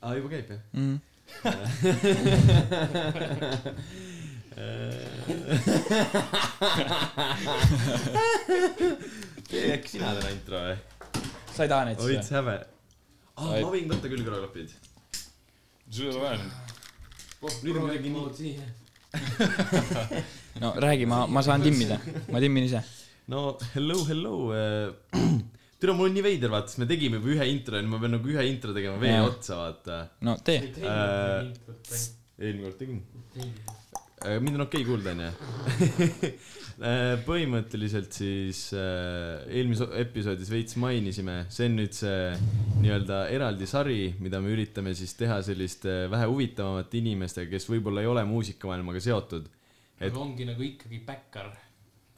Ja, vi är på GP. Mm. Eks sina täna intro või ? sa ei taha neid oi , siis või ? säve . aa , Ai. ma võin võtta küll korra klapid . sul ei ole vaja nüüd on midagi nii . no räägi , ma , ma saan timmida , ma timmin ise . no hello , hello . eh. tere , mul on nii veider , vaata , sest me tegime juba ühe intro ja nüüd ma pean nagu ühe intro tegema veel Jaa. otsa , vaata . no tee . eelmine kord tegin . Äh, mind on okei okay kuulda , onju . põhimõtteliselt siis äh, eelmises episoodis veits mainisime , see on nüüd see nii-öelda eraldi sari , mida me üritame siis teha selliste vähe huvitavamate inimestega , kes võib-olla ei ole muusikamaailmaga seotud . Et- aga ongi nagu ikkagi päkkar .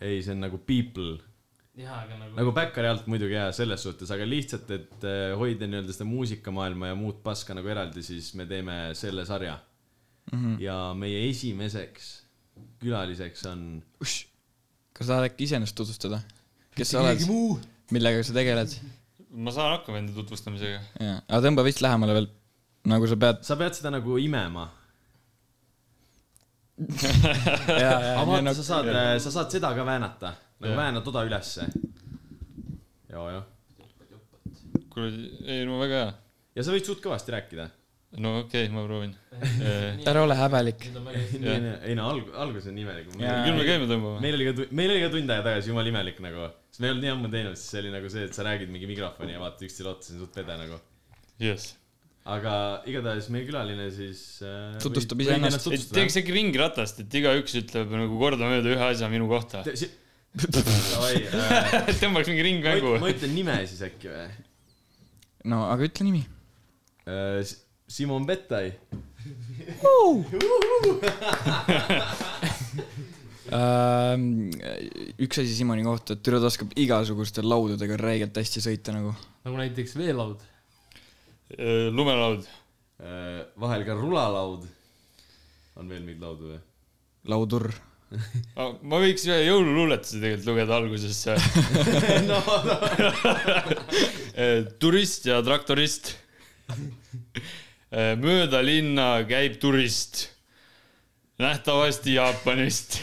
ei , see on nagu people jaa , aga nagu, nagu backeri alt muidugi jaa , selles suhtes , aga lihtsalt , et äh, hoida nii-öelda seda muusikamaailma ja muud paska nagu eraldi , siis me teeme selle sarja mm . -hmm. ja meie esimeseks külaliseks on kas sa tahad äkki iseennast tutvustada ? kes sa oled , muu . millega sa tegeled ? ma saan hakkama enda tutvustamisega . jaa , aga tõmba vist lähemale veel . nagu sa pead . sa pead seda nagu imema . jaa , aga jaa , vaata , nagu sa saad , sa saad seda ka väänata , nagu Jah. vääna toda ülesse . ja , jah . kuradi , ei no väga hea . ja sa võid suht kõvasti rääkida . no okei okay, , ma proovin . Äh, ära ole häbelik . nüüd on väga hästi . ei no , ei no , alg- , algus on imelik . Jaa. küll me käime tõmbama . meil oli ka , meil oli ka tund aega tagasi jumala imelik nagu , sest me ei olnud nii ammu teinud , siis see oli nagu see , et sa räägid mingi mikrofoni ja vaatad üksteisele otsa , see on suht pede nagu . jess . aga igatahes meie külaline siis äh, Tutvustab võib- ise võib ennast. ennast teeks äkki ringratast , et igaüks ütleb nagu kordamööda ühe asja minu kohta . Te- si- Davai, äh, tõmbaks mingi ma ringmängu üt- . ma ütlen nime siis äkki või no aga ütle nimi . Äh, S- Simon Bettai Ehm, üks asi Simoni kohta , et tüdruk oskab igasuguste laudadega räigelt hästi sõita nagu . nagu näiteks veelaud . lumelaud . äh, vahel ka rulalaud on veel mingeid laudu või laudur . ma võiks ühe jõululuuletuse tegelikult lugeda äh. algusesse no, no. Äh, turist ja traktorist . mööda linna käib turist . nähtavasti Jaapanist .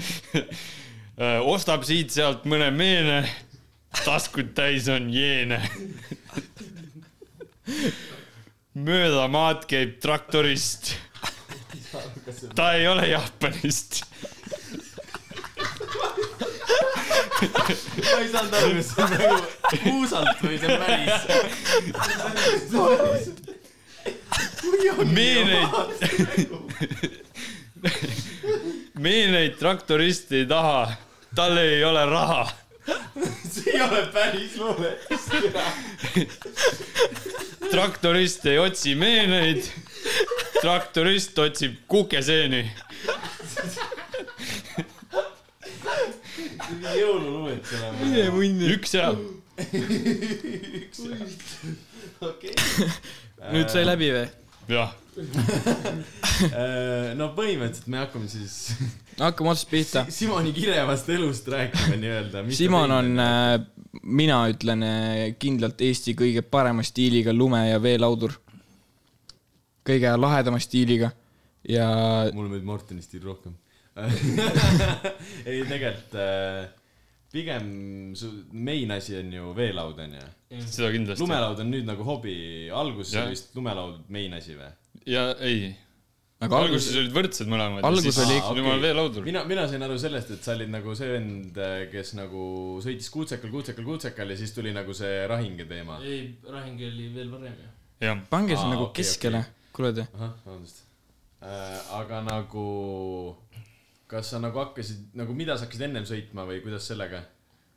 ostab siit-sealt mõne meene . taskud täis on jeene . mööda maad käib traktorist . ta ei ole Jaapanist . ma ei saanud aru , kas see on nagu puusalt või see on päris meeneid , meeneid traktorist ei taha , tal ei ole raha . see ei ole päris luuletus traktorist ei otsi meeneid , traktorist otsib kukeseeni . jõululuuletus olema üks ja üks ja okei nüüd sai läbi või ? jah , Äh, no põhimõtteliselt me hakkame siis hakkame otsast pihta . Simoni kirevast elust rääkima nii-öelda Simon on , mina ütlen äh, kindlalt Eesti kõige parema stiiliga lume- ja veelaudur . kõige lahedama stiiliga ja mulle meeldib Martini stiil rohkem ei tegelikult äh, pigem su main asi on ju veelaud onju seda kindlasti . lumelaud on nüüd nagu hobi alguses Jah. oli vist lumelaud main asi või ja ei , aga alguses alguses olid võrdsed mõlemad . Algus oli- siis tuli mul veelaudur . mina , mina sain aru sellest , et sa olid nagu see vend , kes nagu sõitis kuutsekal , kuutsekal , kuutsekal ja siis tuli nagu see rahinge teema . ei , Rahing oli veel varem ju . jah , pange see Aa, nagu okei, keskele , kuule ahah , vabandust äh, . aga nagu , kas sa nagu hakkasid , nagu mida sa hakkasid ennem sõitma või kuidas sellega ?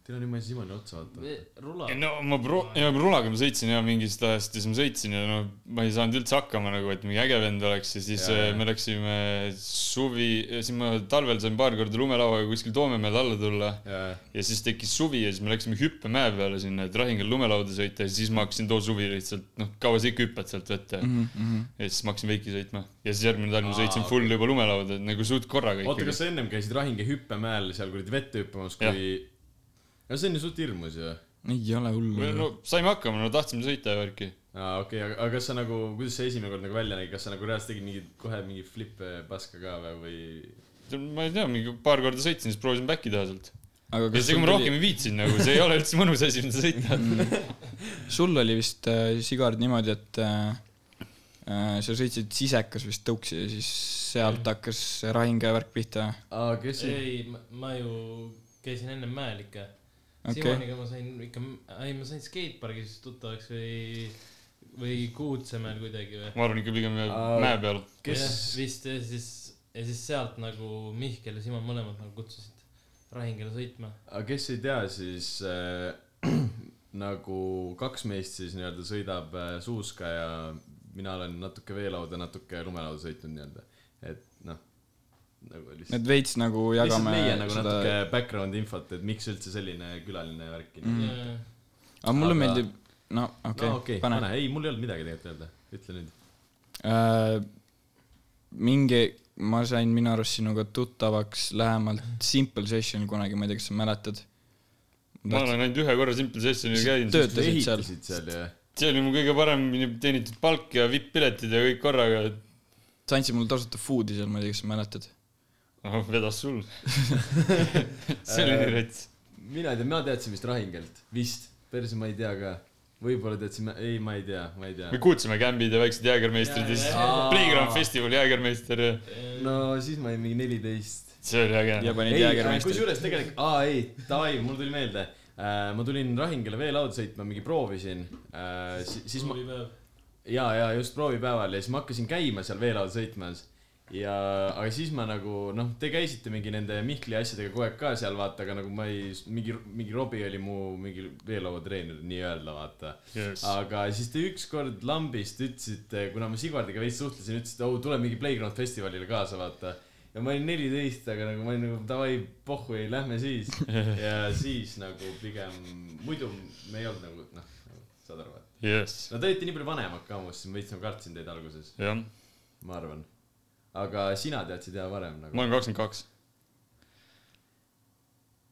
teil on niimoodi Simoni otsa vaata . rula . no ma pro- , ja rulaga ma sõitsin ja mingist ajast ja siis ma sõitsin ja no ma ei saanud üldse hakkama nagu , et mingi äge vend oleks ja siis Jaa, ja, jaa. me läksime suvi , siis ma talvel sain paar korda lumelauaga kuskil Toomemäel alla tulla ja siis tekkis suvi ja siis me läksime hüppemäe peale sinna , et Rahingal lumelauda sõita ja siis ma hakkasin too suvi lihtsalt , noh , kaua sa ikka hüppad sealt vette mm . mhm. ja siis ma hakkasin veiki sõitma ja siis järgmine talv ma Aa, sõitsin full juba lumelauda , et nagu suht korraga oota , ikkagi kas . sa ennem käisid rahinge hüppemäel seal kuradi vette hüppamas , Jah. kui . no see on ju suht hirmus ju . ei ole hullu . no saime hakkama , no tahtsime sõita ja värki . aa , okei , aga , aga kas sa nagu , kuidas see esimene kord nagu välja nägi , kas sa nagu reaalselt tegid mingi , kohe mingi flip'e paska ka või , või ? ma ei tea , mingi paar korda sõitsin , siis proovisin back'i teha sealt . aga ja kas siis , kui sul tuli- ma Mm. rohkem ei viitsinud nagu , see ei ole üldse mõnus asi , mida sõita . sul oli vist äh, sigard niimoodi , et äh, äh, sa sõitsid sisekas vist tõuksi ja siis sealt hakkas see rahinge värk pihta . aa , kes see ? ei , ma ju käisin ennem mäel ikka okay. . Okei. Simoniga ma sain ikka , ei ma sain skatepargis tuttavaks või , või Kuutsemäel kuidagi või . ma arvan ikka pigem Aa. mäe peal . kes , vist ja siis , ja siis sealt nagu Mihkel ja Simon mõlemad nagu kutsusid Rahingile sõitma . kes ei tea , siis äh, nagu kaks meist siis nii-öelda sõidab äh, suuska ja mina olen natuke veelauda , natuke lumelauda sõitnud nii-öelda , et noh , nagu lihtsalt . et veits nagu lihtsalt jagame meie nagu seda natuke background infot , et miks üldse selline külaline värk on mm. . ja aga Aga- mulle aga... meeldib , no okei no okay, okei , no, , pane, pane , ei , mul ei olnud midagi tegelikult öelda , ütle nüüd . pane. . Äh, mingi , ma sain minu arust sinuga tuttavaks lähemalt Simple Session kunagi , ma ei tea , kas sa mäletad ? ma olen ainult ühe korra Simple Sessionil käinud . töötasid seal? ehitasid seal ja see oli mu kõige paremini teenitud palk ja vipp-piletid ja kõik korraga . sa andsid mulle tasuta food'i seal , ma ei tea , kas sa mäletad ? noh , vedas sul . see oli nii rets . mina ei tea , mina teadsin vist Rahingelt , vist , perse ma ei tea ka , võib-olla teadsin , ei , ma ei tea , ma ei tea me . kuulsime kämbid ja väiksed jäägermeistrid ja siis Jaa, jaa, jaa. Playground Festival jäägermeister ja no siis ma olin mingi neliteist . see oli äge ja . panid ei , jäägermeistrit . kusjuures tegelikult , aa ei , davai , mul tuli meelde . ma tulin Rahingele veelauda sõitma , mingi proovisin , siis ma , päev . ja , ja just proovipäeval ja siis ma hakkasin käima seal veelauda sõitmas ja , aga siis ma nagu noh , te käisite mingi nende Mihkli asjadega kogu aeg ka seal vaata , aga nagu ma ei , mingi , mingi Robbie oli mu mingi veelauatreener nii-öelda vaata . aga siis te ükskord lambist ütlesite , kuna ma Sigvardiga veits suhtlesin , ütlesite , oo , tule mingi Playground festivalile kaasa , vaata . ja ma olin neliteist , aga nagu ma olin nagu davai , pohhu ei , lähme siis . ja siis nagu pigem , muidu me ei olnud nagu noh , saad aru , et . jess , no te olite nii palju vanemad ka muuseas , ma veits nagu kartsin teid alguses , jah , ma arvan . aga sina teadsid jah varem ma nagu . olen kakskümmend kaks .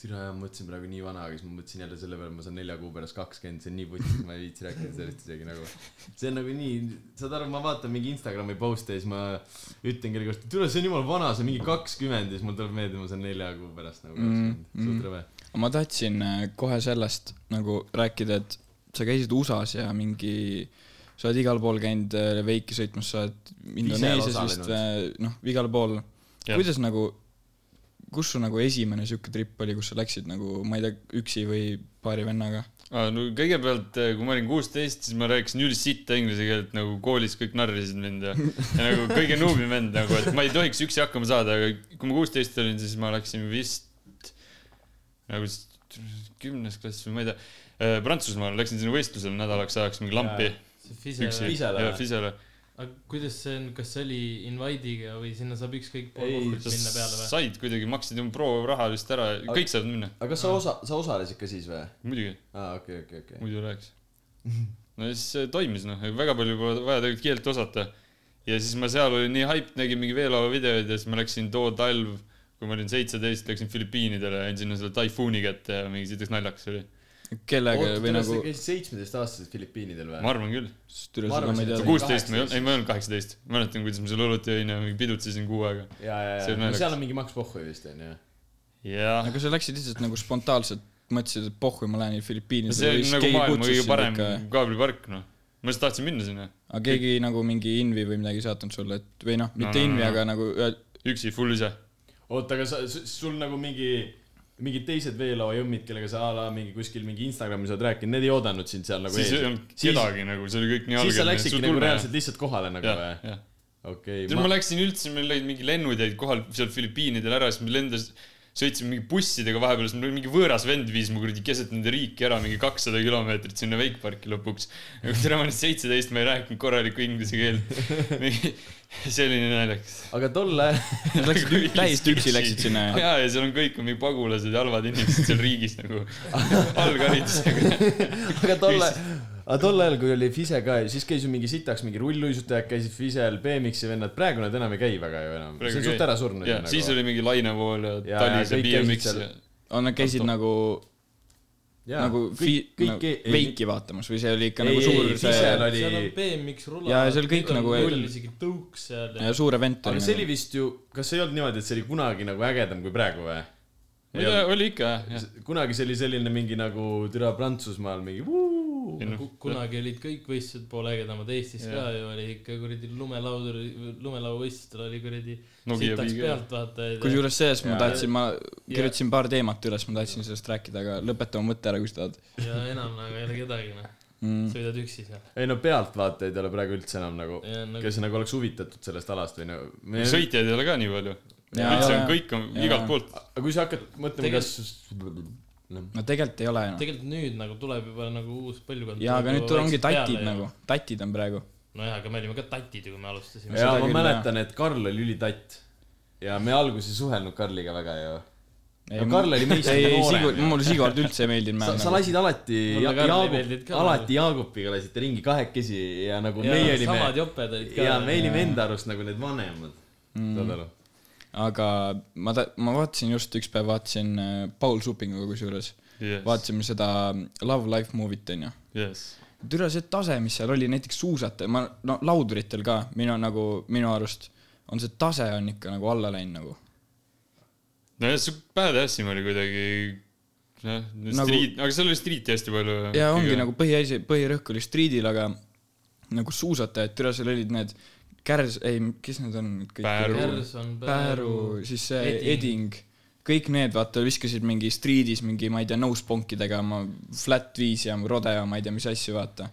türa jah , ma mõtlesin praegu nii vana , aga siis ma mõtlesin jälle selle peale , ma saan nelja kuu pärast kakskümmend , see on nii putš , ma ei viitsi rääkida sellest isegi nagu . see on nagu nii , saad aru , ma vaatan mingi Instagrami post'e ja siis ma ütlen kellegi kohta , türa , see on jumala vana , see on mingi kakskümmend ja siis mul tuleb meelde , ma saan nelja kuu pärast nagu kakskümmend mm, . mm. suht rõve . ma tahtsin äh, kohe sellest nagu rääkida , et sa käisid USA-s ja mingi , sa oled igal pool käinud äh, veiki sõitmas , sa oled Indoneesias vist osalenud. , noh , igal pool . Jah. kuidas nagu , kus su nagu esimene sihuke trip oli , kus sa läksid nagu , ma ei tea , üksi või paari vennaga ? no kõigepealt , kui ma olin kuusteist , siis ma rääkisin ülisitta inglise keelt nagu koolis kõik narrisid mind ja , ja nagu kõige nuubim end nagu , et ma ei tohiks üksi hakkama saada , aga kui ma kuusteist olin , siis ma läksin vist nagu s- kümnes klass või ma ei tea , Prantsusmaale , läksin sinna võistlusele nädalaks ajaks mingi lampi . see Fise Üksi. . Fisele ja või? Fisele . aga kuidas see on , kas see oli invite'iga või sinna saab ükskõik pool Ei, kohvrit sa minna peale või ? said kuidagi , maksid oma prooraha vist ära , kõik saavad minna , aga kas sa osa , sa osalesid ka siis või ? muidugi , aa , okei , okei , okei . muidu ei läheks . no ja siis see toimis noh , väga palju pole vaja tegelikult keelt osata . ja siis ma seal olin nii haip , nägin mingi veelaua videoid ja siis ma läksin too talv , kui ma olin seitseteist , läksin Filipiinidele , jäin sinna selle taifuuni kätte ja mingi sitaks naljakas oli . kellega oota , või tead , nagu sa , käisid seitsmeteistaastased Filipiinidel või ma ? arvan küll . ma türa seda ma arvasin, ei et tea see . kuusteist ma ei olnud , ei ma ei olnud kaheksateist . mäletan , kuidas ma seal õlut jõin ja mingi pidutsesin kuu aega . ja , ja , See ja , on no naljakas. seal on mingi Max Pohhu vist onju . jaa . aga sa läksid lihtsalt nagu spontaanselt , mõtlesid , et pohhu , ma lähen Filipiinidele . see oli nagu maailma kõige parem kaablipark noh . ma lihtsalt tahtsin minna sinna . aga keegi nagu mingi invi või midagi ei saatnud sulle , et või noh , mitte no, no, invi no. no, , aga nagu öel- üksi , full ise oota , aga sa , sul nagu mingi , mingid teised veelauajõmmid , kellega sa a la mingi kuskil mingi Instagramis oled rääkinud , need ei oodanud sind seal nagu siis ei ees . olnud Siis- kedagi nagu , see oli kõik nii siis sa läksidki nagu reaalselt lihtsalt kohale nagu jah , või ? jah . okei , siis ma läksin üldse , meil olid mingi lennud jäid kohal seal Filipiinidel ära , siis me lendas , sõitsime mingi bussidega vahepeal , siis mul mingi võõras vend viis mu kuradi keset nende riiki ära mingi kakssada kilomeetrit sinna Wakeparki lõpuks . tere , ma olin seitseteist , ma ei rääkinud korralikku inglise keelt . see oli nii naljakas . aga tol ajal , läksid ü- täiesti üksi läksid sinna ja ja , ja seal on kõik on mingi pagulased ja halvad inimesed seal riigis nagu algharidusega . aga tol ajal , aga tol ajal , kui oli Fise ka , siis käis ju mingi sitaks , mingi rulluisutajad käisid Fisel , BMX-i vennad , praegu nad enam ei käi väga ju enam . see on suht ära surnud ju nagu. ja siis . oli mingi lainevool ja Ja, ja talis ja kõik käisid BMX seal. ja on nad käisid Auto. nagu Jaa, nagu kõik- kõik kõik, kõik nagu, ei- ei- veiki vaatamas või see oli ikka Ei, nagu ei, suur ei, see seal oli- seal on BMX rula . Jaa, ja seal kõik nagu- mul oli isegi tõuks seal ja suur event aga oli nagu. see oli vist ju , kas ei olnud niimoodi , et see oli kunagi nagu ägedam kui praegu või ? ma ei tea , oli ikka jah . kunagi see oli selline mingi nagu türa Prantsusmaal mingi Ei vuu. noh. Ku- kunagi olid kõik võistlused poole ägedamad Eestis Jaa. ka ju oli ikka kuradi lumelaudur , lumelauavõistlustel oli kuradi Nokia sitaks piiga. pealtvaatajaid . kusjuures sellest ma Jaa. tahtsin , ma kirjutasin paar teemat üles , ma tahtsin sellest rääkida , aga lõpeta oma mõte ära , kui sa tahad ja enam nagu ei ole kedagi noh , mm. . sõidad üksi seal . ei no pealtvaatajaid ei ole praegu üldse enam nagu , Nagu, kes nagu oleks huvitatud sellest alast või nagu . aga sõitjaid ei ole ka nii palju . Jaa, üldse on jaa. kõik on Jaa. igalt poolt . kui sa hakkad mõtlema , kas . Noh. no tegelikult ei ole enam . tegelikult nüüd nagu tuleb juba nagu uus põlvkond . jaa , aga nüüd tul- ongi tatid nagu , tatid on praegu . nojah , aga me olime ka tatid ju , kui me alustasime . ja seda ma küll, mäletan , et Karl oli ülitatt ja me alguses ei suhelnud Karliga väga ju . ei no , Karl oli meist nagu ei , ei , noorem Sigur , ju. mulle Sigurd üldse ei meeldinud . nagu. sa , sa lasid alati , Mulle Karl ei meeldinud Jaagup , ka. alati Jaagupiga lasite ringi kahekesi ja nagu ja, meie samad olime joped olid ka . ja me olime enda arust nagu need vanemad mm. , saad aru ? aga ma ta- , ma vaatasin just üks päev vaatasin äh, Paul Supinguga kusjuures , jess , vaatasime seda Love Life movie't onju . jess . türa see tase , mis seal oli näiteks suusata , ma no lauduritel ka minu nagu minu arust on see tase on ikka nagu alla läinud nagu . nojah , see badass'im oli kuidagi , noh , Nagu- street , aga seal oli street'i hästi palju . ja ongi . nagu põhiasi , põhirõhk oli striidil , aga nagu suusatajad , türa seal olid need kärs- , ei , kes need on kõik ? Pääru. Kärson , Pääru , siis see Eding, eding. , kõik need , vaata , viskasid mingi striidis mingi , ma ei tea , nosebonkidega oma flat viis ja rodeo , ma ei tea , mis asju , vaata .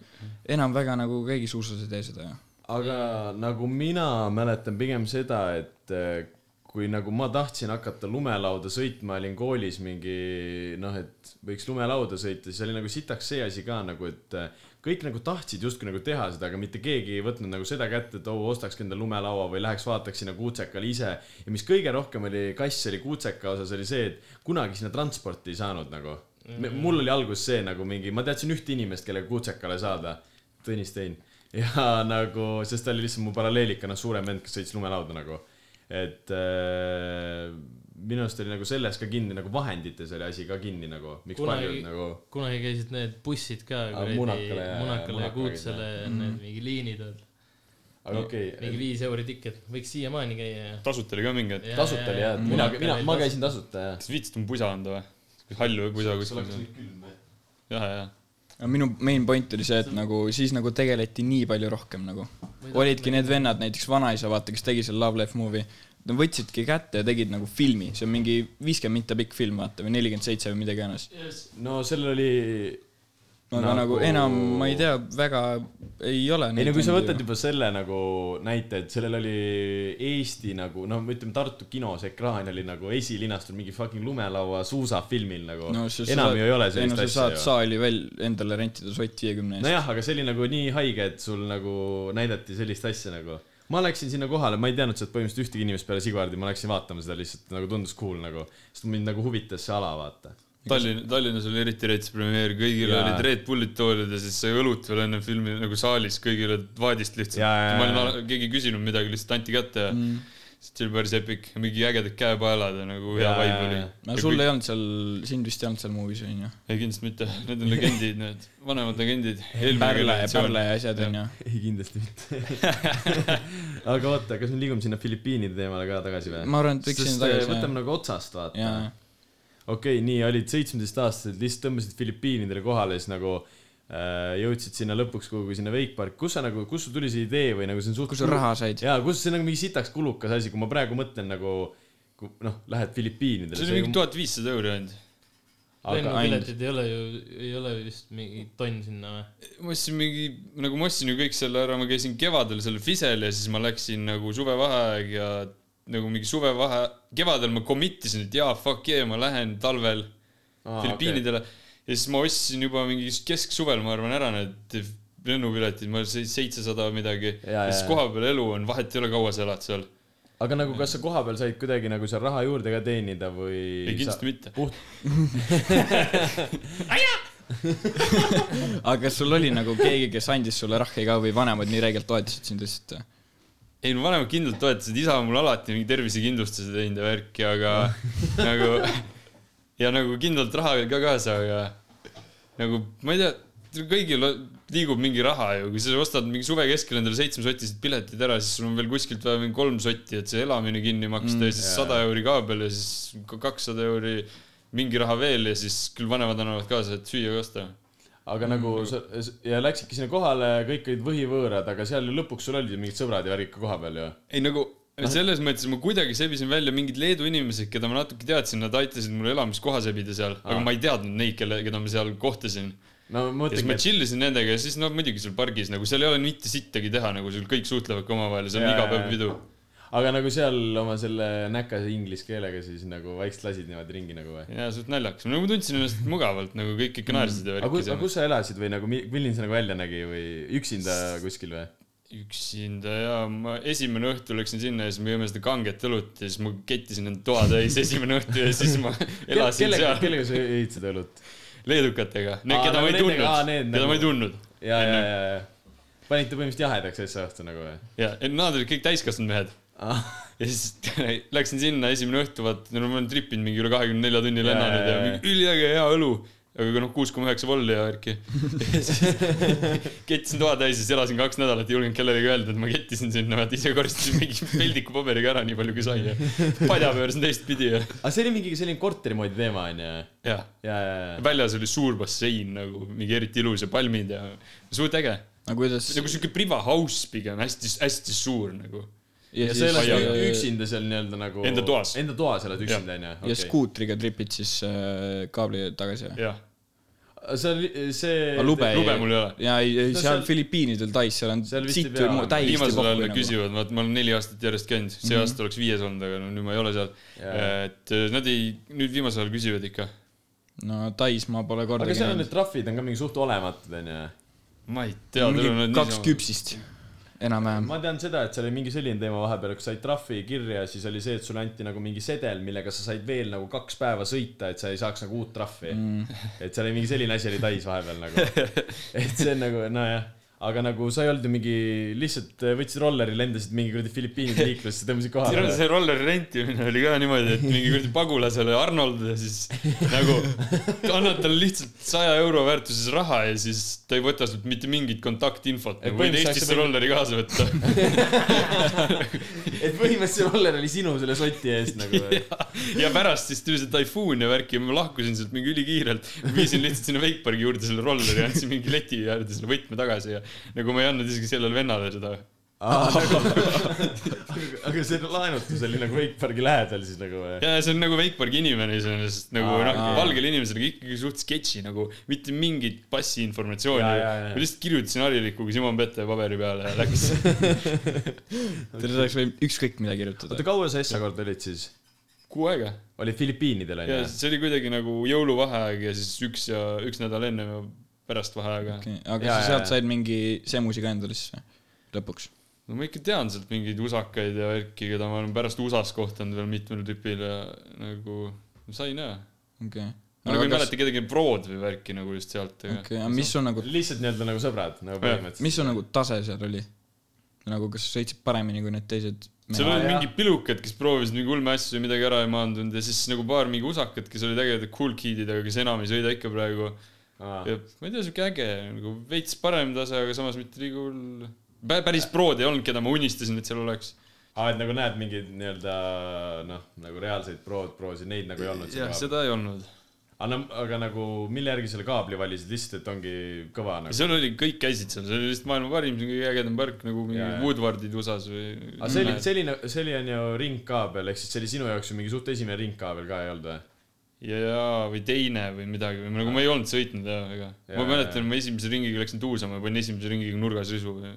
enam väga nagu keegi suusas ei tee seda ju . aga nagu mina mäletan pigem seda , et eh, kui nagu ma tahtsin hakata lumelauda sõitma , olin koolis mingi noh , et võiks lumelauda sõita , siis oli nagu sitaks see asi ka nagu , et eh, kõik nagu tahtsid justkui nagu teha seda , aga mitte keegi ei võtnud nagu seda kätte , et oo , ostakski endale lumelaua või läheks vaataks sinna kuutsekale ise . ja mis kõige rohkem oli kass oli kuutseka osas , oli see , et kunagi sinna transporti ei saanud nagu . mul oli alguses see nagu mingi , ma teadsin ühte inimest , kellega kuutsekale saada , Tõnis Tein . ja nagu , sest ta oli lihtsalt mu paralleelikana suurem vend , kes sõitis lumelauda nagu . et äh, minu arust oli nagu selles ka kinni , nagu vahendites oli asi ka kinni nagu , miks Kunagi- paljud nagu kunagi käisid need bussid ka Aa, kuradi Munakale ja- Munakale ja Munakale Kuutsele käisid, need mingi liinid on . aga okei okay, mingi viis euri ticket , võiks siiamaani käia ja . tasuta oli ka mingi , et tasuta oli jah , mina , mina , ma . käisin tasuta jah . kas viitsid mu pusa anda või ? hall või pusa kuskil . külm või ? jah , jah . minu main point oli see , et nagu siis nagu tegeleti nii palju rohkem nagu . olidki need vennad , näiteks vanaisa , vaata , kes tegi selle Love Life movie . Nad võtsidki kätte ja tegid nagu filmi , see on mingi viiskümmend minta pikk film , vaata , või nelikümmend seitse või midagi iganes . no sellel oli . aga nagu... nagu enam , ma ei . tea , väga ei ole . ei no kui sa võtad juba selle nagu näite , et sellel oli Eesti nagu no ütleme , Tartu kinos ekraan oli nagu esilinastunud mingi fucking lumelaua suusafilmil nagu no, . sa enam saad- ju ei ole sellist ei no sa asja saad ju . saali veel endale rentida sott viiekümne eest . nojah , aga see oli nagu nii haige , et sul nagu näidati sellist asja nagu . ma läksin sinna kohale , ma ei teadnud sealt põhimõtteliselt ühtegi inimest peale Sigvardi , ma läksin vaatama seda lihtsalt nagu tundus cool nagu , sest mind nagu huvitas see ala vaata Tallinn , Tallinnas oli eriti rets premeer , kõigil Jaa. ja. olid Red Bullid toolid ja siis sai õlut veel enne filmi nagu saalis , kõigil olid vaadist lihtsalt . Jaa, jaa, ma olin jaa. ala- , keegi ei küsinud midagi , lihtsalt anti kätte ja mm. see oli päris epic , mingi ägedad käepaelad ja nagu hea Jaa, vibe jaa, oli jaa. . no sul ei olnud seal , sind vist ei olnud seal movie's onju . ei kindlasti mitte , need on legendid , need vanemad legendid . pärle , pärle ja asjad onju . ei , kindlasti mitte . aga oota , kas me liigume sinna Filipiinide teemale ka tagasi või ? ma arvan , et võiks sinna võtame tagasi . nagu otsast vaata jaa ., okei , nii olid seitsmeteistaastased , lihtsalt tõmbasid Filipiinidele kohale , siis nagu äh, jõudsid sinna lõpuks kuhugi sinna veikparki , kus sa nagu , kust sul tuli see idee või nagu see on suht . kus sa raha said ? jaa , kus see on nagu mingi sitaks kulukas asi , kui ma praegu mõtlen nagu , kui noh , lähed Filipiinidele . see oli mingi tuhat viissada euri ainult . aga lennupiletid ei ole ju , ei ole vist mingi tonn sinna või ? ma ostsin mingi , nagu ma ostsin ju kõik selle ära , ma käisin kevadel seal Fisel ja siis ma läksin nagu suvevaheaeg ja nagu mingi suvevahe , kevadel ma commit isin , et jaa , fuck yeah , ma lähen talvel Aa, ah, Filipiinidele okay. . ja siis ma ostsin juba mingi kesksuvel , ma arvan , ära need lennupiletid , ma seitsesada midagi . Jaa, ja siis jaa. kohapeal elu on , vahet ei ole , kaua sa elad seal . aga nagu , kas sa kohapeal said kuidagi nagu seal raha juurde ka teenida või ? ei , kindlasti mitte . aga kas sul oli nagu keegi , kes andis sulle rahhi ka või vanemad nii räigelt toetasid sind lihtsalt ? äh, ei no vanemad kindlalt toetasid , isa on mul alati mingi tervisekindlustuse teinud ja värki , aga nagu ja nagu kindlalt raha veel ka kaasa , aga nagu ma ei tea , kõigil on- liigub mingi raha ju , kui sa ostad mingi suve keskel endale seitsmesotised piletid ära , siis sul on veel kuskilt vaja mingi kolm sotti , et see elamine kinni maksta mm, ja siis jaa. sada euri ka peal ja siis ka kakssada euri mingi raha veel ja siis küll vanemad annavad kaasa , et süüa ka osta . aga nagu Mm. sa ja läksidki sinna kohale , kõik olid võhivõõrad , aga seal ju lõpuks sul olid ju mingid sõbrad ja värgid ka kohapeal ju . ei nagu selles mõttes ma kuidagi sebisin välja mingid Leedu inimesed , keda ma natuke teadsin , nad aitasid mul elamiskoha sebida seal , aga Aa. ma ei teadnud neid , kelle , keda ma seal kohtasin no ma ja siis ma mõtlengi , chill isin nendega ja siis no muidugi seal pargis nagu seal ei ole mitte sittagi teha , nagu sul kõik suhtlevad ka omavahel ja see on Jaa, iga jaa, päev jaa. pidu . et aga nagu seal oma selle näkase inglise keelega siis nagu vaikselt lasid niimoodi ringi nagu või ? ja suht naljakas , nagu ma tundsin ennast mugavalt , nagu kõik ikka naersid ja Mm. aga kus , aga värkis . kus sa elasid või nagu mi- milline see nagu välja nägi või üksinda kuskil või ? üksinda ja ma esimene õhtu läksin sinna ja siis me jõime seda kanget õlut ja siis ma kettisin end toatäis esimene õhtu ja siis ma elasin kellega , seal kellega sa ehitasid õlut ? leedukatega , Aa, need , keda nagu ma ei nendega, aa, tundnud , need keda ma nagu- ei tundnud . ja , ja , ja , ja . panite põhimõtteliselt jahedaks asja õhtu nagu või ? ja , et nad olid kõik täiskasvanud mehed . Ah. ja siis läksin sinna esimene õhtu , vaata , no ma olen tripinud mingi üle kahekümne nelja tunni Jaa, lennanud ja jaa, jaa. mingi üliäge hea õlu . aga kui noh , kuus koma üheksa volli ja värki . kettisin toa täis ja siis elasin kaks nädalat , ei julgenud kellelegi öelda , et ma kettisin sinna , vaata ise koristasin mingi peldiku paberiga ära nii palju kui sai ja padja pöörasin teistpidi ja , aga see oli mingi selline korteri moodi teema onju . ja ja , ja , väljas oli suur bassein nagu mingi eriti ilus ja palmid ja suht äge . aga kuidas nagu siuke priva house pigem hästi-hästi suur nagu . ja . ja sa elad Aiaga. ü- üksinda seal nii-öelda nagu . Enda toas. Enda toas elad üksinda onju . äh, ja skuutriga tripid siis äh, kaabli tagasi või ? jah , see oli , see . aga lube lube mul ei ole . ja ei , ei No seal seal- Filipiinidel tais , seal on seal vist siit ei pea mu- olema. täiesti viimasel ajal papu nad nagu . Mhm. küsivad , vaat ma olen neli aastat järjest käinud , see mm -hmm. aasta oleks viies olnud , aga no nüüd ma ei ole seal . Jaa. et eh, nad ei , nüüd viimasel ajal küsivad ikka . no tais ma pole aga kordagi seal on näinud need . trahvid on ka mingi suht olematud onju . ma ei tea , tal on mingi nad kaks . küpsist enam-vähem . ma tean seda , et seal oli mingi selline teema vahepeal , kus said trahvi kirja , siis oli see , et sulle anti nagu mingi sedel , millega sa said veel nagu kaks päeva sõita , et sa ei saaks nagu uut trahvi mm. . et seal oli mingi selline asi oli täis vahepeal nagu . et see on nagu nojah , aga nagu sa ei olnud ju mingi , lihtsalt eh, võtsid rolleri , lendasid mingi kuradi Filipiinide liiklusesse , tõmbasid siin on kohale . see rolleri rentimine oli ka niimoodi , et mingi kuradi pagulasele Arnold ja siis nagu annad talle lihtsalt saja euro väärtuses raha ja siis ta ei võta sult mitte mingit kontaktinfot , Et nagu võid põhimõtteliselt Eestisse sa- rolleri kaasa võtta . et põhimõtteliselt see roller oli sinu selle soti eest nagu . ja pärast siis tuli see taifuun ja värk ja ma lahkusin sealt mingi ülikiirelt , viisin lihtsalt sinna Wakeparki juurde selle rolleri ja andsin mingi leti äärde selle võtme tagasi ja nagu ma ei andnud isegi sellele vennale seda . Nagu, aga see laenutus oli nagu Wake Parki lähedal siis nagu või ? ja see on nagu Wakeparki inimene iseenesest nagu Aa, noh aa. , valgel inimesel on ikkagi suht sketši nagu mitte mingit passi informatsiooni . Jaa, jaa, jaa. ma lihtsalt kirjutasin hariliku kui Simon Pete paberi peale ja läks . Teil oleks võinud ükskõik mida kirjutada oota ,. kaua sa Essa kord olid siis ? kuu aega olid Filipiinidel ja onju ? see oli kuidagi nagu jõuluvaheaeg ja siis üks ja üks nädal enne ja pärast vaheaega . Jaa, aga sa jaa, jaa. sealt said mingi semusi ka endale siis või? lõpuks ? no ma ikka tean sealt mingeid usakaid ja värki , keda ma olen pärast USA-s kohtunud veel mitmel tüüpil ja nagu sai näha . okei okay. . ma nagu ei mäleta kedagi prood või värki nagu just sealt , okei aga okay, , aga mis sul nagu , lihtsalt nii-öelda nagu sõbrad nagu Jah. põhimõtteliselt . mis sul nagu tase seal oli ? nagu kas sa sõitsid paremini kui need teised seal Aa, olid jah. mingid pilukad , kes proovisid mingi ulme asju ja midagi ära ei maandunud ja siis nagu paar mingi usakat , kes olid ägedad cool kid'id , aga kes enam ei sõida ikka praegu . Aa. ja ma ei tea , siuke äge nagu veits parem tase , aga samas mitte liiga hull . päris prood ei olnud , keda ma unistasin , et seal oleks . aa , et nagu näed mingeid nii-öelda noh , nagu reaalseid prood , proosid , neid nagu ei olnud seal jah , kaabli . seda ei olnud . aga , aga nagu mille järgi selle kaabli valisid , lihtsalt , et ongi kõva ja nagu . seal oli , kõik käisid seal , see oli lihtsalt maailma parim , see on kõige ägedam park nagu Jaa, mingi jaa. Woodwardid USA-s või . aga see oli , Mm. selline , see oli on ju ringkaabel , ehk siis see oli sinu jaoks ju mingi suht esimene ringkaabel ka ei olnud või ? jaa , või teine või midagi või nagu ma ei olnud sõitnud jah , ega . ma Jaa, mäletan , jaa. ma esimese ringiga läksin tuusama ja panin esimese ringiga nurgas risu . ja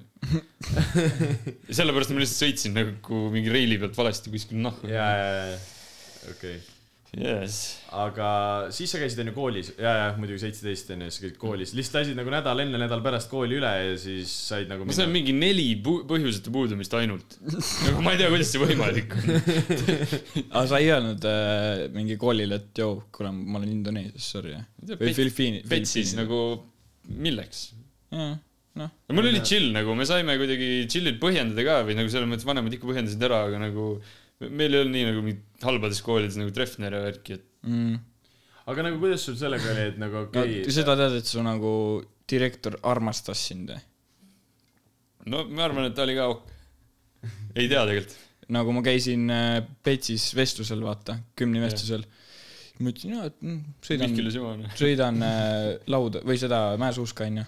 sellepärast ma lihtsalt sõitsin nagu mingi reili pealt valesti kuskil nahku . ja , ja , ja , okei okay. . jess . aga siis sa käisid on ju koolis , ja , ja muidugi seitseteist on ju , sa käisid koolis , lihtsalt lasid nagu nädal enne , nädal pärast kooli üle ja siis said nagu . ma sain mingi neli pu- põhjuseta puudumist ainult . nagu ma ei tea , kuidas see võimalik on . aga sa ei öelnud äh, mingi koolile , et joo , kuule , ma olen Indoneesias , sorry . või Filipiini . Petsis . nagu milleks ? noh , no mul oli chill nagu , me saime kuidagi chill'ilt põhjendada ka või nagu selles mõttes vanemad ikka põhjendasid ära , aga nagu meil ei olnud nii nagu mingit halbades koolides nagu Treffner ja värki , et aga aga nagu kuidas sul sellega oli , et nagu no okei okay, mm. seda tead , et su nagu direktor armastas sind või ? no ma arvan , et ta oli ka ok. . ei tea tegelikult . nagu ma käisin äh, Petsis vestlusel , vaata , kümni vestlusel . ma ütlesin , jaa , et mm, sõidan Mihkel ja , Simon . sõidan äh, lauda või seda mäesuuska , onju .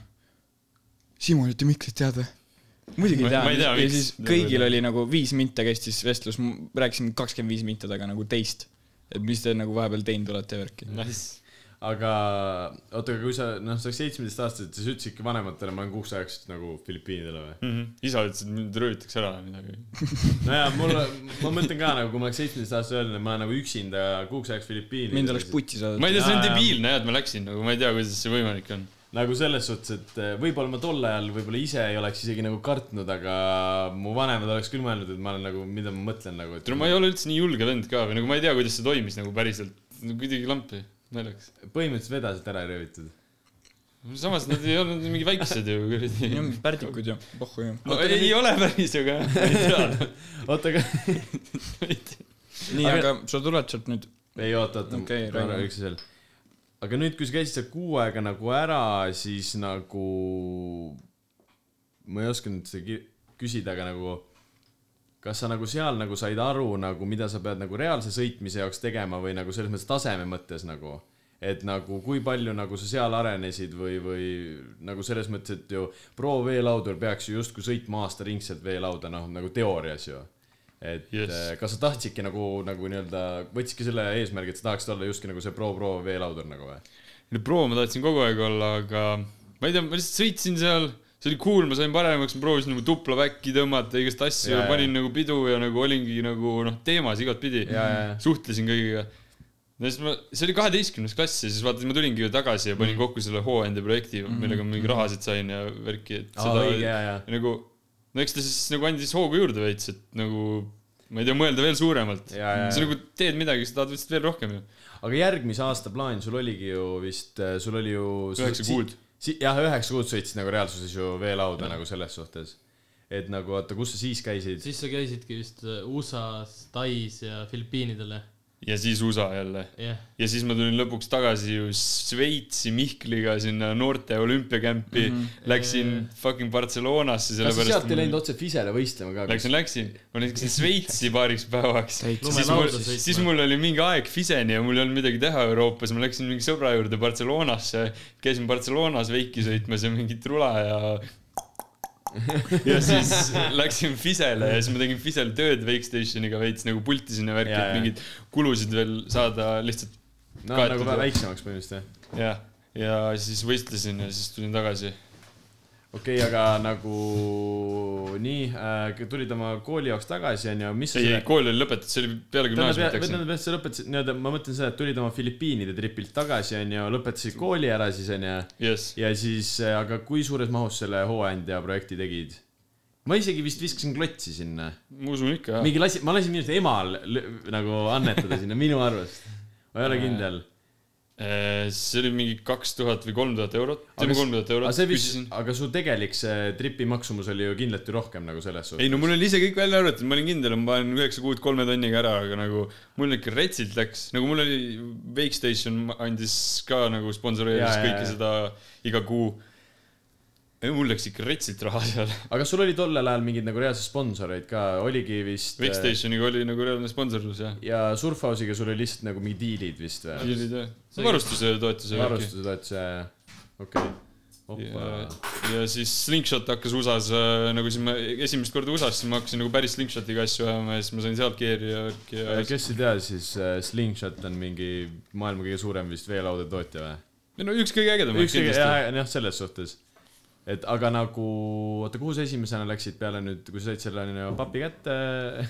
Simonit ja Miklit tead või ? muidugi Ma- ma ei tean . tea, ja miks. siis kõigil oli nagu viis minta kestis vestlus , rääkisime kakskümmend viis minta taga nagu teist . et mis te nagu vahepeal teinud olete ja värki . Nice . aga oota , aga kui sa , noh , sa oleks seitsmeteist aastaselt , siis ütlesidki vanematele , ma lähen kuuks ajaks nagu Filipiinidele või ? Mhm. isa ütles , et mind röövitakse ära või midagi . nojah , mul , ma mõtlen ka nagu , kui ma oleks seitsmeteist aastase öelnud , et ma lähen nagu üksinda kuuks ajaks Filipiinidele . mind oleks putsi ma saadetud . ei tea , see on Jaa, jaa. debiilne jah , et ma läksin , nagu ma ei tea , kuidas see võimalik on . nagu selles suhtes , et eh, võib-olla ma tol ajal võib-olla ise ei oleks isegi nagu kartnud , aga mu vanemad oleks küll mõelnud , et ma olen nagu , mida ma mõtlen nagu , et tule , ma ei ole üldse nii julge vend ka või nagu ma ei tea , kuidas see toimis nagu päriselt . kuidagi lampi , naljakas . põhimõtteliselt vedasid ära ja röövitud . samas nad ei olnud mingi väiksed ju kuradi . pärdikud ja pohhu ja . no ei ei ole päris , aga ma ei tea . oota , aga nii , Aga- aga sa tuled sealt nüüd , ei oota , oota Okei, okay, , korra räägi. üks asi veel . aga nüüd , kui sa käisid seal kuu aega nagu ära , siis nagu ma ei oska nüüd seda ki- küsida , aga nagu kas sa nagu seal nagu said aru nagu , mida sa pead nagu reaalse sõitmise jaoks tegema või nagu selles mõttes taseme mõttes nagu , et nagu kui palju nagu sa seal arenesid või , või nagu selles mõttes , et ju proveelaudur peaks ju justkui sõitma aastaringselt veelauda , noh nagu teoorias ju . et Yes. yes. kas sa tahtsidki nagu , nagu nii-öelda , võtsidki selle eesmärgi , et sa tahaksid olla justkui nagu see pro-pro veelaudur nagu või ? no pro ma tahtsin kogu aeg olla , aga ma ei tea , ma lihtsalt sõitsin seal , see oli cool , ma sain paremaks , ma proovisin nagu tupla back'i tõmmata , igast asju Jaa, ja, jaa. panin nagu pidu ja nagu olingi nagu noh , teemas igatpidi Jaa, jaa, jaa. . suhtlesin kõigiga . no siis ma , see oli kaheteistkümnes klass ja siis vaata , ma tulingi ju tagasi ja Mm. panin kokku selle hooandja projekti , millega ma mingi rahasid sain ja värki , et aa , õige , jaa , jaa . nagu , no eks ta siis nagu andis hoogu juurde veits , et nagu ma ei tea , mõelda veel suuremalt . Jaa, jaa, sa jaa. nagu teed midagi , sa tahad lihtsalt veel rohkem ju . aga järgmise aasta plaan sul oligi ju vist , sul oli ju . Üheksa kuud. . jah , üheksa kuud sõitsid nagu reaalsuses ju veelauda nagu selles suhtes . et nagu oota , kus sa siis käisid ? siis sa käisidki vist äh, USA-s , Tais ja Filipiinidele , ja siis USA jälle jah . ja siis ma tulin lõpuks tagasi ju Šveitsi Mihkliga sinna noorte olümpiakämpi mm , -hmm. läksin fucking Barcelonasse , kas sa sellepärast sealt ei läinud otse Fisele võistlema ka ? Läksin , läksin , ma läksin Šveitsi paariks päevaks . Täitsa. siis mul Lumelauda , sõitma. siis mul oli mingi aeg Fiseni ja mul ei olnud midagi teha Euroopas , ma läksin mingi sõbra juurde Barcelonasse , käisin Barcelonas veiki sõitmas ja mingit rula ja . ja siis läksin Fisele ja siis ma tegin Fisel tööd Wakestationiga veits nagu pulti sinna värki , Jaa, et jaa. mingeid kulusid veel saada lihtsalt no kaetud nagu ära. väiksemaks põhimõtteliselt jah ? jah , ja siis võistlesin ja siis tulin tagasi . okei okay, , aga nagu nii äh, , tulid oma kooli jaoks tagasi onju , mis sa ei , ei kool oli lõpetatud , see oli peale gümnaasiumit läksin . tähendab , sa lõpetasid , nii-öelda ma mõtlen seda , et tulid oma Filipiinide tripilt tagasi onju , lõpetasid kooli ära siis onju jess , ja siis , aga kui suures mahus selle hooandja projekti tegid ? ma isegi vist viskasin klotsi sinna , ma usun ikka jah . mingi lasi , ma lasin minu arust emal lõ- nagu annetada sinna minu arust . ma ei Äh, ole kindel . Eh, see oli mingi kaks tuhat või kolm tuhat eurot , Aga teeme s- kolm tuhat aga eurot , see vist küsisin ., aga su tegelik see tripi maksumus oli ju kindlasti rohkem nagu selles suhtes . ei no mul oli ise kõik välja arvatud , ma olin kindel , ma panen üheksa kuud kolme tonniga ära , aga nagu mul ikka retsilt läks , nagu mul oli , Wakestation andis ka nagu sponsoreeris Jaa, jaa, kõike jaa. seda iga kuu . mul läks ikka retsilt raha seal . aga sul oli tollel ajal mingeid nagu reaalseid sponsoreid ka , oligi vist . Wakestationiga oli nagu reaalne sponsorlus jah . ja Surfhouse'iga sul oli lihtsalt nagu mingi diilid vist või ? varustuse toetuse . varustuse toetuse , okei ja, okay. . ja siis Slingshot hakkas USA-s äh, nagu siis ma esimest korda USA-s , siis ma hakkasin nagu päris Slingshotiga asju ajama ja siis ma sain sealt keeri ja värki ja Ja kes ei tea , siis äh, Slingshot on mingi maailma kõige suurem vist veelaudetootja või ? ei no üks kõige ägedamaid üks kõige , kindlasti . jah , jah , selles suhtes . et aga nagu , oota , kuhu sa esimesena läksid peale nüüd , kui sa said selle nii-öelda papi kätte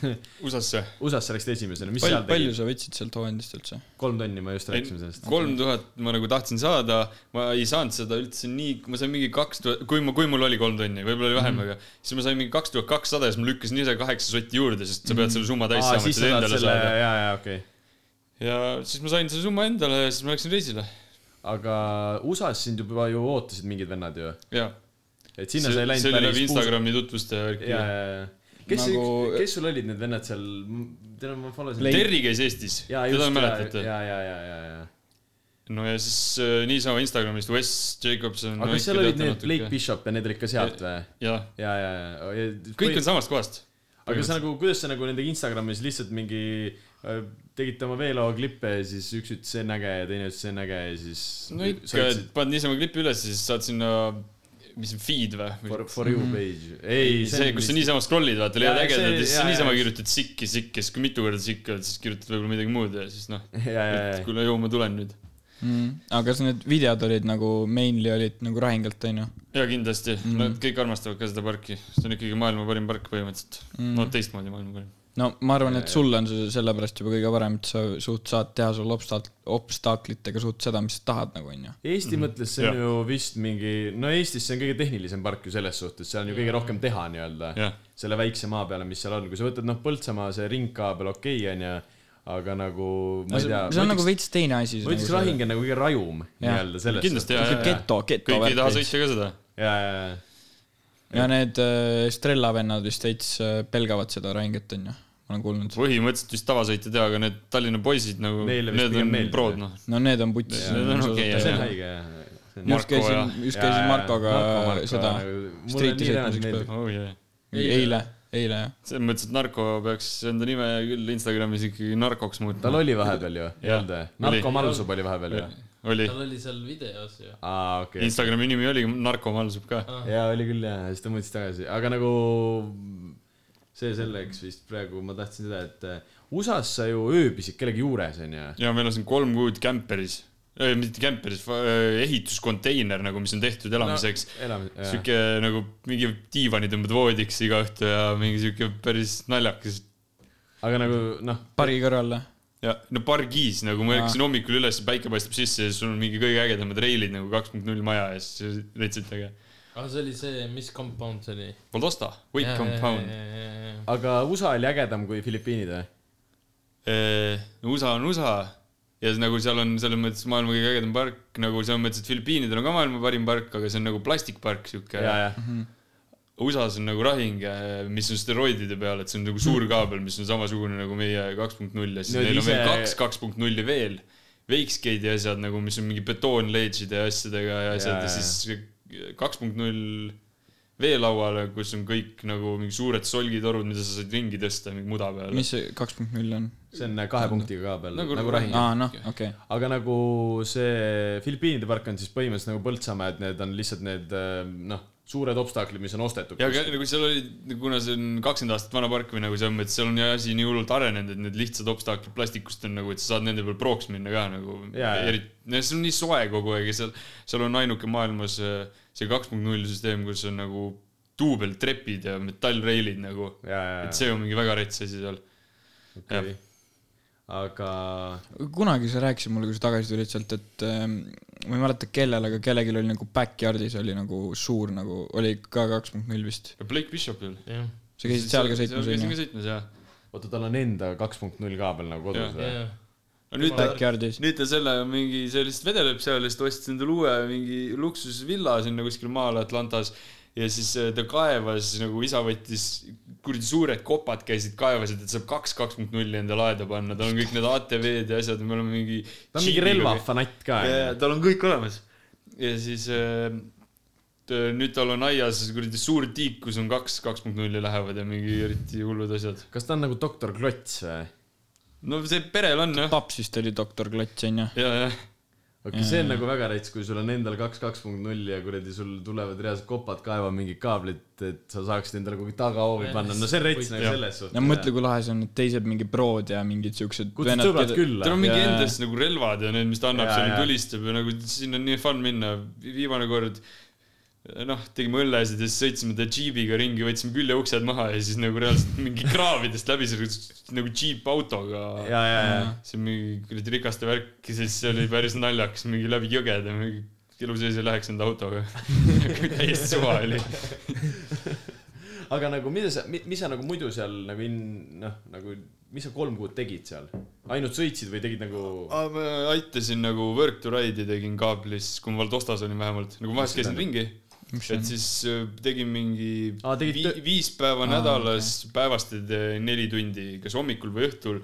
USA-sse . USA-sse läksid esimesena , mis palju seal , palju tegid ? sa võtsid sealt hooandist üldse ? kolm tonni , me just rääkisime sellest . kolm tuhat ma nagu tahtsin saada , ma ei saanud seda üldse nii , ma sain mingi kaks tuhat , kui ma , kui mul oli kolm tonni , võib-olla oli Mhm. vähem mm , -hmm. aga siis ma sain mingi kaks tuhat kakssada ja siis ma lükkasin ise kaheksa sotti juurde , sest sa pead selle summa täis Mhm. aa , saama , et siis seda sa tahad endale selle , saada . jaa , jaa , okei . ja siis ma sain selle summa endale ja siis ma läksin reisile . aga USA-s sind juba ju ootasid mingid vennad ju , jaa . et sinna sa see ei läinud see oli nagu läbi puus- Instagrami tutvuste ja värki . jaa , jaa , jaa . kes nagu... , Nagu- kes sul olid need vennad seal , tead , ma follow sin . Terri käis Eestis , jaa , teda just , jaa , mäletate ? jaa , jaa , jaa , jaa , jaa . no ja siis äh, niisama Instagramist Wes Jacobson . aga kas seal olid need Blake Bishop ja need olid ka sealt või ? jah , ja , ja , ja, ja . kõik on samast kohast . aga sa nagu , kuidas sa nagu nendega Instagramis lihtsalt mingi äh, tegite oma veelaua klippe ja siis üks ütles see on äge ja teine ütles see on äge ja siis . no ikka , et paned niisama klipi üles , siis saad sinna , mis see on feed või ? For , for you page . ei , Mhm. see , kus sa . niisama scroll'id , vaata , leiad Jaa, ägedad see- ja siis sa jaa, niisama jaa. kirjutad sikki , sikki , siis kui mitu korda sikki oled , siis kirjutad võib-olla midagi muud ja siis noh , ja , ja , et ja , kuule , ju ma tulen nüüd . mm. . aga kas need videod olid nagu , mainly olid nagu rahingalt , onju ja kindlasti Mhm. mm. , nad kõik armastavad ka seda parki , see on ikkagi maailma parim park põhimõtteliselt mm. . no mm. ? teistmoodi maailma parim . no ma arvan , Ja, et ja. sul on see sellepärast juba kõige parem , et sa suht saad teha sul obstak- , obstaklitega suht seda , mis sa tahad nagu , onju . Eesti Mhm. mõttes see on Jah. ju vist mingi , no Eestis see on kõige tehnilisem park ju selles suhtes , seal on ju kõige rohkem teha nii-öelda jah , selle väikse maa peale , mis seal on , kui sa võtad noh , Põltsamaa see ringkaa peal okei okay, onju , aga nagu ma ei see tea . see on nagu veits teine asi . ma ütleks , lahing on nagu kõige rajum Jah. nii-öelda selles kindlasti ja , see ja , ja geto , geto kõik ei taha värk . sõita ka seda . ja , ja , ja , ja need äh, Strella vennad vist veits äh, pelgavad seda lahingut , onju . ma olen kuulnud . põhimõtteliselt vist tavasõite teha , aga need Tallinna poisid nagu , Neile vist need pigem on meeldib, prod jah. noh . no need on putsis . Need on okei, jah, see on jah. haige jah . just Marko, käisin jah. , just käisin Markoga seda street'i sõitmas sõitmas . ükspäev . oh yeah . eile , eile jah . selles mõttes , et narko peaks enda nime küll Instagramis ikkagi narkoks muutma . tal oli vahepeal ju , ei Jah. olnud või ? Narko Oli. Malsup oli vahepeal ju ? oli , tal oli seal videos ju . aa , okei . Instagrami nimi oli narko malsub ka . jaa , oli küll jaa , siis ta muutis tagasi , aga nagu see selleks vist praegu ma tahtsin seda , et äh, USA-s sa ju ööbisid kellegi juures onju . ja ma elasin kolm kuud kämperis , mitte kämperis , ehituskonteiner nagu , mis on tehtud elamiseks no. . elamise , sihuke nagu mingi diivani tõmbad voodiks iga õhtu ja mingi sihuke päris naljakas aga nagu noh , pargi kõrval või ? ja no pargis nagu ma Aa. ärkasin hommikul üles , päike paistab sisse ja sul on mingi kõige ägedamad reilid nagu kaks punkt null maja ja siis leidsid äge . aga see oli see , mis compound see oli ? Valdosta , Wake yeah, Compound yeah, . Compound . aga USA oli ägedam kui Filipiinid või ? Eh, USA on USA ja s- nagu seal on selles mõttes maailma kõige ägedam park , nagu selles mõttes , et Filipiinidel on ka maailma parim park , aga see on nagu plastikpark jaa , sihuke . jaa . USA-s on nagu rahing , mis on steroidide peal , et see on nagu Hmm. suur kaabel , mis on samasugune nagu meie kaks punkt null ja siis Need neil on veel ise- kaks kaks punkt nulli veel . Wakescade'i asjad nagu , mis on mingi betoonleidžide ja asjadega ja Jaa, asjad ja jaa. siis kaks punkt null veelauale , kus on kõik nagu mingi suured solgitorud , mida sa saad ringi tõsta mingi muda peale . mis see kaks punkt null on ? see on kahe punktiga ka peal , Nagu- nagu rahing . aa , noh , okei okay. . aga nagu see Filipiinide park on siis põhimõtteliselt nagu Põltsamaa , et need on lihtsalt need äh, noh , suured obstaklid , mis on ostetud . ja aga nagu seal oli , kuna see on kakskümmend aastat vana park või nagu see on , et seal on ju asi nii hullult arenenud , et need lihtsad obstaklid plastikust on nagu , et sa saad nende peal prooks minna ka nagu . Jaa, jaa. eriti , see on nii soe kogu aeg ja seal , seal on ainuke maailmas äh, see kaks punkt null süsteem , kus on nagu duubeltrepid ja metallreilid nagu . jaa , et jaa , see on mingi väga rets asi seal . okei . aga kunagi sa rääkisid mulle , kui sa tagasi tulid sealt , et ähm, ma ei mäleta , kellel , aga kellelgi oli nagu backyard'is oli nagu suur nagu , oli ka kaks punkt null vist . Blake Bishopil . jah , sa käisid seal ka sõitmas , onju ? käisin onju ? ka sõitmas jah . oota , tal on enda kaks punkt null ka peal nagu kodus Jah. või ? jah . no nüüd ta Backyard'is . nüüd ta selle mingi , see lihtsalt vedeleb seal ja siis ta ostis endale uue mingi luksusvilla sinna kuskil maal Atlantas . ja siis äh, ta kaevas nagu isa võttis , kuradi suured kopad käisid , kaevasid , et saab kaks kaks punkt nulli endale aeda panna , tal on kõik need ATV-d ja asjad , me oleme mingi . ta on mingi . relvafanatt ka , onju . tal on kõik olemas . ja siis äh, ta- nüüd tal on aias kuradi suur tiik , kus on kaks kaks punkt nulli lähevad ja mingi eriti hullud asjad . kas ta on nagu doktor Klots või ? no see perel on jah , paps vist oli doktor Klots , onju . ja , jah okei okay, , see Mm. on nagu väga rets , kui sul on endal kaks , kaks punkt null ja kuradi sul tulevad reaalsed kopad kaeva mingid kaablid , et sa saaksid endale kuhugi tagahoovi panna , no see on rets nagu Jah. selles suhtes . no mõtle , kui lahe see on , et teised mingi prod ja mingid siuksed . kutsud sõbrad . tal külla on . mingi Jaa. endas nagu relvad ja need , mis ta annab Jaa, seal , jaa. tulistab ja nagu sinna on nii fun minna . viimane kord noh , tegime õllesid ja siis sõitsime ta džiibiga ringi , võtsime küljeuksed maha ja siis nagu reaalselt mingi kraavidest läbi sõidus nagu džiipautoga . ja , ja , ja . see on mingi kuradi rikaste värk ja siis see oli päris naljakas , mingi läbi jõgede , mingi elu sees ei läheks enda autoga . täiesti suva oli . aga nagu , mida sa , mis sa nagu muidu seal nagu in- , noh , nagu , mis sa kolm kuud tegid seal ? ainult sõitsid või tegid nagu ? ma aitasin nagu work to ride'i tegin kaablis , kui ma Valdostas olin vähemalt , nagu vahest käisin ringi et siis äh, tegin mingi Aa, Aa, tegid vi tö- viis päeva Aa, nädalas okay. päevast teed äh, neli tundi , kas hommikul või õhtul .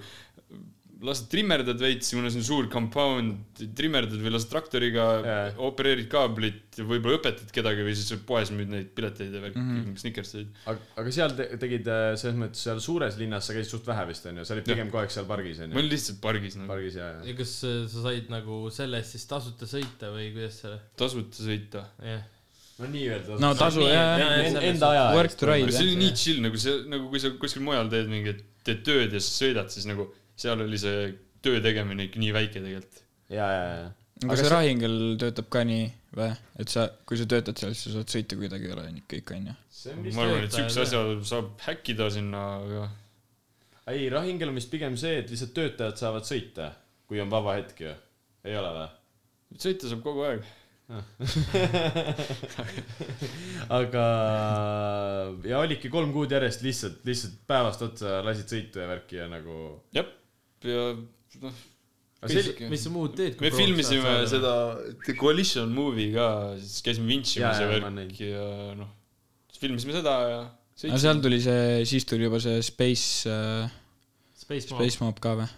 las trimmerdad veits , kuna see on suur compound , trimmerdad või las traktoriga Jaa. yeah. , opereerid kaablit , võib-olla õpetad kedagi või siis poes müüd neid pileteid ja värki mm Mhm. -hmm. , snickerseid . aga , aga seal te, tegid äh, selles mõttes seal suures linnas sa käisid suht vähe vist onju , sa olid pigem kogu aeg seal pargis ma onju . olin lihtsalt pargis nagu , pargis ja , ja . ja kas äh, sa said nagu selle eest siis tasuta sõita või kuidas see , tasuta sõita . jah . no nii-öelda . no tasu jaa , jaa . Enda aja . Work to ride see jah . oli nii chill nagu see , nagu kui sa kuskil mujal teed mingit , teed tööd ja sa sõidad , siis nagu seal oli see töö tegemine ikka nii väike tegelikult . ja , ja , ja . aga see rahingel töötab ka nii või , et sa , kui sa töötad seal , siis sa saad sõita kuidagi ära ja nii kõik onju . see on vist ma arvan , et töötaja siukse ka. asja saab häkkida sinna , aga ei , rahingel on vist pigem see , et lihtsalt töötajad saavad sõita , kui on vaba hetk ju . ei ole või ? sõita saab kogu aeg . aga ja olidki kolm kuud järjest lihtsalt , lihtsalt päevast otsa lasid sõitu ja värki ja nagu . jah , ja noh , Kõik- mis sa muud teed ? me filmisime . seda The Coalition movie ka , siis käisime vintšimas Jaa, ja jaa, ma värk ja noh , siis filmisime seda ja no sõitsime seal tuli see , siis tuli juba see Space äh, , Space Mob . Space Mob ka või ?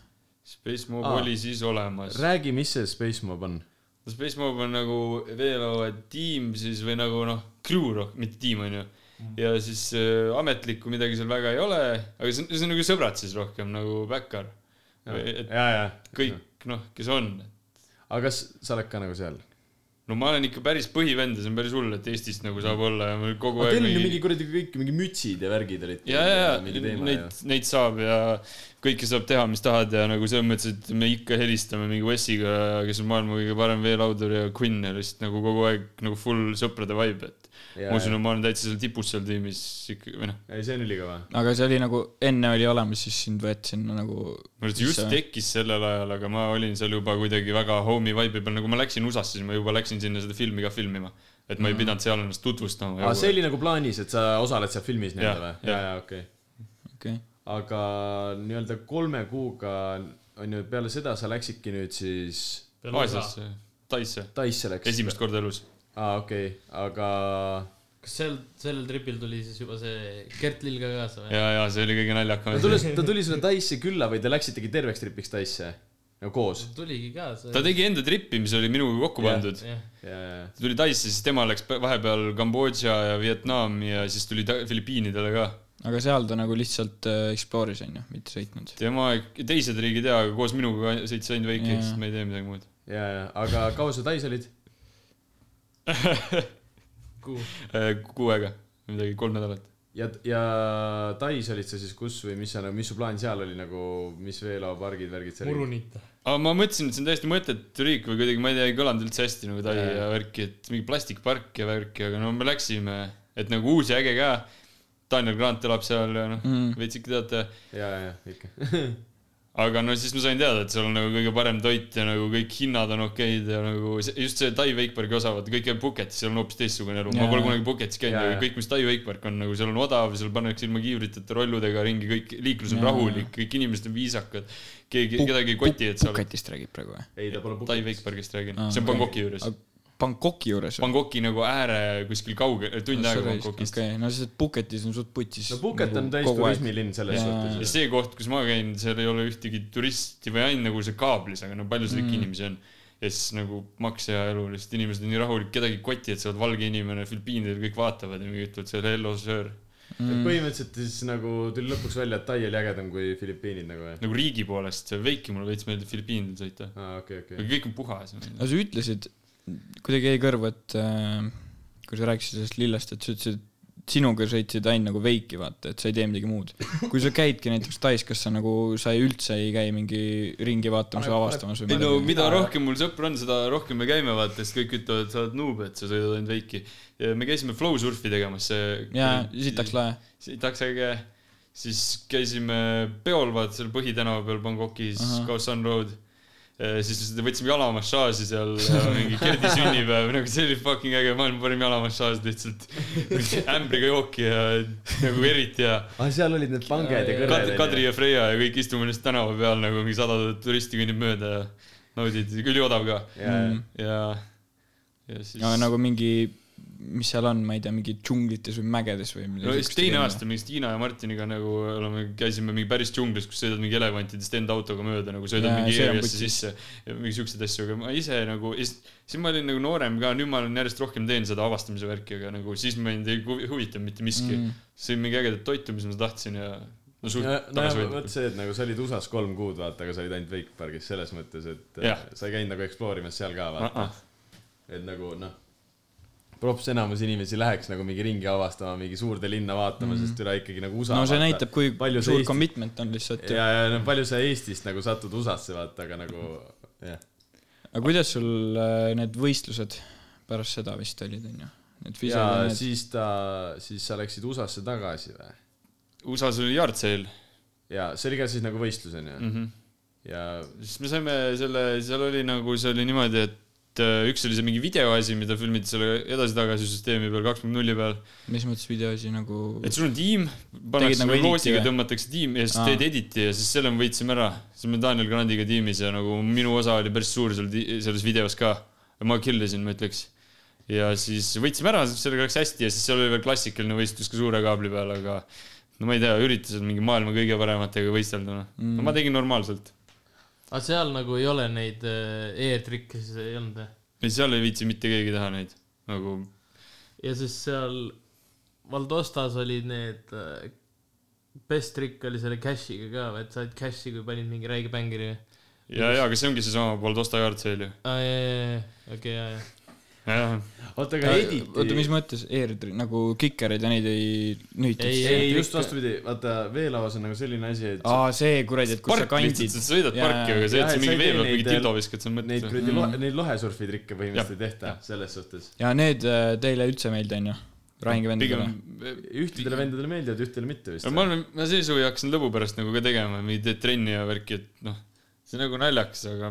Space Mob Aa. oli siis olemas . räägi , mis see Space Mob on ? Space Mob on nagu veelaua tiim siis või nagu noh , crew rohkem , mitte tiim onju . Mhm. ja siis äh, ametlikku midagi seal väga ei ole , aga see on , see on nagu sõbrad siis rohkem nagu backer . ja , et ja . kõik noh , kes on . aga kas sa oled ka nagu seal ? no ma olen ikka päris põhivend ja see on päris hull , et Eestist nagu saab olla ja mul kogu aga aeg teil on ju mingi kuradi kõik mingi mütsid ja värgid olid . ja , ja , mingi ja teema neid ja ., neid saab ja kõike saab teha , mis tahad ja nagu selles mõttes , et me ikka helistame mingi Wessiga , kes on maailma kõige parem veelaudur ja Queen ja lihtsalt nagu kogu aeg nagu full sõprade vibe , et ja, ma usun , et ma olen täitsa seal tipus seal tiimis ikka või noh , ei , see on ülikõva . aga see oli nagu , enne oli olemas , siis sind võeti sinna nagu . ma arvan , et see just tekkis sellel ajal , aga ma olin seal juba kuidagi väga homie vibe'i peal , nagu ma läksin USA-sse , siis ma juba läksin sinna seda filmi ka filmima . et ma ei pidanud seal ennast tutvustama . Mhm. aa , see oli nagu plaanis , et sa osaled seal filmis nii-öelda Jah, või ? ja , ja okei . okei , aga nii-öelda kolme kuuga on ju , peale seda sa läksidki nüüd siis , kas Aasiasse , Taisse , Taisse läksid ? esimest korda elus . aa , okei , aga seal , sellel tripil tuli siis juba see Gert Lill ka kaasa või ? ja , ja see oli kõige naljakam ta . tuli , ta tuli sulle Taisse külla või te läksitegi terveks tripiks Taisse ? no koos ? tuligi kaasa . ta tegi enda tripi , mis oli minuga kokku Jah. pandud . jah , jaa , ta tuli Taisse , siis tema läks pe- vahepeal Kambodža ja Vietnami ja siis tuli ta Filipiinidele ka . aga seal ta nagu lihtsalt äh, explore'is onju , mitte sõitnud . tema , teised riigid jaa , aga koos minuga sõitis ainult väike , Jaa. siis me ei tee midagi muud . jaa , jaa , aga kaua sa Tais olid ? kuu . kuu aega , Äh, midagi kolm nädalat . ja , ja Tais olid sa siis kus või mis sa , mis su plaan seal oli nagu , mis veelaupargid , värgid seal ? murunita . aga ma mõtlesin , et see on täiesti mõttetu riik või kuidagi , ma ei tea , ei kõlanud üldse hästi nagu Tai Jaa. ja värki , et mingi plastikpark ja värki , aga no me läksime , et nagu uus ja äge ka . Daniel Grant elab seal ja noh , Mm. veits ikka teate . jaa , jaa , ikka . aga no siis ma sain teada , et seal on nagu kõige parem toit ja nagu kõik hinnad on okeid ja nagu see, just see Tai Wakeparki osa , vaata kõik jääb Phuketis , seal on hoopis teistsugune elu , ma Jaa. pole kunagi Phuketis käinud , Jaa, aga jaa. kõik , mis Tai Wakepark on nagu seal on odav , seal pannakse ilma kiivriteta rolludega ringi , kõik liiklus on Jaa, rahulik , kõik inimesed on viisakad . keegi , kedagi ei koti , et seal . Puketist räägib praegu või ? ei , ta pole Tai . Wakeparkist räägin Aa, , see on okei. Bangkoki juures . Bangkoki juures või ? Bangkoki nagu ääre kuskil kaugel , tund aega Bangkokist . okei , no sest Puketis on suht nagu putis . no Phuket on täis . turismilinn selles Jaa. ja suhtes . see koht , kus ma käin , seal ei ole ühtegi turisti või ainult nagu see kaablis , aga no palju seal ikka inimesi on . ja siis nagu maks ja elu lihtsalt , inimesed on nii rahulik , kedagi ei koti , et sa oled valge inimene , Filipiinidel kõik vaatavad ja mingi ütlevad seal hello sir . Mm. põhimõtteliselt siis nagu tuli lõpuks välja , et Tai oli ägedam kui Filipiinid nagu või ? nagu riigi poolest , veiki mulle veits meeldib Filipiinidel sõita . aa , okei , okei . aga kõik on puhas . no sa ütlesid , kuidagi jäi kõrvu , et äh, kui sa rääkisid sellest lillest , et sa ütlesid , et sinuga sõitsid ainult nagu veiki , vaata , et sa ei tee midagi muud . kui sa käidki näiteks Tais , kas sa nagu , sa ei üldse ei käi mingi ringi vaatamas või avastamas või ei no midagi ? mida rohkem mul sõpru on , seda rohkem me käime vaata , sest kõik ütlevad , et sa oled nuub , et sa sõidad ainult veiki . me käisime flow surfi tegemas , see . jaa , sitaks lae . sitaks äge , siis käisime peol , vaata seal põhitänava peal Bangkokis Ahah. , Khao San Road . siis võtsime jalamassaaži seal ja mingi Gerdi sünnipäev , nagu see oli fucking äge , maailma parim jalamassaaž lihtsalt . ämbriga jooki ja nagu eriti hea . aa , Ah, seal olid need panged ja kõrred Kadri ,. Kadri ja Freia ja kõik istume lihtsalt tänava peal nagu mingi sada turisti kõnnib mööda ja naudid , üliodav ka ja , ja , ja siis aga nagu mingi mis seal on , ma ei tea , mingi džunglites või mägedes või no siis teine aasta me vist Hiina ja Martiniga nagu oleme , käisime mingi päris džunglis , kus sõidad mingi elevantidest enda autoga mööda nagu sõidad Jaa, mingi see on ERS-i putsis. sisse ja mingi siukseid asju , aga ma ise nagu , siis ma olin nagu noorem ka , nüüd ma olen järjest rohkem teinud seda avastamise värki , aga nagu siis mind ei huvi- huvitanud mitte miski mm. . sõin mingi ägedat toitu , mis ma tahtsin ja no suht no, nojah , vot tagasihoidlik . see , et nagu sa olid USA-s kolm kuud , vaata , aga sa olid ainult Wake Parkis selles mõttes , et äh, Jah. sa ei käinud nagu explore imas seal ka , Ah, vaata . et nagu noh , props enamus inimesi läheks nagu mingi ringi avastama , mingi suurde linna vaatama mm , -hmm. sest üle ikkagi nagu USA . no see näitab , kui palju palju see Eesti- suur Eesti... commitment on lihtsalt ja , ja no palju sa Eestist nagu satud USA-sse , vaata , aga nagu jah . aga kuidas sul äh, need võistlused pärast seda vist olid , onju ? Need ja fisod ja need , siis ta , siis sa läksid USA-sse tagasi või ? USA-s oli yard sale ja see oli ka siis nagu võistlus onju mm. mm . -hmm ja siis me saime selle , seal oli nagu , see oli niimoodi , et äh, üks oli see mingi videoasi , mida filmiti selle edasi-tagasi süsteemi peal , kaks punkt nulli peal . mis mõttes videoasi nagu , et sul on tiim , pannakse nagu editi nagu loosiga või? , tõmmatakse tiim ja siis Aa. teed editi ja siis selle me võitsime ära . siis me Daniel Grandiga tiimis ja nagu minu osa oli päris suur seal ti- selles videos ka . ma kill isin , ma ütleks . ja siis võitsime ära , sellega läks hästi ja siis seal oli veel klassikaline võistlus ka suure kaabli peal , aga no ma ei tea , üritasid mingi maailma kõige parematega võistelda , noh . no Mm. ma tegin normaalselt . aga seal nagu ei ole neid äh, e-trikke siis ei olnud või ? ei , seal ei viitsi mitte keegi teha neid nagu ja siis seal Valdostas olid need äh, best trikk oli selle cash'iga ka , et said cash'i , kui panid mingi räige bängeri või ? ja , ja , aga see ongi seesama Boldosta Yardsail ju . aa jaa jaa jaa , okei jaa jaa . jah , oota , aga editi . Äh, oota , mis mõttes , ER-i nagu kikereid ja neid ei nühitud ? ei , Ei, ei ei, just ikka- vastupidi , vaata veelaos on nagu selline asi , et aa , see kuradi , et kus sa park lihtsalt , kandid sa . sõidad Jaa, parki , aga see , jah, et et sa sa mingi ei tee vee peal mingi neid- dildo viskad , see on neid mõttetu . kuradi Mm. mm. , neid lohesurfitrikke põhimõtteliselt ei tehta jah. selles suhtes . ja need äh, teile üldse ei meeldi , onju ? Rahingi vendadele pigem ., ühtedele vendadele meeldivad , ühtedele mitte vist . ma olen , ma see suvi hakkasin lõbu pärast nagu ka tegema , mingi teed trenni ja värki , et noh , see on nagu naljakas , aga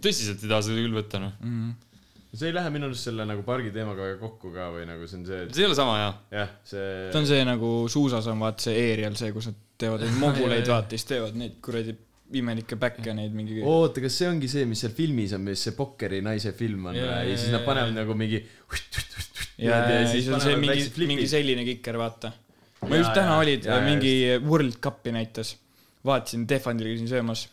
tõsiselt ei taha seda küll võtta , noh . Mm. Mhm. see ei lähe minu arust selle nagu pargi teemaga väga kokku ka või nagu see on see , see ei ole sama hea . et jah , ta see on see nagu suusas on vaata see ER-il see , kus nad teevad neid moguleid , vaata , siis teevad neid kuradi imelikke päkke , neid mingi oh. . oota , kas see ongi see , mis seal filmis on , mis see pokkeri naise film on Jaa, või? ja jaa, siis nad jaa, panevad jaa. nagu mingi ja , ja siis on see panevad mingi väiksed , flipid. mingi selline kiker , vaata . ma Jaa, just täna jaa, olid jaa, , jaa, mingi World Cupi näitas , vaatasin , Tehvandil käisin söömas .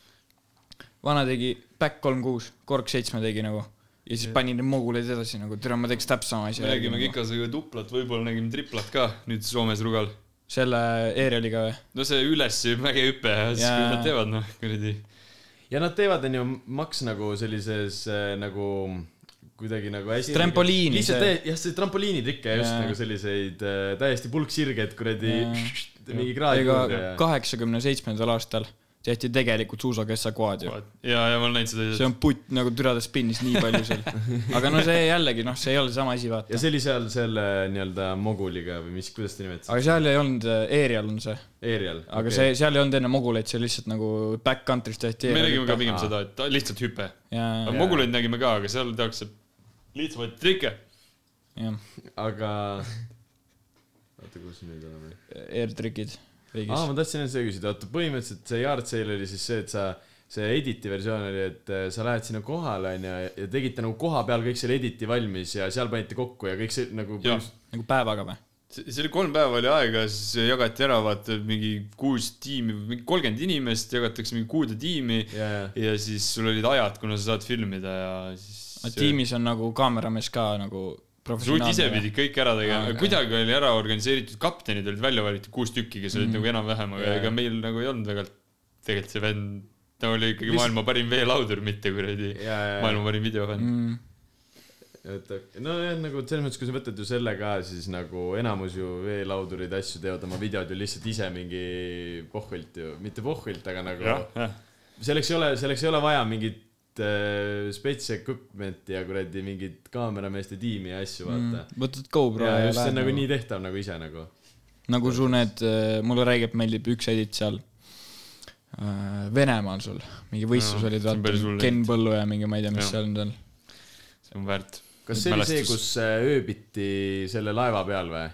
vana tegi back kolm kuus , kork seitsme tegi nagu ja siis panin need moguleid edasi nagu , tere , ma teeks täpselt sama asja . me nägime Kikasega tuplat , võib-olla nägime triplat ka nüüd Soomes Rugal . selle ERR-iga või ? no see üles mägehüpe ja siis Jaa. kui nad teevad , noh , kuradi . ja nad teevad , onju , maks nagu sellises äh, nagu kuidagi nagu hästi . Trampoliini lihtsalt see. täie- jah , see trampoliinitrikke just Jaa. nagu selliseid äh, täiesti pulksirged kuradi Jaa. mingi kraadi juurde ja kaheksakümne seitsmendal aastal tehti tegelikult suusakessakohad ju . ja , ja ma olen näinud seda . see on putt nagu türada spinnis nii palju seal . aga no see jällegi noh , see ei ole sama asi , ja vaata . see oli seal selle nii-öelda moguliga või mis , kuidas ta nimetas , aga seal ei olnud , Aerial on see , Aerial . aga okay. see , seal ei olnud enne moguleid , see lihtsalt nagu backcountry's tehti . e-r-. me nägime ka pigem Aa. seda , et ta- lihtsalt hüpe . jaa , aga Jaa. moguleid nägime ka , aga seal tehakse lihtsamaid trikke . jah , aga oota , kus me nüüd oleme ? Airtrikid aa , riigis . ma tahtsin enne seda küsida , oota , põhimõtteliselt see yard sale oli siis see , et sa , see editi versioon oli , et äh, sa lähed sinna kohale , onju , ja tegite nagu koha peal kõik selle editi valmis ja seal panite kokku ja kõik see nagu Jah. nagu päevaga või ? see see oli kolm päeva oli aega , siis jagati ära , vaata mingi kuus tiimi , mingi kolmkümmend inimest jagatakse mingi kuude tiimi ja , ja , ja siis sul olid ajad , kuna sa saad filmida ja siis . tiimis on nagu kaameramees ka nagu sa võid ise professionaalne . pidid kõik ära tegema , Aa, kuidagi oli ära organiseeritud , kaptenid olid välja valitud kuus tükki , kes Mhm. olid nagu enam-vähem , aga Jaa. ega meil nagu ei olnud väga , tegelikult see vend , ta oli ikkagi Lihtsalt- maailma parim veelaudur , mitte kuradi ja , ja , maailma parim videofänn . Mm, et nojah , nagu selles mõttes , kui sa võtad ju selle ka , siis nagu enamus ju veelaudurid asju teevad oma videod ju lihtsalt ise mingi pohvilt ju , mitte pohvilt , aga Mm. nagu jah , jah . selleks ei ole , selleks ei ole vaja mingit äh, spets equipment'i ja kuradi mingit kaamerameeste tiimi ja asju , vaata mm. . võtad GoPro ja ja just , see on lähed nagu nii tehtav nagu ise nagu . nagu su need , mulle räägib , meeldib üks edit seal äh, Venemaal sul , mingi võistlus Jaa, oli see on päris vaata hull , Ken Põllu ja mingi , ma ei tea , mis Jah. seal nüüd on . see on väärt . kas see oli see , Mälestus. kus äh, ööbiti selle laeva peal või ?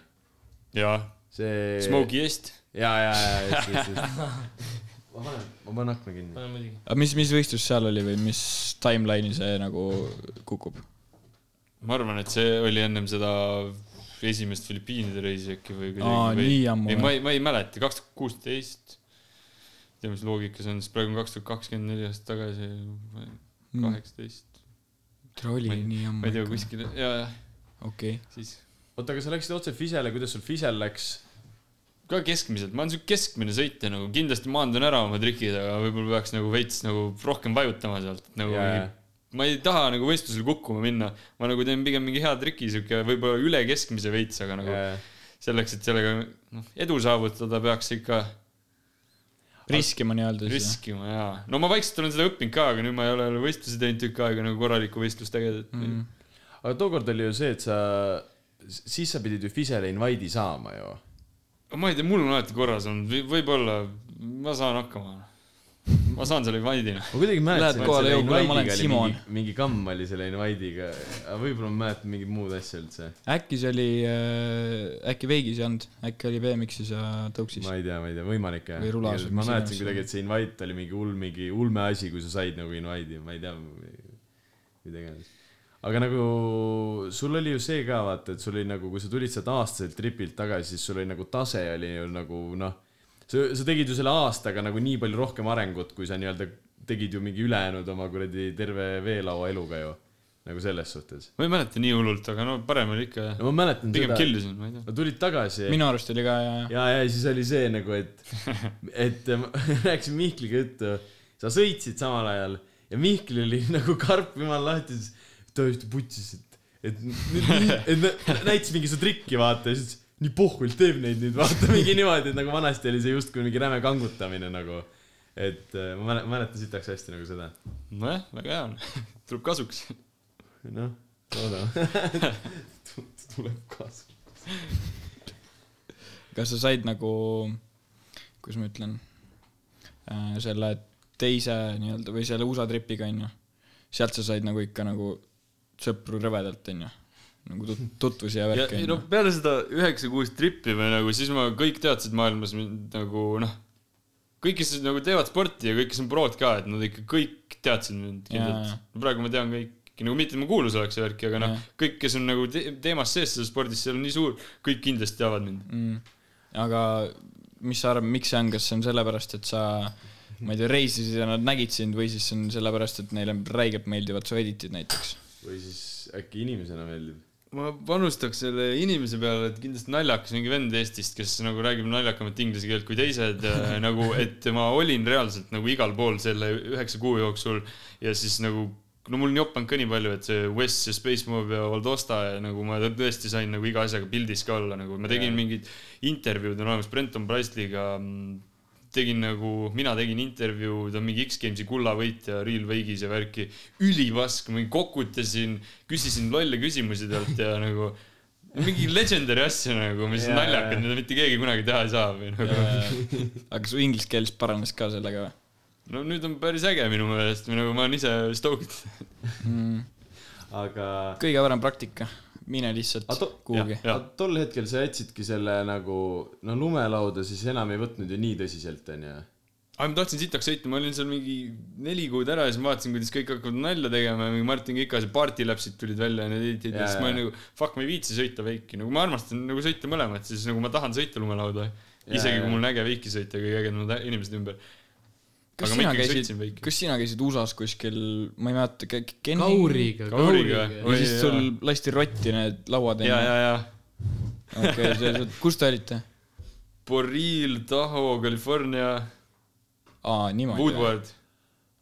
jaa , see . Smoky Eest . ja , ja , ja , just , just , just . ma panen , ma panen akna kinni . pane muidugi . aga mis , mis võistlus seal oli või mis timeline'i see nagu kukub ? ma arvan , et see oli ennem seda esimest Filipiinide reisi äkki või Aa, või- nii ammu ei , või? ma ei , ma ei mäleta , kaks tuhat kuusteist . ei tea , mis loogika see on , sest praegu on kaks tuhat kakskümmend neli aastat tagasi , Mm. Hmm, kaheksateist . tere , oli ei- nii ammu ma ei tea ,. kuskil , jaa , jah , okei . siis . oota , aga sa läksid otse Fisele , kuidas sul Fisel läks ? ka keskmiselt , ma olen siuke keskmine sõitja nagu , kindlasti maandun ära oma trikid , aga võib-olla peaks nagu veits nagu rohkem vajutama sealt nagu Jaa. yeah. . ma ei taha nagu võistlusel kukkuma minna , ma nagu teen pigem mingi hea triki , siuke võib-olla üle keskmise veits , aga nagu yeah. selleks , et sellega noh , edu saavutada , peaks ikka riskima nii-öelda siis . riskima ja . no ma vaikselt olen seda õppinud ka , aga nüüd ma ei ole jälle võistlusi teinud tükk aega nagu korralikku võistlust tegelikult Mhm. mm. . aga tookord oli ju see , et sa , siis sa pidid ju Fisele invite'i saama ju . ma ei tea , mul on alati korras olnud , võib-olla ma saan hakkama . ma saan selle invite'ina . ma kuidagi Lähed mäletan , et kohale, selle "Joo, kuule, ma olen invite'iga oli Simon." mingi, mingi kamm oli selle invite'iga , aga võib-olla ma mäletan mingit muud asja üldse . äkki see oli , äkki Veigis ei olnud , äkki oli BMX-is ja tõuksis . ma ei tea , ma ei tea , võimalik jah Või . rulas või ma mis mäletasin iganes. kuidagi , et see invite oli mingi hull , mingi ulme asi , kui sa said nagu invite'i , ma ei tea , mida iganes . aga nagu sul oli ju see ka vaata , et sul oli nagu , kui sa tulid sealt aastaselt tripilt tagasi , siis sul oli nagu tase oli ju nagu noh , sa , sa tegid ju selle aastaga nagu nii palju rohkem arengut , kui sa nii-öelda tegid ju mingi ülejäänud oma kuradi terve veelaua eluga ju , nagu selles suhtes . ma ei mäleta nii hullult , aga no parem oli ikka no ma mäletan pigem seda , killisin , ma ei tea . no tulid tagasi minu arust oli ka ja , ja , ja siis oli see nagu , et , et äh, ma rääkisin Mihkliga juttu , sa sõitsid samal ajal ja Mihkel oli nagu karp jumal lahti , siis ta just putsis , et , et , et nä- näitas mingi su trikki , vaata , ja siis ütles, nii pohhult teeb neid nüüd , vaata mingi niimoodi , et nagu vanasti oli see justkui mingi räme kangutamine nagu . et äh, ma mäle- mäletan sitaks hästi nagu seda , nojah , väga hea on , tuleb kasuks . noh , loodame . tuleb kaasa . ja. . kas sa said nagu , kuidas ma ütlen , selle teise nii-öelda või selle USA tripiga onju , sealt sa said nagu ikka nagu sõpru rõvedalt onju , nagu tut- , tutvusi ja ja värki ei noh, no onju . peale seda üheksa kuus trippi või nagu siis ma kõik teadsid maailmas mind nagu noh , kõik , kes nagu teevad sporti ja kõik , kes on prod ka , et nad ikka kõik teadsid mind Jaa, kindlalt jaa. . praegu ma tean kõiki , nagu mitte et ma kuulus oleks ja värki , aga noh Jaa. , kõik , kes on nagu te teemas sees selles spordis , seal on nii suur , kõik kindlasti teavad mind . mm. . aga mis sa arvad , miks see on , kas see on sellepärast , et sa , ma ei tea , reisisid ja nad nägid sind või siis see on sellepärast , et neile räigelt meeldivad su editid näiteks ? või siis äkki inimesena meeldib . ma panustaks selle inimese peale , et kindlasti naljakas mingi vend Eestist , kes nagu räägib naljakamat inglise keelt kui teised äh, nagu , et ma olin reaalselt nagu igal pool selle üheksa kuu jooksul ja siis nagu no mul on jopanud ka nii palju , et see Wes ja Space Mob ja Valdosta ja nagu ma tõesti sain nagu iga asjaga pildis ka olla , nagu ma Jaa. tegin yeah. mingeid intervjuud on olemas Brenton Presley'ga mm, tegin nagu , mina tegin intervjuu , ta on mingi X-Gamesi kullavõitja Real Vegas ja värki , ülivask , ma kokutasin , küsisin lolle küsimusi talt ja nagu mingi legendary asju nagu , mis on Jaa, naljakad , jaa. mida mitte keegi kunagi teha ei saa või nagu . aga su inglise keeles paranes ka sellega või no nüüd on päris äge minu meelest või nagu ma olen ise stoked . mm. ? aga kõige parem praktika , mine lihtsalt Aga to- kuhugi . Jah. aga tol hetkel sa jätsidki selle nagu , no lumelauda siis enam ei võtnud ju nii tõsiselt , onju . aga ma tahtsin sitaks sõita , ma olin seal mingi neli kuud ära ja siis ma vaatasin , kuidas kõik hakkavad nalja tegema ja mingi Martin Kikas ja Party Lapsid tulid välja ja need editid ja Jaa, siis ma olin jaa. nagu fuck , ma ei viitsi sõita veiki , nagu ma armastan nagu sõita mõlemat , siis nagu ma tahan sõita lumelauda . isegi jaa. kui mul on äge veiki sõita ja kõik ägedamad ä- inimesed ümber . kas aga ma sina ikkagi sõitsin käisid , veiki . kas sina käisid USA-s kuskil , ma ei mäleta , Kenny ? kauriga , Kauriga. kauriga . ja siis Oi, sul lasti rotti need lauad ja , ja , ja okei , kus te olite ? Boril , Taho , California , aa , niimoodi . Woodward .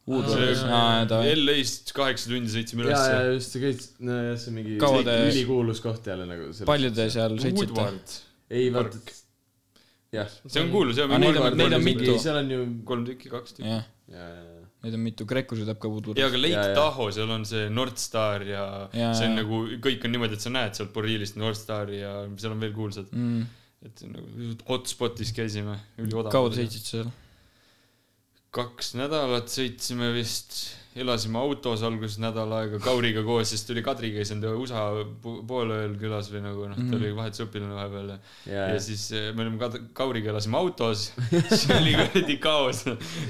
Woodward , See- aa , davai . LA-st kaheksa tundi sõitsime ja , ja ülesse . just , sa käid , nojah , see on mingi Kaua te- ülikuulus koht jälle nagu . palju te seal sõitsite ? Woodward , ei vaata , jah . see on kuulus jah . Aga neid on- neid on mitu. seal on ju , kolm tükki , kaks tükki . jah , ja , ja , neid on mitu , Kreeka sõidab ka ja , Woodwardis . aga Lake Ja, ja, ja. Tahoe , seal on see North Star ja, ja Ja, see on ja. nagu kõik on niimoodi , et sa näed sealt Borilist North Stari ja seal on veel kuulsad , Mm. et see on nagu hotspot'is käisime , üliodav . kaua te ? sõitsite seal ? kaks nädalat sõitsime vist , elasime autos alguses nädal aega Kauriga koos , siis tuli Kadri , käis enda USA po- poolööl külas või nagu noh , ta oli vahetusõpilane vahepeal ja Jaa. ja siis eh, me olime Kad- , Kauriga elasime autos , see oli kuradi kaos .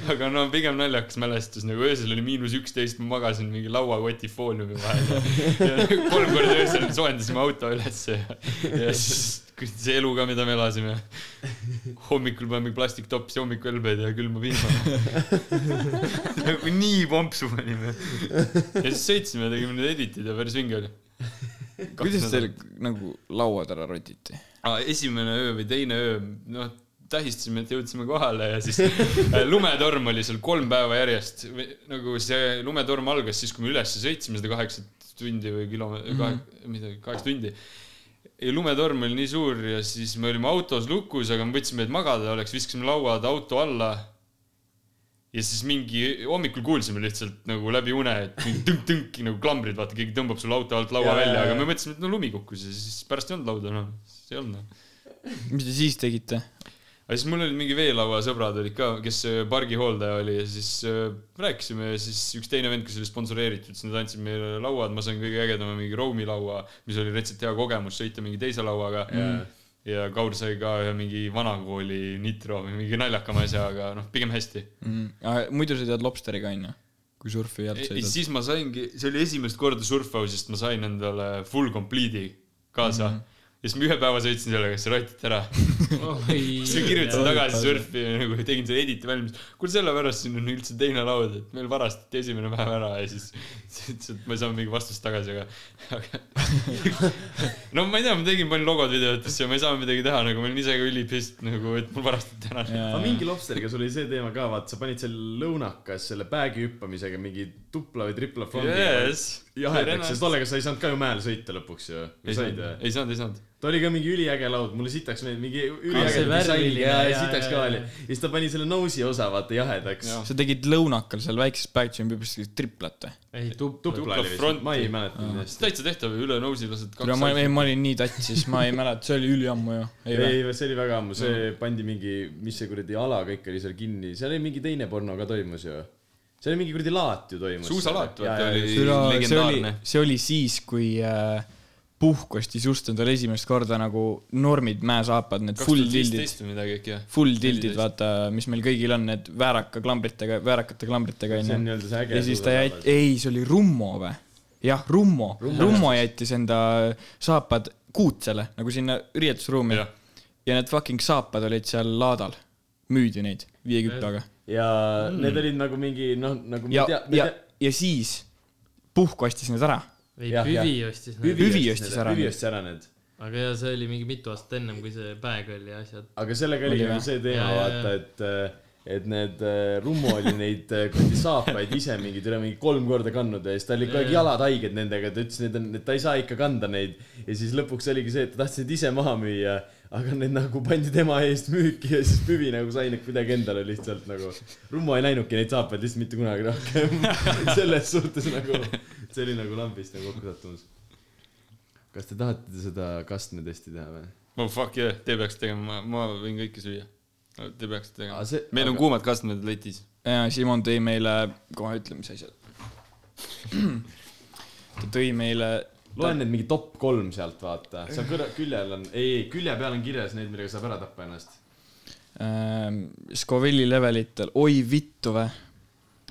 aga no pigem naljakas mälestus , nagu öösel oli miinus üksteist , ma magasin mingi lauakoti fooliumi vahel ja, ja nagu kolm korda öösel soojendasime auto ülesse ja, ja siis kuradi see elu ka , mida me elasime . hommikul panime plastiktopsi hommikuõlbed ja külma vihma . nagu nii pompsu panime . ja siis sõitsime , tegime need editid ja päris vinge oli . kuidas teil nagu lauad ära rotiti ? ah, . esimene öö või teine öö , noh , tähistasime , et jõudsime kohale ja siis äh, lumetorm oli seal kolm päeva järjest . nagu see lumetorm algas siis , kui me ülesse sõitsime seda kaheksat tundi või kilomeetrit Mhm. mm -hmm. , midagi , kaheksa tundi . ja lumetorm oli nii suur ja siis me olime autos lukus , aga me võtsime , et magada oleks , viskasime lauad auto alla ja siis mingi hommikul kuulsime lihtsalt nagu läbi une , et mingi tõnk-tõnk nagu klambrid , vaata keegi tõmbab sul auto alt laua Jaa, ja, välja , jaa, aga jaa. me mõtlesime , et no lumi kukkus ja siis pärast ei olnud lauda enam no. , siis ei olnud noh. enam no. . mis te siis tegite ? aga siis mul olid mingi veelaua sõbrad olid ka , kes äh, pargi hooldaja oli ja siis äh, rääkisime ja siis üks teine vend , kes oli sponsoreeritud , siis nad andsid meile lauad , ma sain kõige ägedama mingi Romi laua , mis oli retsilt hea kogemus sõita mingi teise lauaga yeah. . ja Kaur sai ka ühe mingi vanakooli nitro või mingi naljakama asja , aga noh , pigem hästi . Mm. Ah, muidu sa tead lobsteriga onju , kui surfi alt sõidad . siis ma saingi , see oli esimest korda Surfhouse'ist ma sain endale full complete'i kaasa mm . -hmm. ja siis ma ühe päeva sõitsin sellega , siis rotiti ära Oh, siis ma kirjutasin tagasi surfi ja nagu tegin selle editi valmis . kuule , sellepärast siin on üldse teine laud , et meil varastati esimene päev ära ja siis siis ütles , et ma ei saanud mingi vastust tagasi , aga , aga . no ma ei tea , ma tegin palju logod videotesse ja ma ei saanud midagi teha , nagu ma olin ise ka ülipist nagu , et mul varastati ära . aga mingi lobsteriga sul oli see teema ka , vaata , sa panid seal lõunakas selle päägi hüppamisega mingi tupla või tripla fondi Yes . jahedaks , sest tollega sa ei saanud ka ju mäel sõita lõpuks ju . ei said saanud või ?, ei saanud , ei saanud . ta oli ka mingi üliäge laud , mulle sitaks meeldis , mingi see üliäge nagu disainiga värviline ja ja ja- sitaks ja- ka ja- oli . ja siis ta pani selle nousi osa , vaata , jahedaks . Jaa. sa tegid lõunakal seal väikses back jump'i püsti triplat või ? ei , tupla . tupla oli vist fronti. , ma ei mäleta nii hästi . täitsa tehtav , üle nõusi lased kuule , ma , ei , kaks . ma olin nii tatsis , ma ei mäleta , see oli üliammu ju . ei või ? ei , see oli väga ammu , see pandi mingi , mis see kuradi ala kõik oli seal kinni , seal oli mingi teine porno ka toimus ju . seal oli mingi kuradi laat ju toimus . Suusalaat, vaata, oli- see oli , see oli legendaarne. , see oli siis , kui äh, puhkustis just endal esimest korda nagu normid mäesaapad , need kaks full tuhat tildid , viisteist või midagi äkki jah . full tildid , 14. vaata , mis meil kõigil on , need vääraka klambritega , väärakate klambritega see on onju . nii-öelda see äge . ja siis ta jäi , ei , see oli Rummo või ? jah , Rummo , Rummo jättis enda saapad kuutsele nagu sinna riietusruumi Jah. ja need fucking saapad olid seal laadal , müüdi neid viiekümnega ja Mm. need olid nagu mingi noh , nagu ja ma tea ,, ma ja tea ,, ja siis puhku ostis need ära . ei , Jah, jah. Püvi ostis need , Hüvi ostis ära hüvi need. ostis ära need . aga jaa , see oli mingi mitu aastat ennem , kui see bag oli ja asjad . aga sellega oli Oli nagu või? see teema Jaa, , jaa, vaata , et , et need äh, Rummo oli neid äh, kuradi saapaid ise mingeid üle mingi kolm korda kandnud ja siis tal olid kogu aeg Jaa. jalad haiged nendega , ta ütles , need on , ta ei saa ikka kanda neid . ja siis lõpuks oligi see , et ta tahtis need ise maha müüa , aga need nagu pandi tema eest müüki ja siis Püvi nagu sai need kuidagi endale lihtsalt nagu . Rummo ei näinudki neid saapaid lihtsalt mitte kunagi rohkem . selles suhtes nagu , see oli nagu lambist nagu kokkusattumus . kas te tahate seda kastmetesti teha või ? oh fuck yeah , te peaks tegema , ma võin kõike süüa . Te peaksite tegema Aa, see- . meil on aga- kuumad kastmed letis . ja Simon tõi meile , kohe ütle , mis asjad . ta tõi meile , loen need mingi top kolm sealt , vaata , seal kõrval , küljel on , ei , ei külje peal on kirjas need , millega saab ära tappa ennast . äh, Scovilli levelitel , oi vittu vä .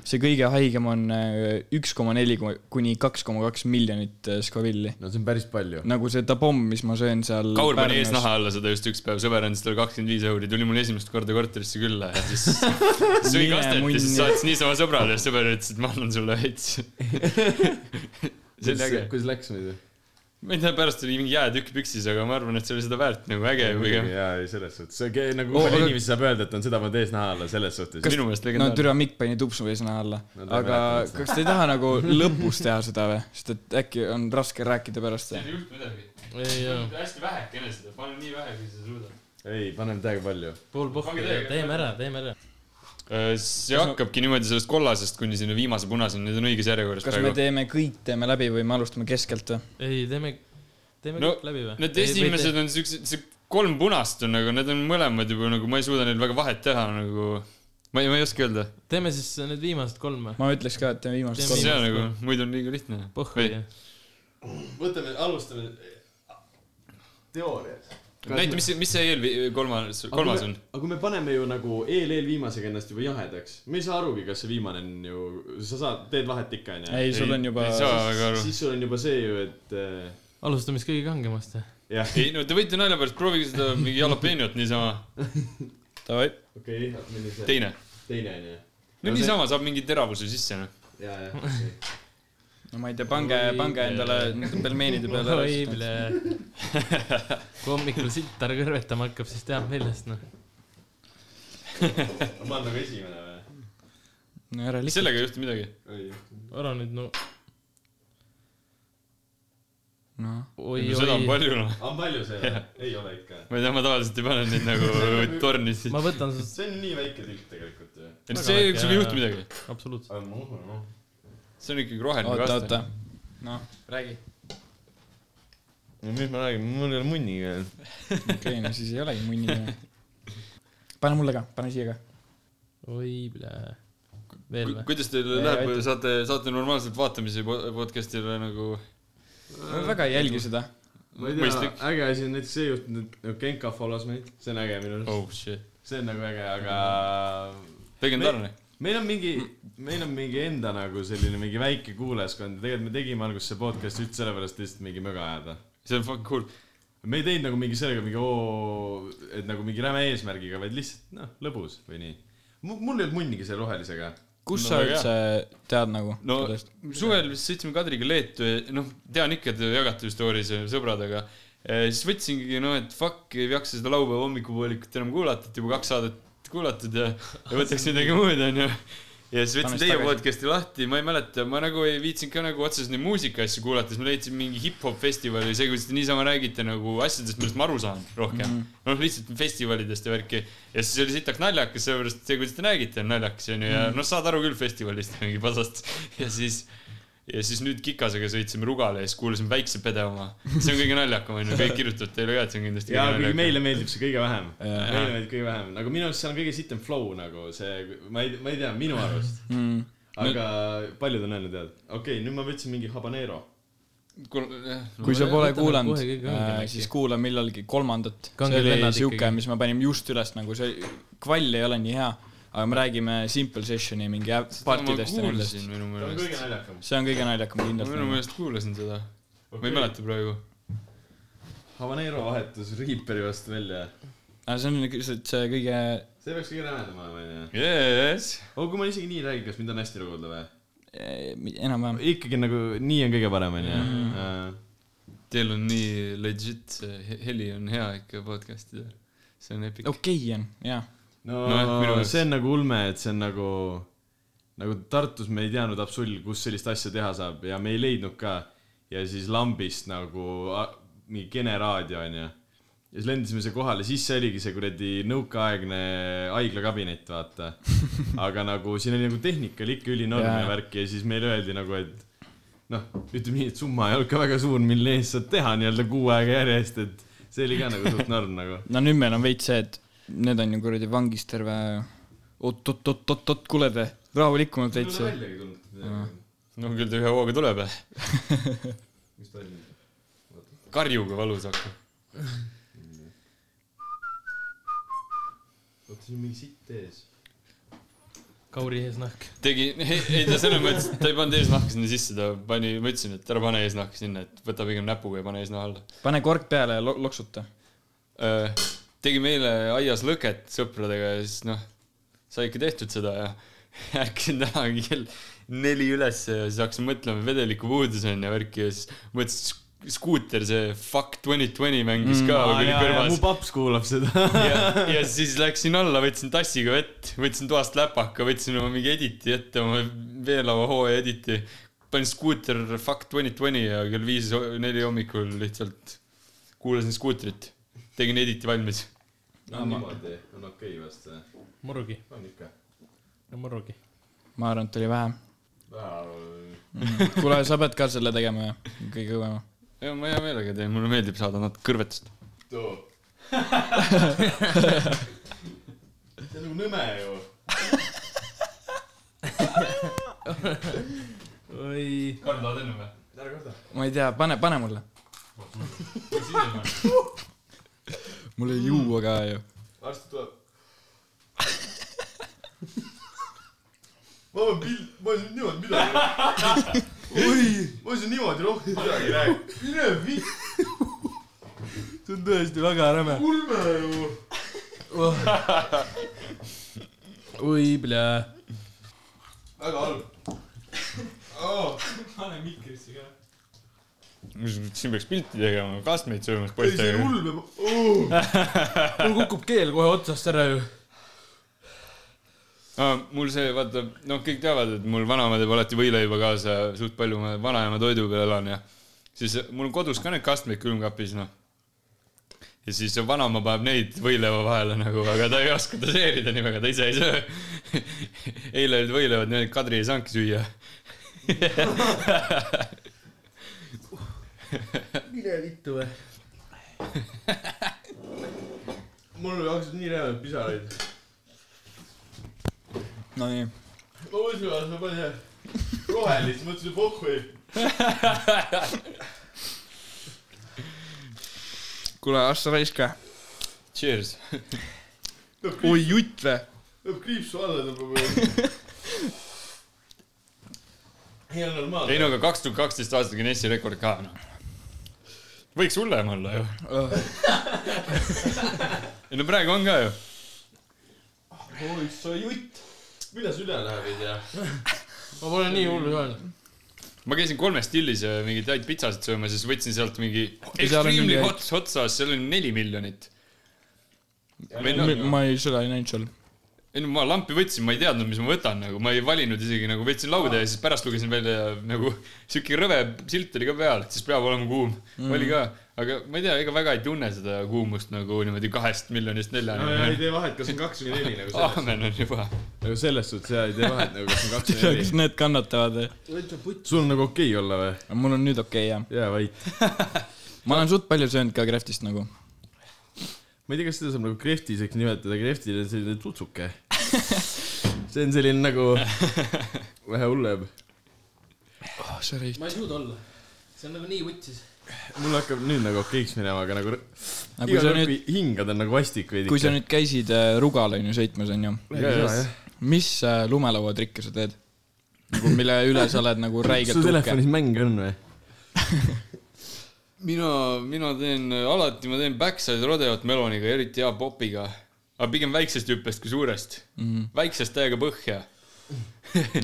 see kõige haigem on äh, üks koma neli kuni kaks koma kaks miljonit äh, Scovilli . no see on päris palju . nagu see tabomm , mis ma söön seal . Kaur pani ees naha alla seda just üks päev , sõber andis talle kakskümmend viis euri , tuli mul esimest korda korterisse külla ja siis sõi Mine kastet ja siis munni. saatis niisama sõbrale ja sõber ütles , et ma annan sulle veits . see oli äge . kuidas läks muidu ? ma ei tea , pärast oli mingi jäätükk püksis , aga ma arvan , et see oli seda väärt nagu äge pigem . jaa , ei selles suhtes , see ke- nagu Oo, palju aga- inimesi saab öelda , et on seda pannud ees naha alla , selles suhtes . minu meelest no legendaarne . türa Mikk pani tupsu ees naha alla No ta ei aga mäletanud seda. kas te ei taha nagu lõpus teha seda või , sest et äkki on raske rääkida pärast ei juhtu midagi . ei jaa , hästi vähekene seda , pane nii vähe , kui sa suudad . ei , paneme täiega palju . pool Pange puhku , teiega. teeme ära , teeme ära . Äh, see hakkabki niimoodi sellest kollasest kuni sinna viimase punaseni , need on õiges järjekorras kas me teeme kõik , teeme läbi või me alustame keskelt või ? ei , teeme , teeme No, kõik läbi või ? Need esimesed on siuksed , see kolm punast on , aga need on mõlemad juba nagu , ma ei suuda neil väga vahet teha nagu . ma ei , ma ei oska öelda . teeme siis need viimased kolm või ? ma ütleks ka , et teeme viimased Teeme see kolm . on nagu , muidu on liiga lihtne . Pohhu ja . võtame , alustame eh, teoorias . näita , mis , mis see eel- , kolmas , kolmas on ?? aga kui me paneme ju nagu eel-eelviimasega ennast juba jahedaks , me ei saa arugi , kas see viimane on ju , sa saad , teed vahet ikka onju . ei , sul on juba ei , saa väga aru . siis sul on juba see ju , et äh, alustame siis kõige kangemast või ? jah , ei no te võite nalja pärast proovige seda mingi jalapenjot niisama . davai , okei , milline see teine . teine onju . no niisama saab mingi teravuse sisse , noh . ja , jah okay. . no ma ei tea , pange , pange endale nende pelmeenide peale oi , ära . mille . kui hommikul sittar kõrvetama hakkab , siis teab millest , noh . ma olen nagu esimene või ? no ära lihtsalt , sellega ei juhtu midagi . oi , ära nüüd , no noh . oi , seda on oi . palju , noh . on palju see või ? ei ole ikka . ma ei tea , ma tavaliselt ei pane neid nagu torni sisse . ma võtan sinust see on nii väike tilk tegelikult ju . ei no see , sul ei juhtu midagi . absoluutselt . aga ma usun , noh . see on ikkagi roheline oota , oota kaste .. noh , räägi . no mis ma räägin , mul ei ole munnigi veel . okei , no siis ei olegi munni nime . pane mulle ka , pane siia ka . oi , mille . veel või ? kuidas teil läheb , saate , saate normaalselt vaatamise po- podcast'ile nagu ma väga ei jälgi seda . ma ei tea Mõistlik. , äge asi on näiteks see juhtunud , et Genka follows meid , see on äge minu arust . oh shit , see on nagu äge , aga legendaarne . meil on mingi , meil on mingi enda nagu selline mingi väike kuulajaskond ja tegelikult me tegime alguses see podcast üldse sellepärast lihtsalt mingi möga ajada . see on fucking cool . me ei teinud nagu mingi sellega mingi oo , et nagu mingi räme eesmärgiga , vaid lihtsalt noh , lõbus või nii . mul ei olnud munnigi selle rohelisega . kus No sa väga üldse tead nagu no sellest ? suvel vist sõitsime Kadriga Leetu ja noh , tean ikka , et jagate ju story's sõbradega . siis võtsingi , no et fuck , ei jaksa seda laupäeva hommikupoolikut enam kuulata , et juba kaks saadet kuulatud ja, ja võtaks midagi muud , onju . ja siis võtsin Paneks teie tagasi. podcast'i lahti , ma ei mäleta , ma nagu ei viitsinud ka nagu otseselt neid muusikaasju kuulata , siis ma leidsin mingi hip-hop festivali , see , kuidas te niisama räägite nagu asjadest , millest ma aru saan rohkem Mhm. mm . -hmm. noh , lihtsalt festivalidest ja värki . ja siis oli sitaks naljakas , sellepärast et see , kuidas te räägite , on naljakas , onju , ja Mhm. noh , saad aru küll festivalist mingi pasast ja siis ja siis nüüd Kikasega sõitsime Rugale ja siis kuulasime Väikse Pede oma . see on kõige naljakam onju , kõik kirjutavad teile ka , et see on kindlasti ja kõige kuigi naljakam . meile meeldib see kõige vähem . Jaa. meile meeldib kõige vähem , nagu minu arust seal on kõige sitem flow nagu see , ma ei , ma ei tea , minu arust . Mm. aga paljud on öelnud jah , okei okay, , nüüd ma võtsin mingi habanero . kui sa ma pole võtan kuulanud kohe kõige , õigem äh, äkki. siis kuula millalgi kolmandat . see Kanged oli vennad siuke , ikkagi. mis me panime just üles nagu see , kvall ei ole nii hea , aga me räägime Simple Sessioni mingi ä- partidest ja nendest . see minu on kõige meelest , naljakam . see on kõige naljakam nagu. ma minu kindlasti . meelest kuulasin seda okay. , ma ei mäleta praegu . habanero vahetus Reaperi vastu välja . aga see on lihtsalt see kõige , see peaks kõige rämedam olema onju . Yes. aga kui ma isegi nii räägin , kas mind on hästi kuulda või ? eh, enam-vähem . ikkagi nagu nii on kõige parem onju . Teil on nii legit , see heli on hea ikka podcast'idel . see on epic okay. . okei on , jaa . no Nojah, minu jaoks. see on nagu ulme , et see on nagu , nagu Tartus me ei teadnud absoluutselt , kus sellist asja teha saab ja me ei leidnud ka . ja siis lambist nagu a- mingi kene raadio onju . ja siis lendasime see kohale , siis see oligi see kuradi nõukaaegne haiglakabinet , vaata . aga nagu siin oli nagu tehnika oli ikka ülinorm ja Jaa. värk ja siis meile öeldi nagu , et noh , ütleme nii , et summa ei olnud ka väga suur , mille eest saad teha nii-öelda kuu aega järjest , et see oli ka nagu suht norm nagu . no nüüd meil on veits see , et need on ju kuradi vangis terve oot-oot-oot-oot-oot , kuule te , rahulikumalt täitsa . väljagi tulnud . no küll ta ühe hooga tuleb , mis toimub ? karjuga valus hakkab . oota , siin on mingi sitt ees . Kauri eesnahk . tegi , ei ta selles mõttes , ta ei pannud eesnahka sinna sisse , ta pani , ma ütlesin , et ära pane eesnahka sinna , et võta pigem näpuga ja pane eesnaha alla pane kork peale ja lo- loksuta . Öö, tegime eile Äh, aias lõket sõpradega ja siis noh , sai ikka tehtud seda ja ärkasin täna kell neli ülesse ja siis hakkasin mõtlema vedelikupuudus on ja värki ja siis mõtlesin , et skuuter , see Fuck 2020 mängis ka mm, ja , ja mu kõrvas . paps kuulab seda . ja , ja siis läksin alla , võtsin tassiga vett , võtsin toast läpaka , võtsin oma mingi editi ette , oma veelaua hooaja editi . panin skuuter Fuck 2020 ja kell viis , neli hommikul lihtsalt kuulasin skuutrit , tegin editi valmis . no niimoodi on okei vast see . murugi , on ikka . murugi . ma arvan , et oli vähem . kuule , sa pead ka selle tegema ju , kõige kõvema . ja ma hea meelega teen , mulle meeldib saada natuke kõrvetust . too . see on nagu nõme ju . oi , Karl , tahad enne või ? ära karda . ma ei tea , pane , pane mulle . või siis ei pane ? mul ei juua ka ju . arst tuleb . ma olen pill , ma ei söö niimoodi midagi . oi , ma ei söö niimoodi rohkem midagi , räägi . mine vitt , see on tõesti väga räme . ulme ju . oi , plää . väga halb oh, . pane mikrisse ka . siin peaks pilti tegema , kastmeid söömas ei , see on poistega . ulme oh. . Äh, mul kukub keel kohe otsast ära ju . Ah, mul see , vaata , noh , kõik teavad , et mul vanaema teeb alati võileiba kaasa ja suht palju ma vanaema toidu peal elan ja siis mul on kodus ka need kastmed külmkapis , noh . ja siis see vanaema paneb neid võileiva vahele nagu , aga ta ei oska doseerida nii väga , ta ise ei söö . eile olid võileivad , neid Kadri ei saanudki süüa . mine vittu või . mul hakkasid nii rämedad pisaraid . Nonii , ma mõtlesin , et ma panen rohelist , mõtlesin , et pohhui . kuule , Assa raiska . Cheers . oi , jutt vä ? peab kriipsu alla tõmbama . ei ole ei normaalne . no aga kaks tuhat kaksteist aastat Guinessi rekord ka , noh . võiks hullem olla ju . Oh. ei no praegu on ka ju . oi , sa jutt . mida sa üle läheb , ei tea . ma pole nii hullu saanud . ma käisin kolmes stillis ja mingit häid pitsasid söömas ja siis võtsin sealt mingi Ja seal on extremely mingi häid- hot otsas , seal oli neli miljonit . või noh , ma ei , seda ei näinud seal . ei no ma lampi võtsin , ma ei teadnud , mis ma võtan nagu , ma ei valinud isegi nagu võtsin lauda ja siis pärast lugesin välja ja nagu siuke rõve silt oli ka peal , et siis peab olema kuum mm. , oli ka , aga ma ei tea , ega väga ei tunne seda kuumust nagu niimoodi kahest miljonist no ja ei neljani . tee vahet , kas on kaks või neli nagu selles . aamen on juba . nagu selles suhtes jaa , ei tee vahet nagu kas on kaks või kas neli . need kannatavad või ? sul on nagu okei okay olla või ? mul on nüüd okei okay, jah . jää vait . ma olen suht palju söönud ka Craftist nagu . ma ei tea , kas seda saab nagu kreftiseks nimetada , kreftil on selline tutsuke . see on selline nagu vähe hullem . ah , sa raisk . ma ei suuda olla . see on nagu nii vutsis . mul hakkab nüüd nagu okeiks minema , aga nagu aga kui iga sa kord , nüüd , kui hingad on nagu vastik veidi . kui sa nüüd käisid äh, Rugal on ju sõitmas on ju , nüüd . mis äh, lumelauatrikke sa teed ? nagu mille üle sa oled nagu räigelt sul uhke . telefonis mänge on või ? mina , mina teen alati , ma teen backside rodeot meloniga , eriti hea popiga . aga pigem väiksest hüppest kui suurest Mhm. . väiksest täiega põhja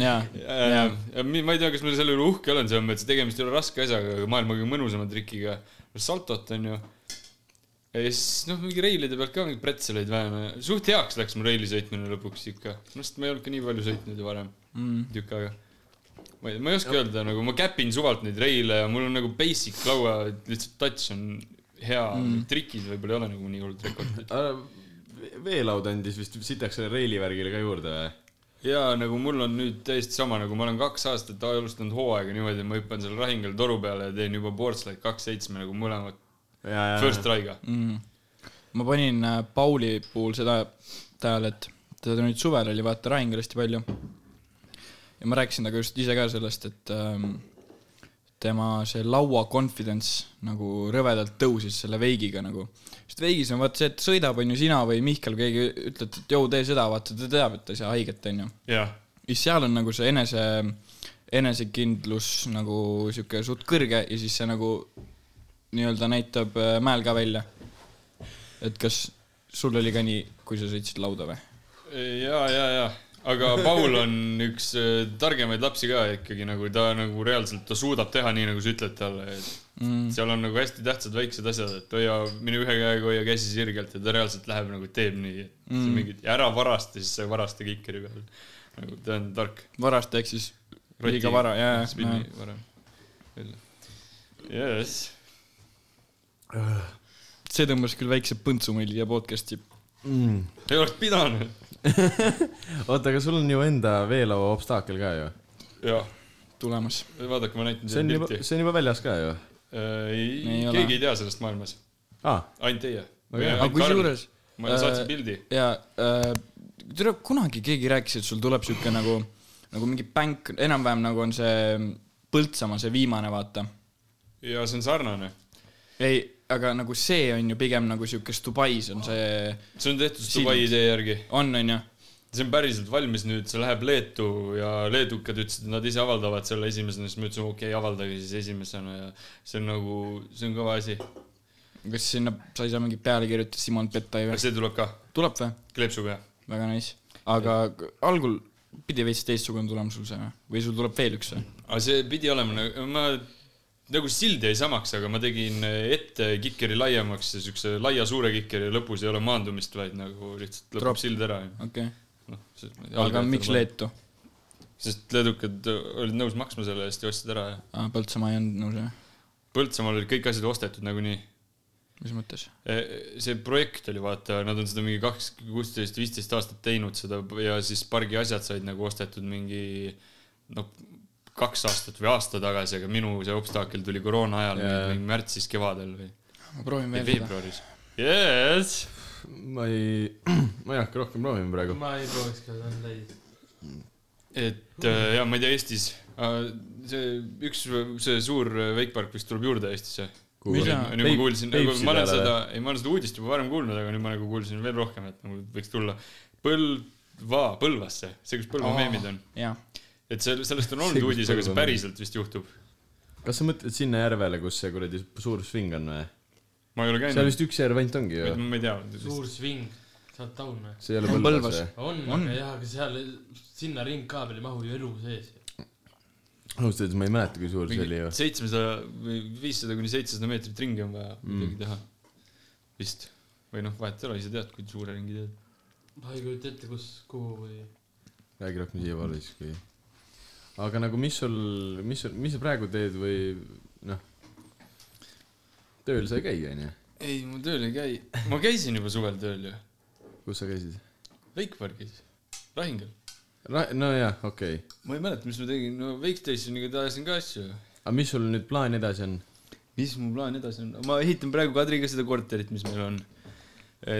jaa , ja, ja mi- ma ei tea , kas ma selle üle uhke olen , selles mõttes , et tegemist ei ole raske asjaga , aga maailma kõige mõnusama trikiga . saltot on ju . ja siis noh , mingi reilide pealt ka mingeid pretzeleid vähem . suht heaks läks mul reili sõitmine lõpuks ikka . no sest ma ei olnud ka nii palju sõitnud ju varem Mhm. mm. tükk aega . ma ei , ma ei oska öelda , nagu ma käpin suvalt neid reile ja mul on nagu basic laua , lihtsalt touch on hea mm. . trikid võib-olla ei ole nagu nii hullult rekordid . veelaud Äh, andis vist sitaks selle reili värgile ka juurde või ? jaa , nagu mul on nüüd täiesti sama , nagu ma olen kaks aastat alustanud hooaega niimoodi , et ma hüppan seal rahingal toru peale ja teen juba boardslide kaks seitsme nagu mõlemad jaa , first try'ga . Mm. ma panin äh, Pauli puhul seda tähele , et teda nüüd suvel oli vaata Rahingal hästi palju . ja ma rääkisin temaga just ise ka sellest , et ähm, tema see laua confidence nagu rõvedalt tõusis selle veigiga nagu . sest veigis on vaata see , et sõidab on ju sina või Mihkel , keegi ütled , et jõu tee seda , vaata ta teab , et ta ei saa haiget on ju . jah , siis seal on nagu see enese , enesekindlus nagu sihuke suht kõrge ja siis see nagu nii-öelda näitab äh, mäel ka välja . et kas sul oli ka nii , kui sa sõitsid lauda või ? ja , ja , ja , aga Paul on üks äh, targemaid lapsi ka ikkagi nagu ta nagu reaalselt , ta suudab teha nii , nagu sa ütled talle , et mm. seal on nagu hästi tähtsad väiksed asjad , et hoia , mine ühe käega , hoia käsi sirgelt ja ta reaalselt läheb nagu teeb nii , et mm. mingit , ära varasta , siis sa ei varasta kikeri peal . nagu ta on tark varast ehk siis liiga Roti- vara , jaa , jaa . spinni varem . jess . see tõmbas küll väikse põntsu meil siia podcast'i . ei oleks pidanud . oota , aga sul on ju enda veelaua obstaakel ka ju ? jah , tulemas . vaadake , ma näitan see on teile juba , pilti . see on juba väljas ka ju . ei Ei , ole. keegi ei tea sellest maailmas , aa , ainult teie . hea. aga kusjuures ma Äh, saatsin pildi . ja äh, tule , kunagi keegi rääkis , et sul tuleb sihuke nagu , nagu mingi bänk , enam-vähem nagu on see Põltsamaa , see viimane , vaata . ja see on sarnane . ei , aga nagu see on ju pigem nagu siukes Dubais on see , see on tehtud Sild. Dubai idee järgi . on , on ju . see on päriselt valmis nüüd , see läheb Leetu ja leedukad ütlesid , et nad ise avaldavad selle esimesena , siis me ütlesime , okei okay, , avaldage siis esimesena ja see on nagu , see on kõva asi . kas sinna sai seal mingi peale kirjutada Simon Petai aga või ? see tuleb ka tuleb või ? kleepsuga , jah ? väga nice . aga k- algul pidi veits teistsugune tulema sul see või ? või sul tuleb veel üks või ? aga see pidi olema nagu , ma nagu sild jäi samaks , aga ma tegin ette kikeri laiemaks ja siukse laia suure kikeri ja lõpus ei ole maandumist , vaid nagu lihtsalt Drop. lõpeb sild ära . noh, okei okay. , aga miks ? Leetu ? sest leedukad olid nõus maksma selle eest ja ostsid ära ja Ah, Põltsamaa ei olnud nõus või ? Põltsamaal olid kõik asjad ostetud nagunii . mis mõttes ? Äh, see projekt oli , vaata , nad on seda mingi kaks , kuusteist , viisteist aastat teinud seda ja siis pargi asjad said nagu ostetud mingi noh , kaks aastat või aasta tagasi , aga minu see obstakel tuli koroona ajal Jaa. yeah. , mingi märtsis kevadel või ma proovin või veel seda . veebruaris . Yes. ma ei , ma ei hakka rohkem proovima praegu . ma ei prooviks ka , see on täis . et äh, ja ma ei tea , Eestis äh, see üks , see suur veikpark vist tuleb juurde Eestisse . Mida? Ja nüüd ma kuulsin , ma olen peale, seda , ei ma olen seda uudist juba varem kuulnud , aga nüüd ma nagu kuulsin veel rohkem , et nagu võiks tulla Põlva , Põlvasse , see , kus Põlva Aa. meemid on . jah , et seal , sellest on See, olnud kus uudis , aga Põlva see meemid. päriselt vist juhtub . kas sa mõtled sinna järvele , kus see kuradi suur sving on või ? ma ei ole seal käinud , vist üks järv ainult ongi ju . ma ei tea . suur sving , sa oled taun või ? see ei ole On Põlvas Põlvas. või ? on, on. , On. aga jah , aga seal , sinna ringkaabel ei mahu ju elu sees . ausalt öeldes ma ei mäleta , kui suur see oli ju . seitsmesada või viissada kuni seitsesada meetrit ringi on vaja Mm. midagi teha . vist . või noh , vahet ei ole , ise tead , kui suure ringi teed . ma ei kujuta ette , kus , kuhu või . räägi rohkem siia poole siis , kui . aga nagu , mis sul , mis sul , mis sa praegu teed või noh , tööl sa ei käi , onju ? ei , ma tööl ei käi . ma käisin juba suvel tööl ju , kus sa käisid ? Veikpargis , Lahingal . nojah , okei okay. . ma ei mäleta , mis ma tegin , no Wakestationiga ajasin ka asju . aga mis sul nüüd plaan edasi on ? mis mu plaan edasi on ? ma ehitan praegu Kadriga seda korterit , mis meil on .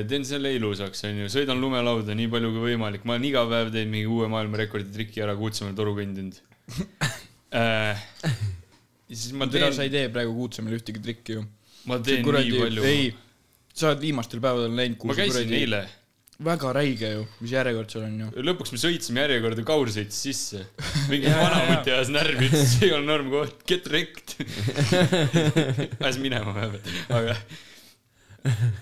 teen selle ilusaks , onju , sõidan lumelauda nii palju kui võimalik , ma olen iga päev teinud mingi uue maailmarekordi triki ära , Kuutsamäel toru kõndinud . ja Eh, siis ma tere , teen sa , ei tee praegu Kuutsamel ühtegi trikki ju . ma teen nii palju . ei , sa oled viimastel päevadel läinud , ma käisin . eile , väga räige ju , mis järjekord seal on ju . lõpuks me sõitsime järjekorda , Kaur sõitis sisse . mingi Jaa, vana jaa, jaa. muti ajas närvi , ütles , see ei ole norm koht , get wrecked . ajas minema vähemalt , aga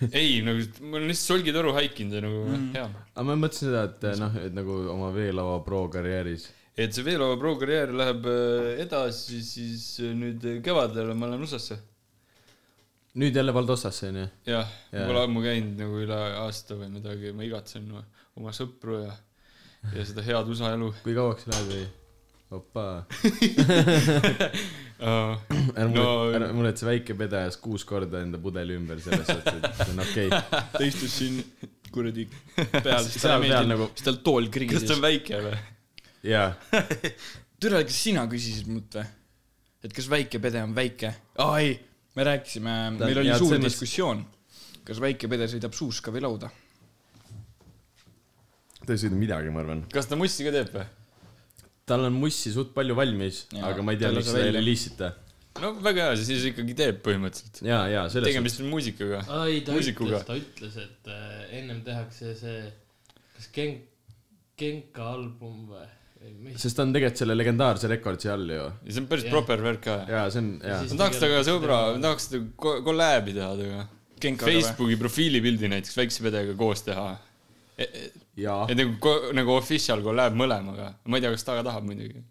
ei , nagu ma olen lihtsalt solgitoru haikinud ja nagu mm. hea aga ma mõtlesin seda , et noh , et nagu oma veelaua pro karjääris . et see Veelova Pro karjäär läheb äh, edasi , siis äh, nüüd äh, kevadel ma lähen USA-sse . nüüd jälle Valdossasse onju ? jah Jaa. yeah. , pole ammu käinud nagu üle aasta või midagi , ma igatsen oma- oma sõpru ja , ja seda head USA elu kui kauaks sa lähed või ? opaa . uh, . ära No- muretse , ära muretse , väike pede ajas kuus korda enda pudeli ümber selles suhtes , et see on okei okay. . ta istus siin kuradi peal , siis Seal talle peal meeldib nagu- , siis tal tool kas ta on krigises . väike või ? jaa , türa , kas sina küsisid mult või ? et kas väike pede on väike ? aa ei , me rääkisime , Ta- meil oli jaa, suur selles- diskussioon , kas väike pede sõidab suuska või lauda . ta ei sõida midagi , ma arvan . kas ta mussi ka teeb või ? tal on mussi suht palju valmis , Jaa, aga ma ei tea , ta ei miks lase seda ei välja. reliisita . no väga hea , siis ikkagi teeb põhimõtteliselt . jaa , jaa , selles suhtes . tegemist on muusikaga . ei , ta Muusikuga. ütles , ta ütles , et äh, ennem tehakse see , kas Gen- , Genka album või , või mis . sest ta on tegelikult selle legendaarse rekordsi all ju . ja see on päris Jah. yeah. proper värk ka . jaa , see on , jaa . Siis- ma tahaks temaga sõbra , tahaks temaga ko- kolläbi teha temaga . Genkaga või? Facebooki profiilipildi näiteks väikse pedega koos teha e . E jaa . et nagu ko- nagu official kolläb mõlemaga , ma ei tea , kas ta ka tahab muidugi .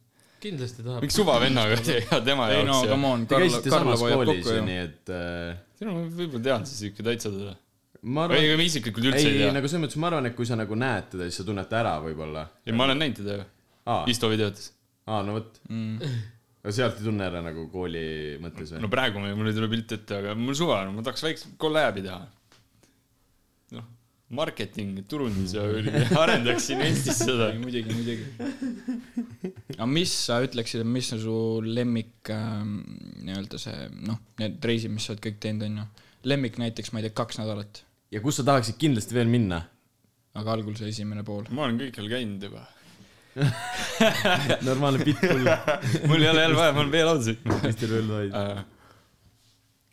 kindlasti tahab . miks suva vennaga teha tema ei no jaoks ja come . on , Te Karl , käisite Karl samas hoiab koolis kokku ju , ju . nii et äh, no ma võib-olla tean siis ikka täitsa teda . ma ei , arvan , ega ma isiklikult ei , üldse ei, ei ei tea . nagu selles mõttes , ma arvan , et kui sa nagu näed teda , siis sa tunned ta ära võib-olla . ei , ma olen näinud teda ju , aa , Isto videotes . aa , no vot , aga sealt ei tunne ära nagu kooli mõttes või no ? praegu ma- mul ei tule pilt ette , aga mul suva , ma tahaks väikse kolläbi teha . noh , marketing , turundus ja üri- arendaks siin Eestis seda . muidugi , muidugi . aga mis sa ütleksid , et mis on su lemmik ähm, nii-öelda see noh , need reisid , mis sa oled kõik teinud , onju . lemmik näiteks , ma ei tea , kaks nädalat . ja kus sa tahaksid kindlasti veel minna ? aga algul see esimene pool . ma olen kõikjal käinud juba . normaalne pitbull , Ah, mul ei ole jälle vaja , ma olen veelaudas . mis teil veel vaid . Äh,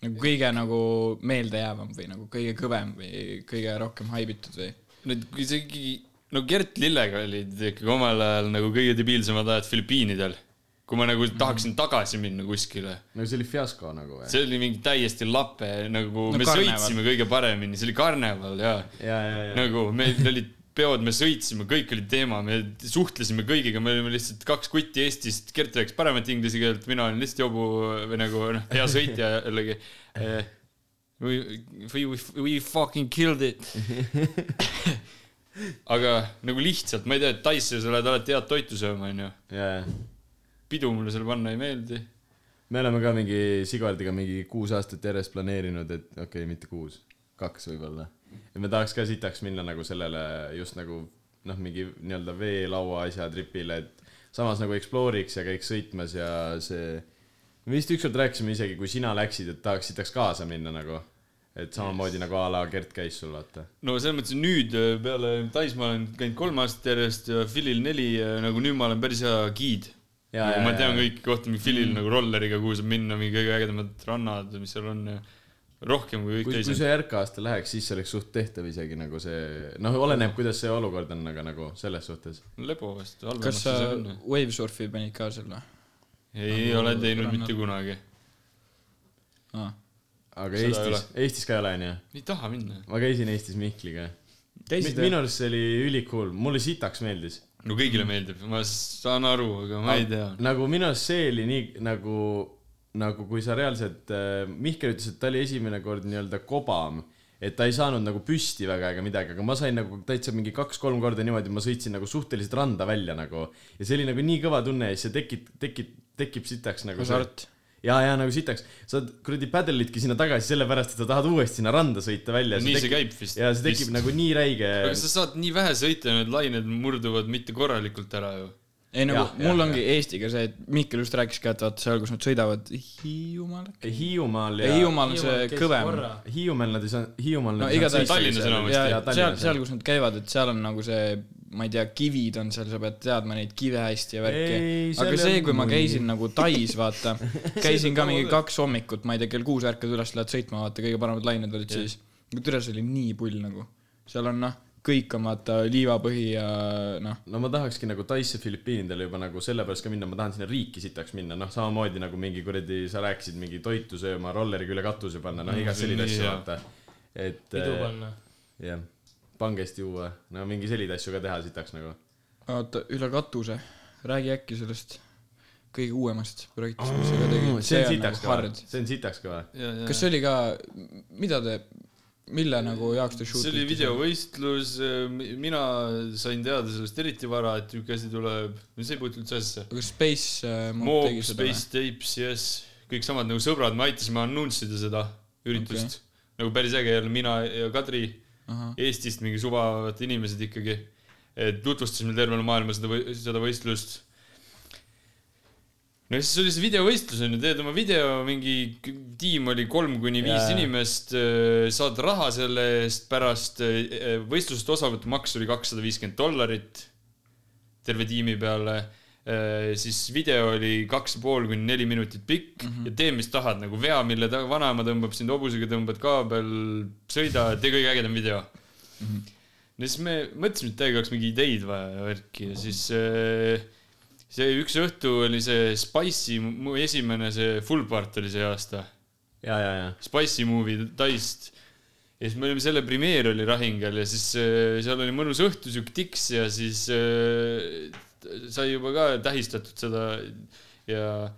nagu kõige nagu meeldejäävam või nagu kõige kõvem või kõige rohkem haibitud või ? Need isegi , no Gert Lillega olid ikkagi omal ajal nagu kõige debiilsemad ajad Filipiinidel . kui ma nagu tahaksin tagasi minna kuskile . no see oli fiasko nagu või ? see oli mingi täiesti lape , nagu No no, me karneval. karneval. sõitsime kõige paremini , see oli karneval ja, ja , ja , ja. ja . nagu meil olid peod , me sõitsime , kõik oli teema , me suhtlesime kõigiga , me olime lihtsalt kaks kutti Eestist , Gert rääkis paremat inglise keelt , mina olin lihtsalt jobu või nagu noh , hea sõitja jällegi . We, we, we fucking killed it . aga nagu lihtsalt , ma ei tea , et Taisse sa lähed alati head toitu sööma , onju . ja , ja . pidu mulle seal panna ei meeldi . me oleme ka mingi Sigardiga mingi kuus aastat järjest planeerinud , et okei okay, , mitte kuus , kaks võib-olla . et me tahaks ka sitaks minna nagu sellele just nagu noh , mingi nii-öelda veelaua asja tripile , et samas nagu Exploriks ja käiks sõitmas ja see . me vist ükskord rääkisime isegi , kui sina läksid , et tahaks sitaks kaasa minna nagu . et samamoodi nagu a la Gert käis sul , vaata . no selles mõttes nüüd öö, peale Tais ma olen käinud kolm aastat järjest ja Philil neli , nagu nüüd ma olen päris hea giid . Jaa, nagu jaa, ma jaa, tean jaa. kõiki kohti , mingi Philil mm. nagu rolleriga , kuhu saab minna , mingi kõige ägedamad rannad , mis seal on ja rohkem kui kõik kui , kui teised . see järk aasta läheks , siis see oleks suht tehtav isegi nagu see , noh , oleneb , kuidas see olukord on , aga nagu selles suhtes . lebo vast , kas halvemaks sa ei saa minna . Wavesurfi panid ka seal või ei Nagu ole teinud mitte kunagi . ah. ? aga Seda ei Eestis , Eestis ka ei ole , onju . ei taha minna . ma käisin Eestis Mihkliga . Käisid, minu arust see oli ülikool , mulle sitaks meeldis . no kõigile Mm. meeldib , ma saan aru , aga ma ei tea . nagu minu arust see oli nii nagu , nagu kui sa reaalselt , Mihkel ütles , et ta oli esimene kord nii-öelda kobam , et ta ei saanud nagu püsti väga ega midagi , aga ma sain nagu täitsa mingi kaks-kolm korda niimoodi , ma sõitsin nagu suhteliselt randa välja nagu ja see oli nagu nii kõva tunne ja siis see tekib , tekib , tekib sitaks nagu see- hasart . ja , ja nagu sitaks , sa oled kuradi padelitki sinna tagasi sellepärast , et sa tahad uuesti sinna randa sõita välja . nii see käib vist . ja see tekib nagu nii räige . aga sa saad nii vähe sõita ja need lained murduvad mitte korralikult ära ju . ei nagu Jah, ja, jah, mul ja, ongi ja. Eestiga see , et Mihkel just rääkis ka , et vaata seal , kus nad sõidavad Hiiumaal äkki . Hiiumaal ja Hiium... Hiiumaal on see kõvem . Hiiumaal nad ei saanud , Hiiumaal no nad ei saanud igatahes sõita Tallinnas seal. enamasti. ja, Jaa, ja, seal , Tallinnas seal , kus nad käivad , et seal on nagu see , ma ei tea , kivid on seal , sa pead teadma neid kive hästi ja Ei, värki . seal aga ei see olnud , kui ma muidugi. käisin nagu Tais , vaata , käisin nagu ka mingi kaks hommikut , ma ei tea , kell kuus ärkad üles , lähed sõitma , vaata , kõige paremad lained olid siis . türa , see oli nii pull nagu . seal on noh , kõik on vaata liivapõhi ja noh , no ma tahakski nagu Taisse Filipiinidele juba nagu sellepärast ka minna , ma tahan sinna riiki sitaks minna , noh , samamoodi nagu mingi kuradi , sa rääkisid mingi toitu sööma , rolleriga üle katuse panna , noh , iga selline nii, asja jaa. vaata . et pidu panna . eh, jah , pangesti juua , no mingi selliseid asju ka teha sitaks nagu . oota , üle katuse , räägi äkki sellest kõige uuemast projektist , mis sa ka tegid . nagu see on sitaks kõva , see on sitaks kõva . kas see oli ka , mida te , mille nagu jaoks te shoot see oli videovõistlus , mina sain teada sellest eriti vara , et niisugune asi tuleb , no see ei puutu üldse asjasse . aga Space äh, Mob Moog , tegi seda või Space ? Tapes , yes , kõik samad nagu sõbrad , me aitasime annunssida seda üritust okay. . nagu päris äge jälle , mina ja Kadri Ahah. Eestist mingi suvavad inimesed ikkagi . tutvustasime tervele maailma seda , seda võistlust . no ja siis oli see videovõistlus on ju , teed oma video , mingi k- tiim oli kolm kuni viis Jaa. yeah. inimest , saad raha selle eest pärast , võistlusest osavõtu maks oli kakssada viiskümmend dollarit terve tiimi peale . siis video oli kaks ja pool kuni neli minutit pikk mm -hmm. ja tee , mis tahad , nagu vea , mille ta vanaema tõmbab sind hobusega , tõmbad kaabel , sõida , tee kõige ägedam video mm . -hmm. no siis me mõtlesime , et tegelikult oleks mingi ideid vaja ja värki ja siis äh, see üks õhtu oli see Spice'i , mu esimene see full part oli see aasta ja , ja , ja Spice'i movie Taist . ja siis me olime selle premeer oli Rahingel ja siis äh, seal oli mõnus õhtu siuke tiks ja siis äh, t- sai juba ka tähistatud seda ja ,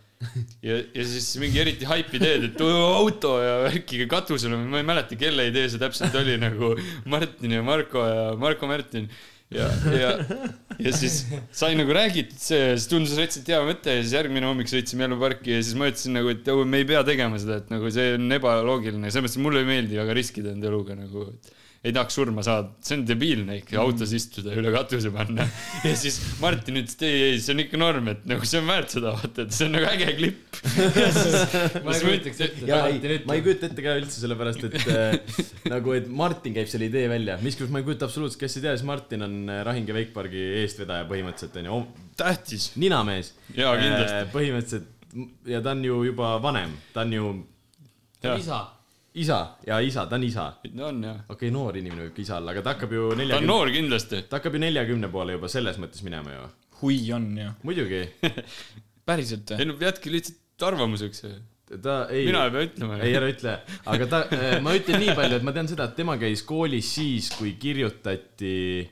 ja , ja siis mingi eriti hype ideed , et oo, auto ja värkiga katusel , ma ei mäleta , kelle idee see täpselt oli nagu Martin ja Marko ja Marko Märtin ja , ja , ja siis sai nagu räägitud see , siis tundus rätselt hea mõte ja siis järgmine hommik sõitsime jälle parki ja siis ma ütlesin nagu , et õue, me ei pea tegema seda , et nagu see on ebaloogiline , selles mõttes et mulle ei meeldi väga riskida enda eluga nagu , et ei tahaks surma saada , see on debiilne ikka autos istuda ja üle katuse panna . ja siis Martin ütles , et ei , ei , see on ikka norm , et nagu see on väärt seda vaata , et see on nagu äge klipp . ma ei kujutaks ette , ja Martin ei , ma ei ütleb . kujuta ette ka üldse , sellepärast et äh, nagu , et Martin käib selle idee välja , miskipärast ma ei kujuta absoluutselt , kes ei tea , siis Martin on äh, Rahinge Wakepargi eestvedaja põhimõtteliselt onju , tähtis . ninamees . Jaa, kindlasti. . põhimõtteliselt ja ta on ju juba vanem , ta on ju isa , isa ja isa , ta on isa . on jah . okei okay, , noor inimene võib ka isa olla , aga ta hakkab ju ta on neljakümne , noor kindlasti . ta hakkab ju neljakümne poole juba selles mõttes minema ju . hui on ju , muidugi , päriselt või ? ei no jätke lihtsalt arvamuseks . ta ei . mina ei pea ütlema . ei , ära ütle , aga ta , ma ütlen nii palju , et ma tean seda , et tema käis koolis siis , kui kirjutati .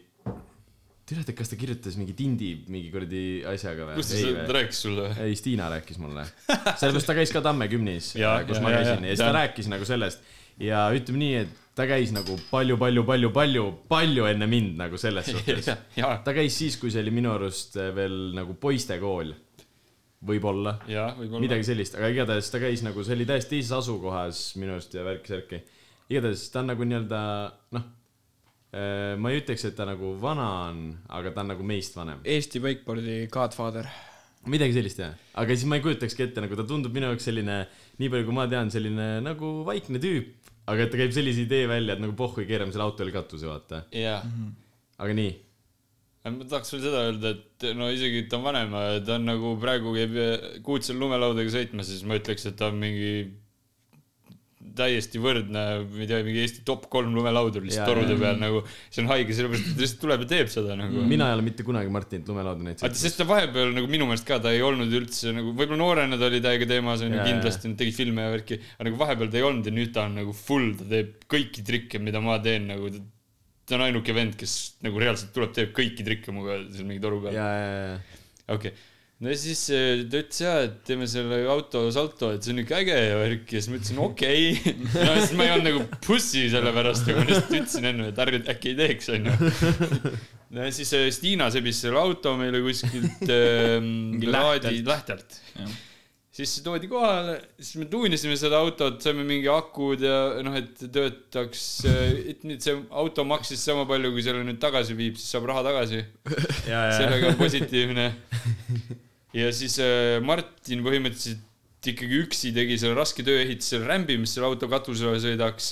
tead , kas ta kirjutas mingi tindi mingi kuradi asjaga või ? kus ta seda või ? rääkis sulle ? ei , Stiina rääkis mulle . sellepärast ta käis ka Tamme gümnis , kus Jaa, jaa, ma jaa, käisin ja, ja jaa. siis ta Jaa. rääkis nagu sellest ja ütleme nii , et ta käis nagu palju , palju , palju , palju , palju enne mind nagu selles suhtes . ja , ta käis siis , kui see oli minu arust veel nagu poistekool . võib-olla ja võib-olla . midagi sellist , aga igatahes ta käis nagu , see oli täiesti teises asukohas minu arust ja värki-särki . igatahes ta on nagu nii-öelda noh , ma ei ütleks , et ta nagu vana on , aga ta on nagu meist vanem . Eesti wakeboardi godfather . midagi sellist jah , aga siis ma ei kujutakski ette , nagu ta tundub minu jaoks selline , nii palju kui ma tean , selline nagu vaikne tüüp , aga et ta käib sellise idee välja , et nagu pohhui , keerame selle auto üle katuse , vaata . jah . Mhm. aga nii , ma tahaks veel seda öelda , et no isegi ta on vanem , ta on nagu praegu käib kuutsel lumelaudadega sõitmas , siis ma ütleks , et ta on mingi täiesti võrdne , ma ei tea , mingi Eesti top kolm lumelaudur lihtsalt Jaa, torude peal nagu , see on haige , sellepärast et ta lihtsalt tuleb ja teeb seda nagu . mina ei ole mitte kunagi Martinit lumelauda näinud vaata , sest ta vahepeal nagu minu meelest ka , ta ei olnud üldse nagu , võib-olla noorena ta oli täiega teemas onju Jaa, , kindlasti nad tegid filme ja värki , aga nagu vahepeal ta ei olnud ja nüüd ta on nagu full , ta teeb kõiki trikke , mida ma teen nagu . ta on ainuke vend , kes nagu reaalselt tuleb , teeb kõiki trikke muga seal mingi toru peal . ja , ja , ja , okei okay. , no ja siis eh, ta ütles jaa , et teeme selle auto salto , et see on ikka äge ja värk ja siis ma ütlesin okei okay. . no siis ma ei olnud nagu pussi sellepärast , aga ma lihtsalt ütlesin enne , et ärge äkki ei teeks onju . no ja siis eh, Stiina sebis selle auto meile kuskilt ähm, Mingi laadi , Lähtelt. Lähtelt . siis see toodi kohale , siis me tuunisime seda autot , saime mingi akud ja noh , et töötaks , et nüüd see auto maksis sama palju , kui selle nüüd tagasi viib , siis saab raha tagasi ja , ja , sellega on positiivne . ja siis äh, Martin põhimõtteliselt ikkagi üksi tegi selle raske töö , ehitas selle rämbi , mis selle auto katusele sõidaks .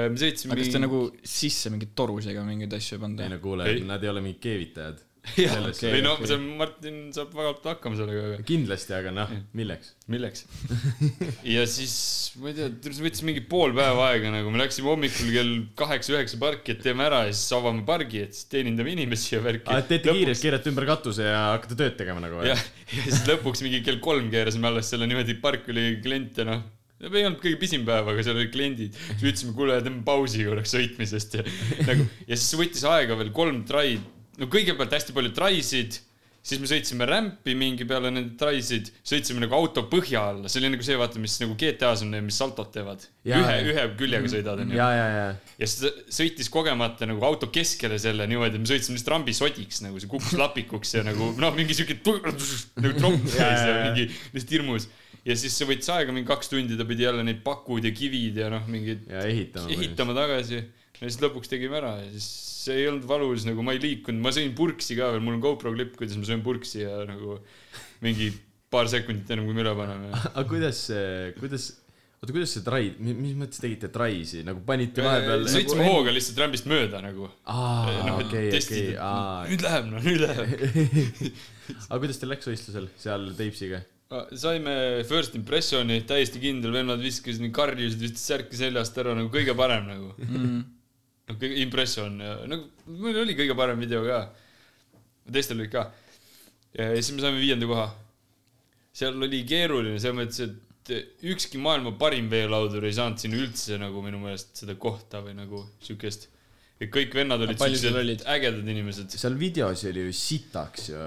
me sõitsime . aga kas te ? nagu sisse mingi torusega mingeid asju ei pannud ei või ? no kuule Ei. , nagu- nad ei ole mingid keevitajad . Okay, ei no okay. noh, see on- Martin saab väga hästi hakkama sellega , aga kindlasti , aga noh , milleks ? milleks ? ja siis ma ei tea , see võttis mingi pool päeva aega nagu , me läksime hommikul kell kaheksa-üheksa parki , et teeme ära ja siis avame pargi , et siis teenindame inimesi ja Ah, värki . aa , et teete kiirelt , keerate ümber katuse ja hakkate tööd tegema nagu või ja ,? ja siis lõpuks mingi kell kolm keerasime alles selle niimoodi , park oli kliente noh , ei olnud kõige pisim päev , aga seal olid kliendid . siis ütlesime , kuule , teeme pausi korraks sõitmisest ja nagu ja siis võttis aega veel kolm trai , no kõigepealt hästi palju traisid siis me sõitsime rämpi mingi peale nende traisid , sõitsime nagu auto põhja alla , see oli nagu see , vaata , mis nagu GTA-s on , mis saltot teevad . Jaa. Mhm. ühe , ühe küljega sõidad , onju . ja , ja , ja , ja siis ta sõitis kogemata nagu auto keskele selle niimoodi , et me sõitsime lihtsalt rambi sodiks nagu see kukkus lapikuks ja nagu noh , mingi siuke tu- nagu tropp käis ja mingi lihtsalt hirmus . ja siis see võttis aega mingi kaks tundi , ta pidi jälle neid pakud ja kivid ja noh , mingid ja ehitama . ehitama tagasi . ja siis lõpuks tegime ära ja siis see ei olnud valus , nagu ma ei liikunud , ma sõin purksi ka veel , mul on GoPro klipp , kuidas ma sõin purksi ja nagu mingi paar sekundit ennem kui me üle paneme . aga kuidas see , kuidas , oota , kuidas see trai , mis mõttes tegite traisi , nagu panite vahepeal nagu... Äh, sõitsime hooga lihtsalt rambist mööda nagu . aa , noh , et okei , okei testid ,, aa et . nüüd läheb , no nüüd läheb . aga kuidas teil läks võistlusel seal Teipsiga ? Äh, saime first impressioni , täiesti kindel , vennad viskasid nii karjusid , viskasid särki seljast ära nagu kõige parem nagu Mm. no, . kõige impression , nagu meil oli kõige parem video ka . teistel olid ka . ja siis me saime viienda koha . seal oli keeruline selles mõttes , et ükski maailma parim veelaudur ei saanud siin üldse nagu minu meelest seda kohta või nagu siukest . et kõik vennad olid palju seal siuksed ägedad inimesed . seal videos oli ju sitaks ju .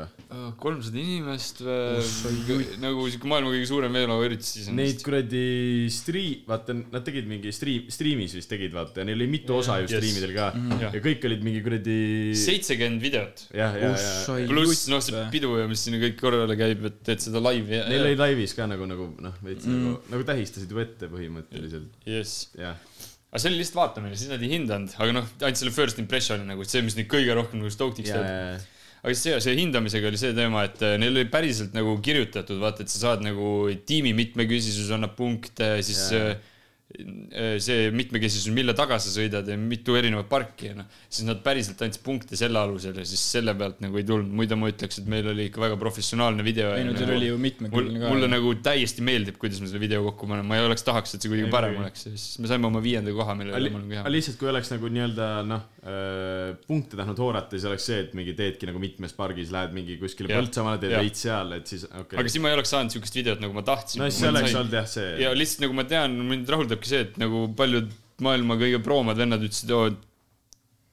kolmsada inimest või , nagu siuke maailma kõige suurem veelauaüritus siis Neid . kuradi strii- , vaata , nad tegid mingi strii- , striimis vist tegid , vaata , ja neil oli mitu osa ju Yes. Mhm. striimidel ka . ja kõik olid mingi kuradi . seitsekümmend videot , jah , ja , ja . pluss noh , see pidu ja mis sinna kõik korrale käib , et teed seda laivi Neil ja oli laivis ka nagu , nagu noh , veits mm. nagu , nagu tähistasid ju ette põhimõtteliselt , jess . jah . aga see oli lihtsalt vaatamine , siis nad ei hindanud , aga noh , ainult selle first impression'i nagu , et see , mis neid kõige rohkem nagu stokediks teeb . äh, aga see , see hindamisega oli see teema , et äh, neil oli päriselt nagu kirjutatud , vaata , et sa saad nagu tiimi mitmekesisus annab punkte , siis Jaa. yeah. see mitmekesisus , mille taga sa sõidad ja mitu erinevat parki ja noh , siis nad päriselt andsid punkte selle alusel ja siis selle pealt nagu ei tulnud , muidu ma ütleks , et meil oli ikka väga professionaalne video . nagu- ei no teil oli ju mul , mitmekülgne mulle nagu täiesti meeldib , kuidas me selle video kokku paneme , ma ei oleks tahaks , et see Ei, kuidagi parem muidugi. oleks ja siis me saime oma viienda koha , mille üle ma olen aga hea . lihtsalt , kui oleks nagu nii-öelda noh , punkte tahtnud hoorata , siis oleks see , et mingi teedki nagu mitmes pargis , lähed mingi kuskile Jah. Põltsamaale , teed Jah. veits seal , et siis okei aga okay. . siis ma ei oleks saanud siukest videot , nagu ma tahtsin . no siis see oleks olnud jah see . ja lihtsalt nagu ma tean , mind rahuldabki see , et nagu paljud maailma kõige proomad vennad ütlesid , oo ,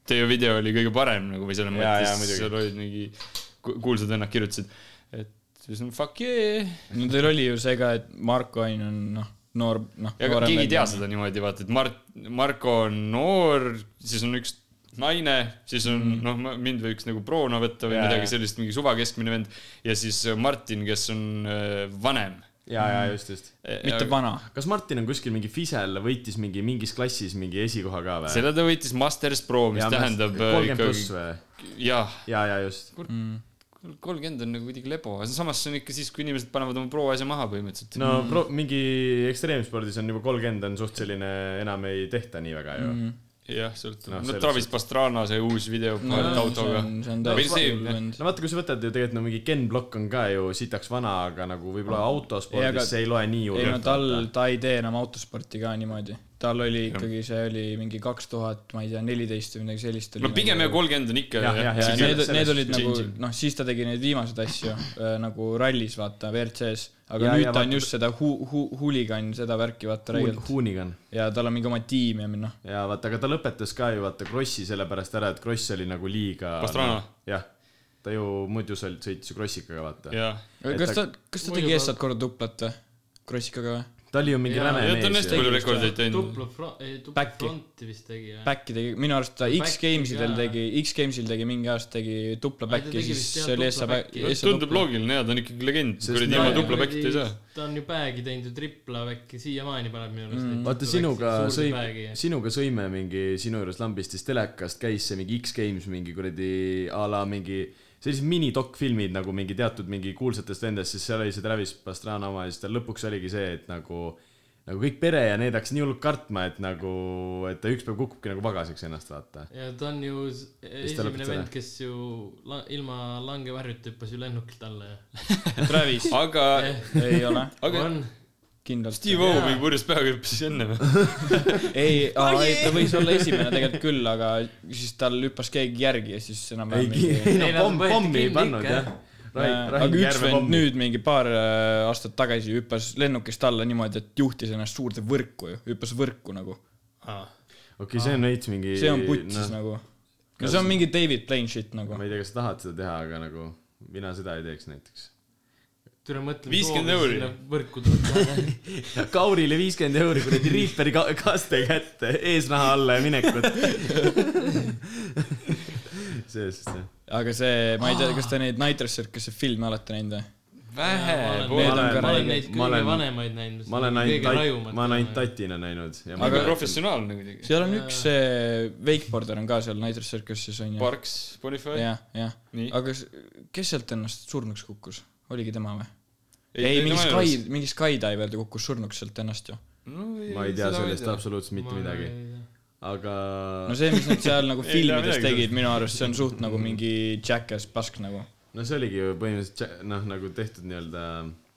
teie video oli kõige parem nagu või selles Jaa, jaa, mõttes , muidugi. seal olid mingi ku- kuulsad vennad kirjutasid , et siis on fuck yeah . no teil oli ju see ka , et Marko Ain on noh , noor , noh . ja aga keegi ei tea seda niimoodi , vaata , et Mart , Marko on noor , siis on üks naine , siis on mm. noh , mind võiks nagu proona võtta või Mhm. Jaa, yeah. jaa. midagi sellist , mingi suva keskmine vend ja siis Martin , kes on äh, vanem . Äh, ja , ja Mm. just , just . mitte vana . kas Martin on kuskil mingi Fisel võitis mingi mingis klassis mingi esikoha ka või ? seda ta võitis Masters Pro , mis ja, tähendab äh, kolmkümmend pluss ikkagi , või ? Mm. jah , ja , ja just . kolmkümmend on nagu kuidagi lebo , aga samas see on ikka siis , kui inimesed panevad oma pro asja maha põhimõtteliselt no. . no pro- , mingi ekstreemspordis on juba kolmkümmend on suht selline , enam ei tehta nii väga ju mm. . jah , sõltub Noh, no, . no selles Travis Pastrana see uus video no, autoga . see on Meil see- täiesti . no vaata , kui sa võtad ju tegelikult no mingi Ken Block on ka ju sitaks vana , aga nagu võib-olla autospordis Ei, aga... aga- see ei loe nii ei no hullult . tal , ta ei tee enam autosporti ka niimoodi . tal oli ikkagi , see oli mingi kaks tuhat , ma ei tea , neliteist või midagi sellist . no pigem jah , kolmkümmend on ikka . Jah, jah, jah, ja See need , selles- need olid nagu changing. noh , siis ta tegi neid viimaseid asju äh, nagu rallis , vaata , WRC-s , aga Ja, ja, nüüd ja ja, ta on vaata- just seda hu- , hu- , huligan , seda värki , vaata , räigelt . Hoonigan . ja tal on mingi oma tiim ja noh , ja vaata , aga ta lõpetas ka ju vaata Krossi sellepärast ära , et Kross oli nagu liiga . Pastrana. . jah , ta ju muidu seal sõitis ju Krossikaga vaata . jah , Et kas ta- ta , kas ta Muidu tegi ta- ees-saad korda tuplat või ? krossikaga või ? ta oli ju mingi Jaa, räme ja ta on mees hästi ju . palju Tegi rekordeid teinud . tupla front , ei tupla Back'i. fronti vist tegi jah . Back'i tegi , minu arust ta Back'i X-Gamesidel ka. tegi , X-Gamesil tegi mingi aasta tegi tupla Ai, ta back'i , tegi siis vist, jah, see oli tupla ees-saa back'i. back'i . tundub loogiline ja ta on ikkagi legend , Sest kuradi ta- ilma tupla back'ita ei saa . ta on ju bag'i teinud ju tripla back'i , siiamaani paneb minu arust mm. . vaata sinuga sõi- , sinuga sõime mingi sinu juures lambistis telekast käis see mingi X-Games mingi kuradi a la mingi sellised minidokfilmid nagu mingi teatud mingi kuulsatest vendest , siis seal oli see Travis Pastrana oma ja siis tal lõpuks oligi see , et nagu , nagu kõik pere ja need hakkasid nii hullult kartma , et nagu , et ta üks päev kukubki nagu pagaseks ennast vaata . ja ta on ju s- lõpetas esimene ära? vend , kes ju la, ilma langevarjuta hüppas ju lennukilt alla ja . Travis aga , ei ole , aga on , kindlalt . Steve O mingi purjus peaga hüppas enne või ? ei , ei ta võis olla esimene tegelikult küll , aga siis tal hüppas keegi järgi ja siis ei enam-vähem , ei no Ei, nad pomm , võeti pommi ei kinni pannud ikka, jah . aga üks vend . nüüd mingi paar äh, aastat tagasi hüppas lennukist alla niimoodi , et juhtis ennast suurde võrku ju , hüppas võrku nagu . okei , see on veits mingi . see on putsis no. . nagu . no see on mingi David Plain shit nagu ma . ei tea , kas sa tahad seda teha , aga nagu mina seda ei teeks näiteks . tule mõtle . 50 euri. . võrku tuleb . Kaurile viiskümmend euri kuradi Reaperi ka- kaste kätte , eesnaha alla ja minekut . see siis jah . aga see , ma ei tea , kas te neid Nitrous Circus'i filme olete näinud või ? vähe , ma Need pool . on ka olen ma olen räiged. neid Ma kõige olen- vanemaid näinud . ma olen ainult , ma olen ainult . tatina näinud ja ma aga Aga- professionaalne kuidagi . seal on üks see wakeboarder on ka seal Nitrous Circus'is onju . Parks , Bonifay . jah , jah . Nii. aga s- kes sealt ennast surnuks kukkus ? oligi tema või ? Ei, ei , ei, mingi tema ei Sky , mingi Skydiver ta kukkus surnuks sealt ennast ju . ma ei tea sellest . absoluutselt mitte midagi , aga no see , mis nad seal nagu Ah. Ei Mm. tea filmides midagi tegid , minu arust see on suht nagu mingi jackass pask nagu no see oligi ju põhimõtteliselt tša- noh , nagu tehtud nii-öelda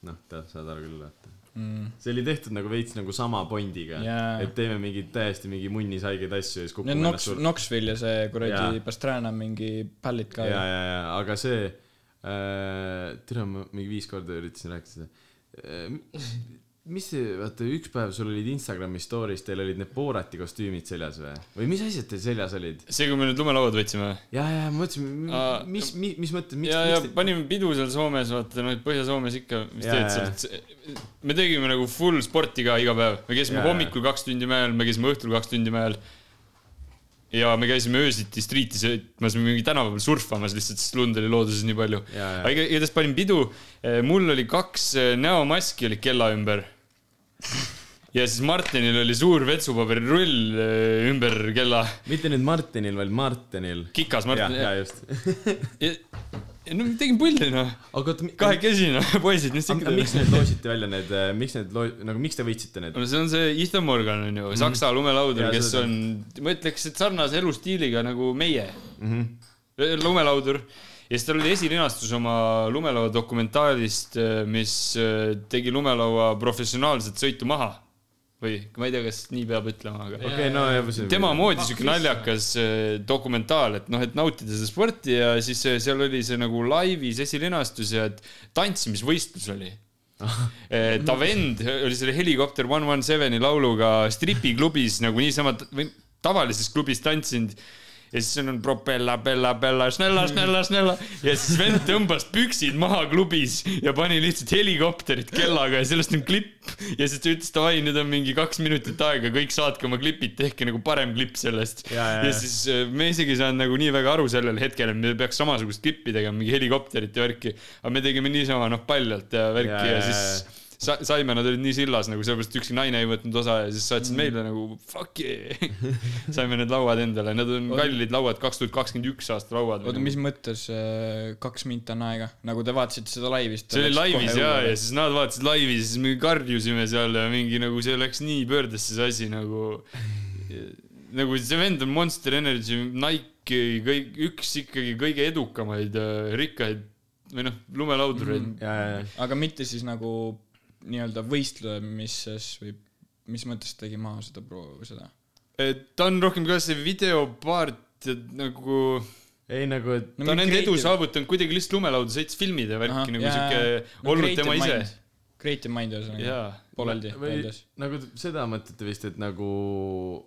noh , tead , saad aru küll , et mm. . see oli tehtud nagu veits nagu sama Bondiga Jaa. et teeme mingeid täiesti mingi munnis haigeid asju ja siis kukume Need Knox ennast , sur- Knoxville ja see kuradi Jaa. Pastrana mingi pallid ka ja , ju . ja , ja , aga see äh, , tere , ma mingi viis korda üritasin rääkida seda äh, . mis see , vaata üks päev sul olid Instagrami story's , teil olid need Borati kostüümid seljas või ? või mis asjad teil seljas olid ? see , kui me need lumelauad võtsime . ja , ja ma mõtlesin , Aa, mis , mis , mis mõttes , miks , ja , ja miks te... panime pidu seal Soomes , vaata noh , Põhja-Soomes ikka , mis Jaa, teed seal . me tegime nagu full sporti ka iga päev , me käisime Jaa, ja, hommikul kaks tundi mäel , me käisime õhtul kaks tundi mäel . ja me käisime öösiti striiti sõitmas , mingi tänava peal surfamas lihtsalt , sest lund oli looduses nii palju . Jaa, jaa. aga iga- igatahes eh, panin pidu , mul oli kaks eh, näomaski olid kella ümber . ja siis Martinil oli suur vetsupaberirull eh, ümber kella . mitte nüüd Martinil , vaid Martinil . kikas ja , Martin . ja just . no me tegime pulli noh , aga oota , kahekesina poisid , mis ikka miks teeme . need loositi välja , need , miks need loo- , nagu miks te võitsite need ? no see on see Ethan Morgan on ju , saksa lumelaudur Mhm. Jaa, , kes seda on , ma ütleks , et sarnase elustiiliga nagu meie mm . Mhm. -hmm. lumelaudur ja siis tal oli esilinastus oma lumelaua dokumentaalist , mis eh, tegi lumelaua professionaalset sõitu maha . või ma ei tea , kas nii peab ütlema , aga . okei , no ja see . tema moodi siuke naljakas eh, dokumentaal , et noh , et nautida seda sporti ja siis eh, seal oli see nagu laivis esilinastus ja et tantsimisvõistlus oli Eh, ta vend oli selle helikopter One One Seveni lauluga stripiklubis nagu niisama t- või tavalises klubis tantsinud ja siis on propella , bella , bella , snella , snella , snella ja siis vend tõmbas püksid maha klubis ja pani lihtsalt helikopterit kellaga ja sellest on klipp . ja siis ta ütles davai , nüüd on mingi kaks minutit aega , kõik saatke oma klipid , tehke nagu parem klipp sellest . Ja, ja, ja ja. siis äh, me isegi ei saanud nagu nii väga aru sellel hetkel , et me peaks samasugust klippi tegema , mingi helikopterit ja värki . aga me tegime niisama noh paljalt ja värki Ja, ja, ja, ja siis sa- saime , nad olid nii sillas nagu sellepärast ükski naine ei võtnud osa ja siis saatsid Mm. meile nagu fuck yeah . saime need lauad endale , need on kallid lauad , kaks tuhat kakskümmend üks aasta lauad . oota , mis mõttes äh, kaks minti on aega , nagu te vaatasite seda laivis ? see oli laivis ja , ja siis nad vaatasid laivi , siis me karjusime seal ja mingi nagu see läks nii pöördesse see asi nagu . nagu see vend on Monster Energy , Nike , kõik , üks ikkagi kõige edukamaid äh, rikkaid või noh , lumelaudureid Mhm. mm . ja , ja , aga mitte siis nagu nii-öelda võistlemises või mis mõttes tegi maha seda proovi , seda ? -hmm. ta on rohkem ka see videopaart ja nagu ei nagu , et no, ta on enda edu . saavutanud kuidagi lihtsalt lumelauda sõitis filmide Ahah, värki nagu jaa, siuke olnud tema ise . Creative mind ühesõnaga , jaa pooleldi või väljas . nagu t- seda mõtlete vist , et nagu ,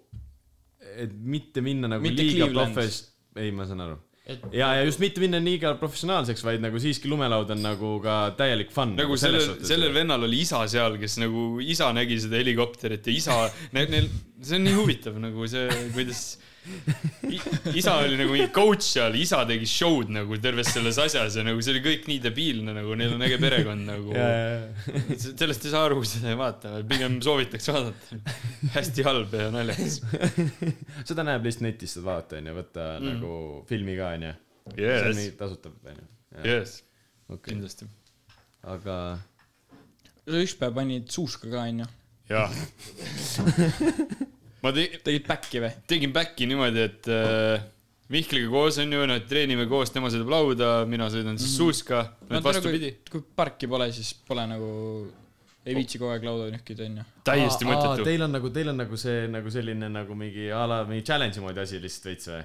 et mitte minna nagu Mitte mitte liiga Cleveland. profes- , ei , ma saan aru . Et- ja , ja just mitte minna liiga professionaalseks , vaid nagu siiski lumelaud on nagu ka täielik fun . nagu sellel , sellel . vennal oli isa seal , kes nagu isa nägi seda helikopterit ja isa , neil , see on nii huvitav nagu see , kuidas I, isa oli nagu mingi coach seal , isa tegi show'd nagu terves selles asjas ja nagu see oli kõik nii debiilne , nagu neil on äge perekond nagu . sellest ei saa aru , kui seda ei vaata , pigem soovitaks vaadata . hästi halb ja naljakas seda näeb lihtsalt netist , saad vaadata , onju , võtta mm. nagu filmi ka , onju . see on yes. . nii tasutab , onju . Yes. okei , kindlasti . aga sa ükspäev panid suuska ka , onju . jah . ma te- , tegid back'i või ? tegin back'i niimoodi , et äh, Mihkliga koos on ju , noh , et treenime koos , tema sõidab lauda , mina sõidan Mhm. siis suuska . nagu- vastupidi ,. nagu kui parki pole , siis pole nagu , ei viitsi kogu aeg lauda nühkida , onju . täiesti Aa, aa, mõttetu . Teil on nagu , teil on nagu see nagu selline nagu mingi a la mingi challenge'i moodi asi lihtsalt veits või ?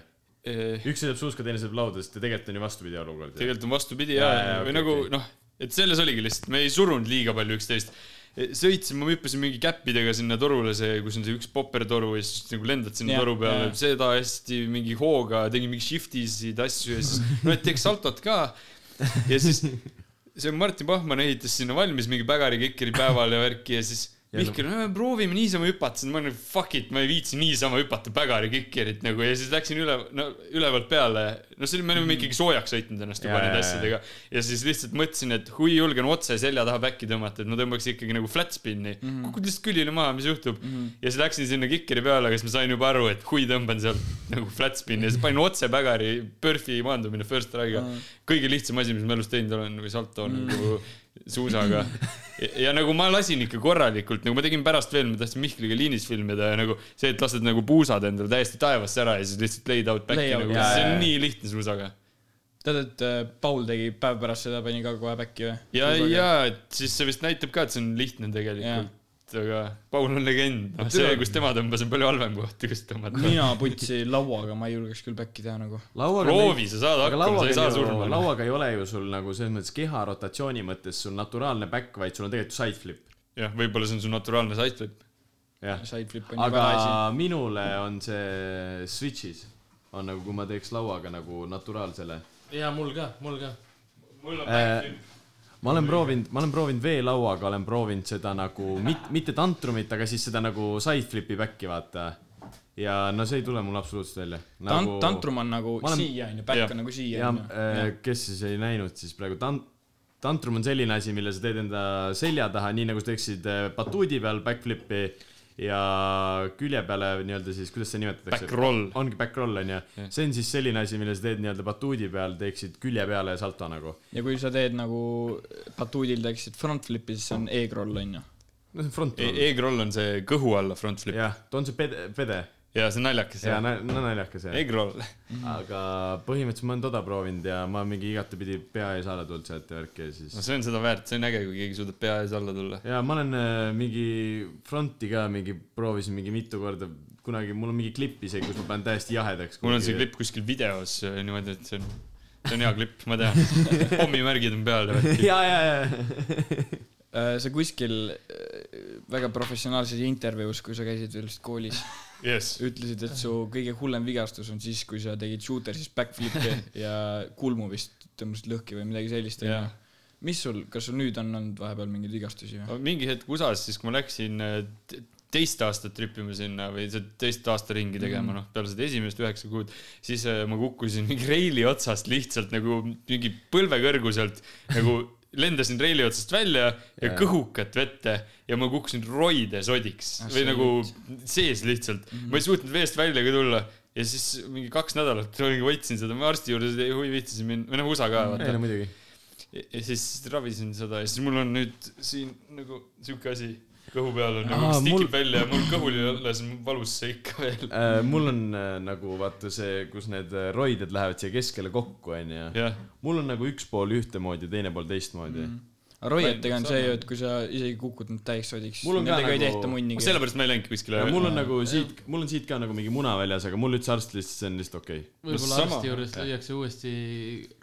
üks sõidab suuska , teine sõidab lauda , sest tegelikult on ju vastupidi olukord . tegelikult on vastupidi Jaa, ja jaa, , või okei, nagu okei. noh , et selles oligi lihtsalt , me ei surunud liiga palju üksteist . sõitsime , ma hüppasin mingi käppidega sinna torule , see , kus on see üks poppertoru ja siis nagu lendad sinna Jah, toru peale jah. , seda hästi mingi hooga , tegin mingi shift'isid asju ja siis , no et teeks saltot ka . ja siis see Martin Pahman ehitas sinna valmis mingi pägarikikeri päeval ja värki ja siis Ja no- Mihkel , no me proovime niisama hüpata , siis ma olin fuck it , ma ei viitsi niisama hüpata pägarikikerit nagu ja siis läksin üle , no ülevalt peale . no see oli , me olime ikkagi soojaks sõitnud ennast juba Jaa, nende jaa, asjadega ja siis lihtsalt mõtlesin , et kui julgen otse selja taha back'i tõmmata , et ma tõmbaks ikkagi nagu flat spin'i mm Mhm. -hmm. . kukud lihtsalt külili maha , mis juhtub mm . -hmm. ja siis läksin sinna kikeri peale , aga siis ma sain juba aru , et hui tõmban sealt nagu flat spin'i ja siis panin otse pägari , PÖRFi maandumine first try'ga Mhm. mm . -hmm. kõige lihtsam asi , mis ma elus teinud olen , või salto on nagu suusaga . ja nagu ma lasin ikka korralikult , nagu ma tegin pärast veel , ma tahtsin Mihkliga liinis filmida ja nagu see , et lased nagu puusad endale täiesti taevasse ära ja siis lihtsalt laid out back'i Lay out, nagu , jaa, see jaa, on jaa. nii lihtne suusaga tead , et äh, Paul tegi päev pärast seda pani ka kohe back'i või ? ja , ja , et siis see vist näitab ka , et see on lihtne tegelikult , aga Paul on legend , noh , see , kus tema tõmbas , on palju halvem koht , kus tõmmata . mina putsi lauaga , ma ei julgeks küll back'i teha nagu . lauaga proovi , sa saad aga hakkama , sa ei lauaga saa on ju , surma . lauaga ei ole ju sul nagu selles mõttes keha rotatsiooni mõttes sul naturaalne back , vaid sul on tegelikult side flip . jah , võib-olla see on su naturaalne sideflip . jah , Sideflip on aga juba asi . minule on see switch'is , on nagu , kui ma teeks lauaga nagu naturaalsele . ja mul ka , mul ka . mul on Äh, ma olen proovinud , ma olen proovinud veelauaga , olen proovinud seda nagu mit, , mitte tantrumit , aga siis seda nagu side flip'i back'i , vaata . ja no see ei tule mul absoluutselt välja Tant- nagu... , tantrum on nagu Ma olen- siia onju , back jah. on nagu siia ja onju . äh, kes siis ei näinud , siis praegu tan- , tantrum on selline asi , mille sa teed enda selja taha , nii nagu sa teeksid äh, batuudi peal backflip'i ja külje peale nii-öelda siis , kuidas see nimetatakse ? Backroll. ongi backroll onju . see on siis selline asi , mille sa teed nii-öelda batuudi peal , teeksid külje peale salto nagu . ja kui sa teed nagu batuudil teeksid front flip'i , siis see on e-kroll onju . no see on front roll . E, E-groll on see kõhu alla front flip . jah , ta on see pede , pede ja see on naljakas ja e-, jah . na- no naljakas jah . E-groll . aga põhimõtteliselt ma olen toda proovinud ja ma mingi igatepidi pea ees alla tulnud sealt ja värki ja siis no see on seda väärt , see on äge , kui keegi suudab pea ees alla tulla . ja ma olen äh, mingi fronti ka mingi proovisin mingi mitu korda kunagi mul on mingi klipp isegi kus ma panen täiesti jahedaks mul on see klipp kuskil videos äh, niimoodi , et see on , see on hea klipp , ma tean . pommimärgid on peal . ja ja ja sa kuskil äh, väga professionaalses intervjuus , kui sa käisid veel vist koolis , jess . ütlesid , et su kõige hullem vigastus on siis , kui sa tegid shooter siis backflip'i ja kulmu vist tõmbasid lõhki või midagi sellist Jah. onju . mis sul , kas sul nüüd on olnud vahepeal mingeid vigastusi või ? mingi hetk USA-s , siis kui ma läksin äh, te- teist aastat tripima sinna või see teist aasta ringi tegema , noh , peale seda esimest üheksa kuud , siis äh, ma kukkusin mingi reili otsast lihtsalt nagu mingi põlve kõrguselt nagu lendasin reili otsast välja ja Jaa. kõhukat vette ja ma kukkusin roide sodiks Ah, või see- nagu sees lihtsalt mm . -hmm. ma ei suutnud veest välja ka tulla ja siis mingi kaks nädalat olin- hoidsin seda , ma arsti juures ei huvi viitsisin minna , või noh , USA ka vaata ei no muidugi ja ja siis ravisin seda ja siis mul on nüüd siin nagu siuke asi kõhu peal on nagu Aa, mis mul- tikib välja ja mul kõhul ja alles on valus see ikka veel . Äh, mul on äh, nagu vaata see kus need äh, roided lähevad siia keskele kokku onju jah , mul on nagu üks pool ühtemoodi ja teine pool teistmoodi roietega on see ju , et kui sa isegi kukud nüüd täis sodiks , Mul on ka nendega nagu... ei nagu- tehta munnigi . sellepärast ma ei läinudki kuskile ja mul välja . on nagu siit mul on siit ka nagu mingi muna väljas aga mul üldse arst lihtsalt see on lihtsalt okei okay. võib-olla sama. arsti juures lüüakse uuesti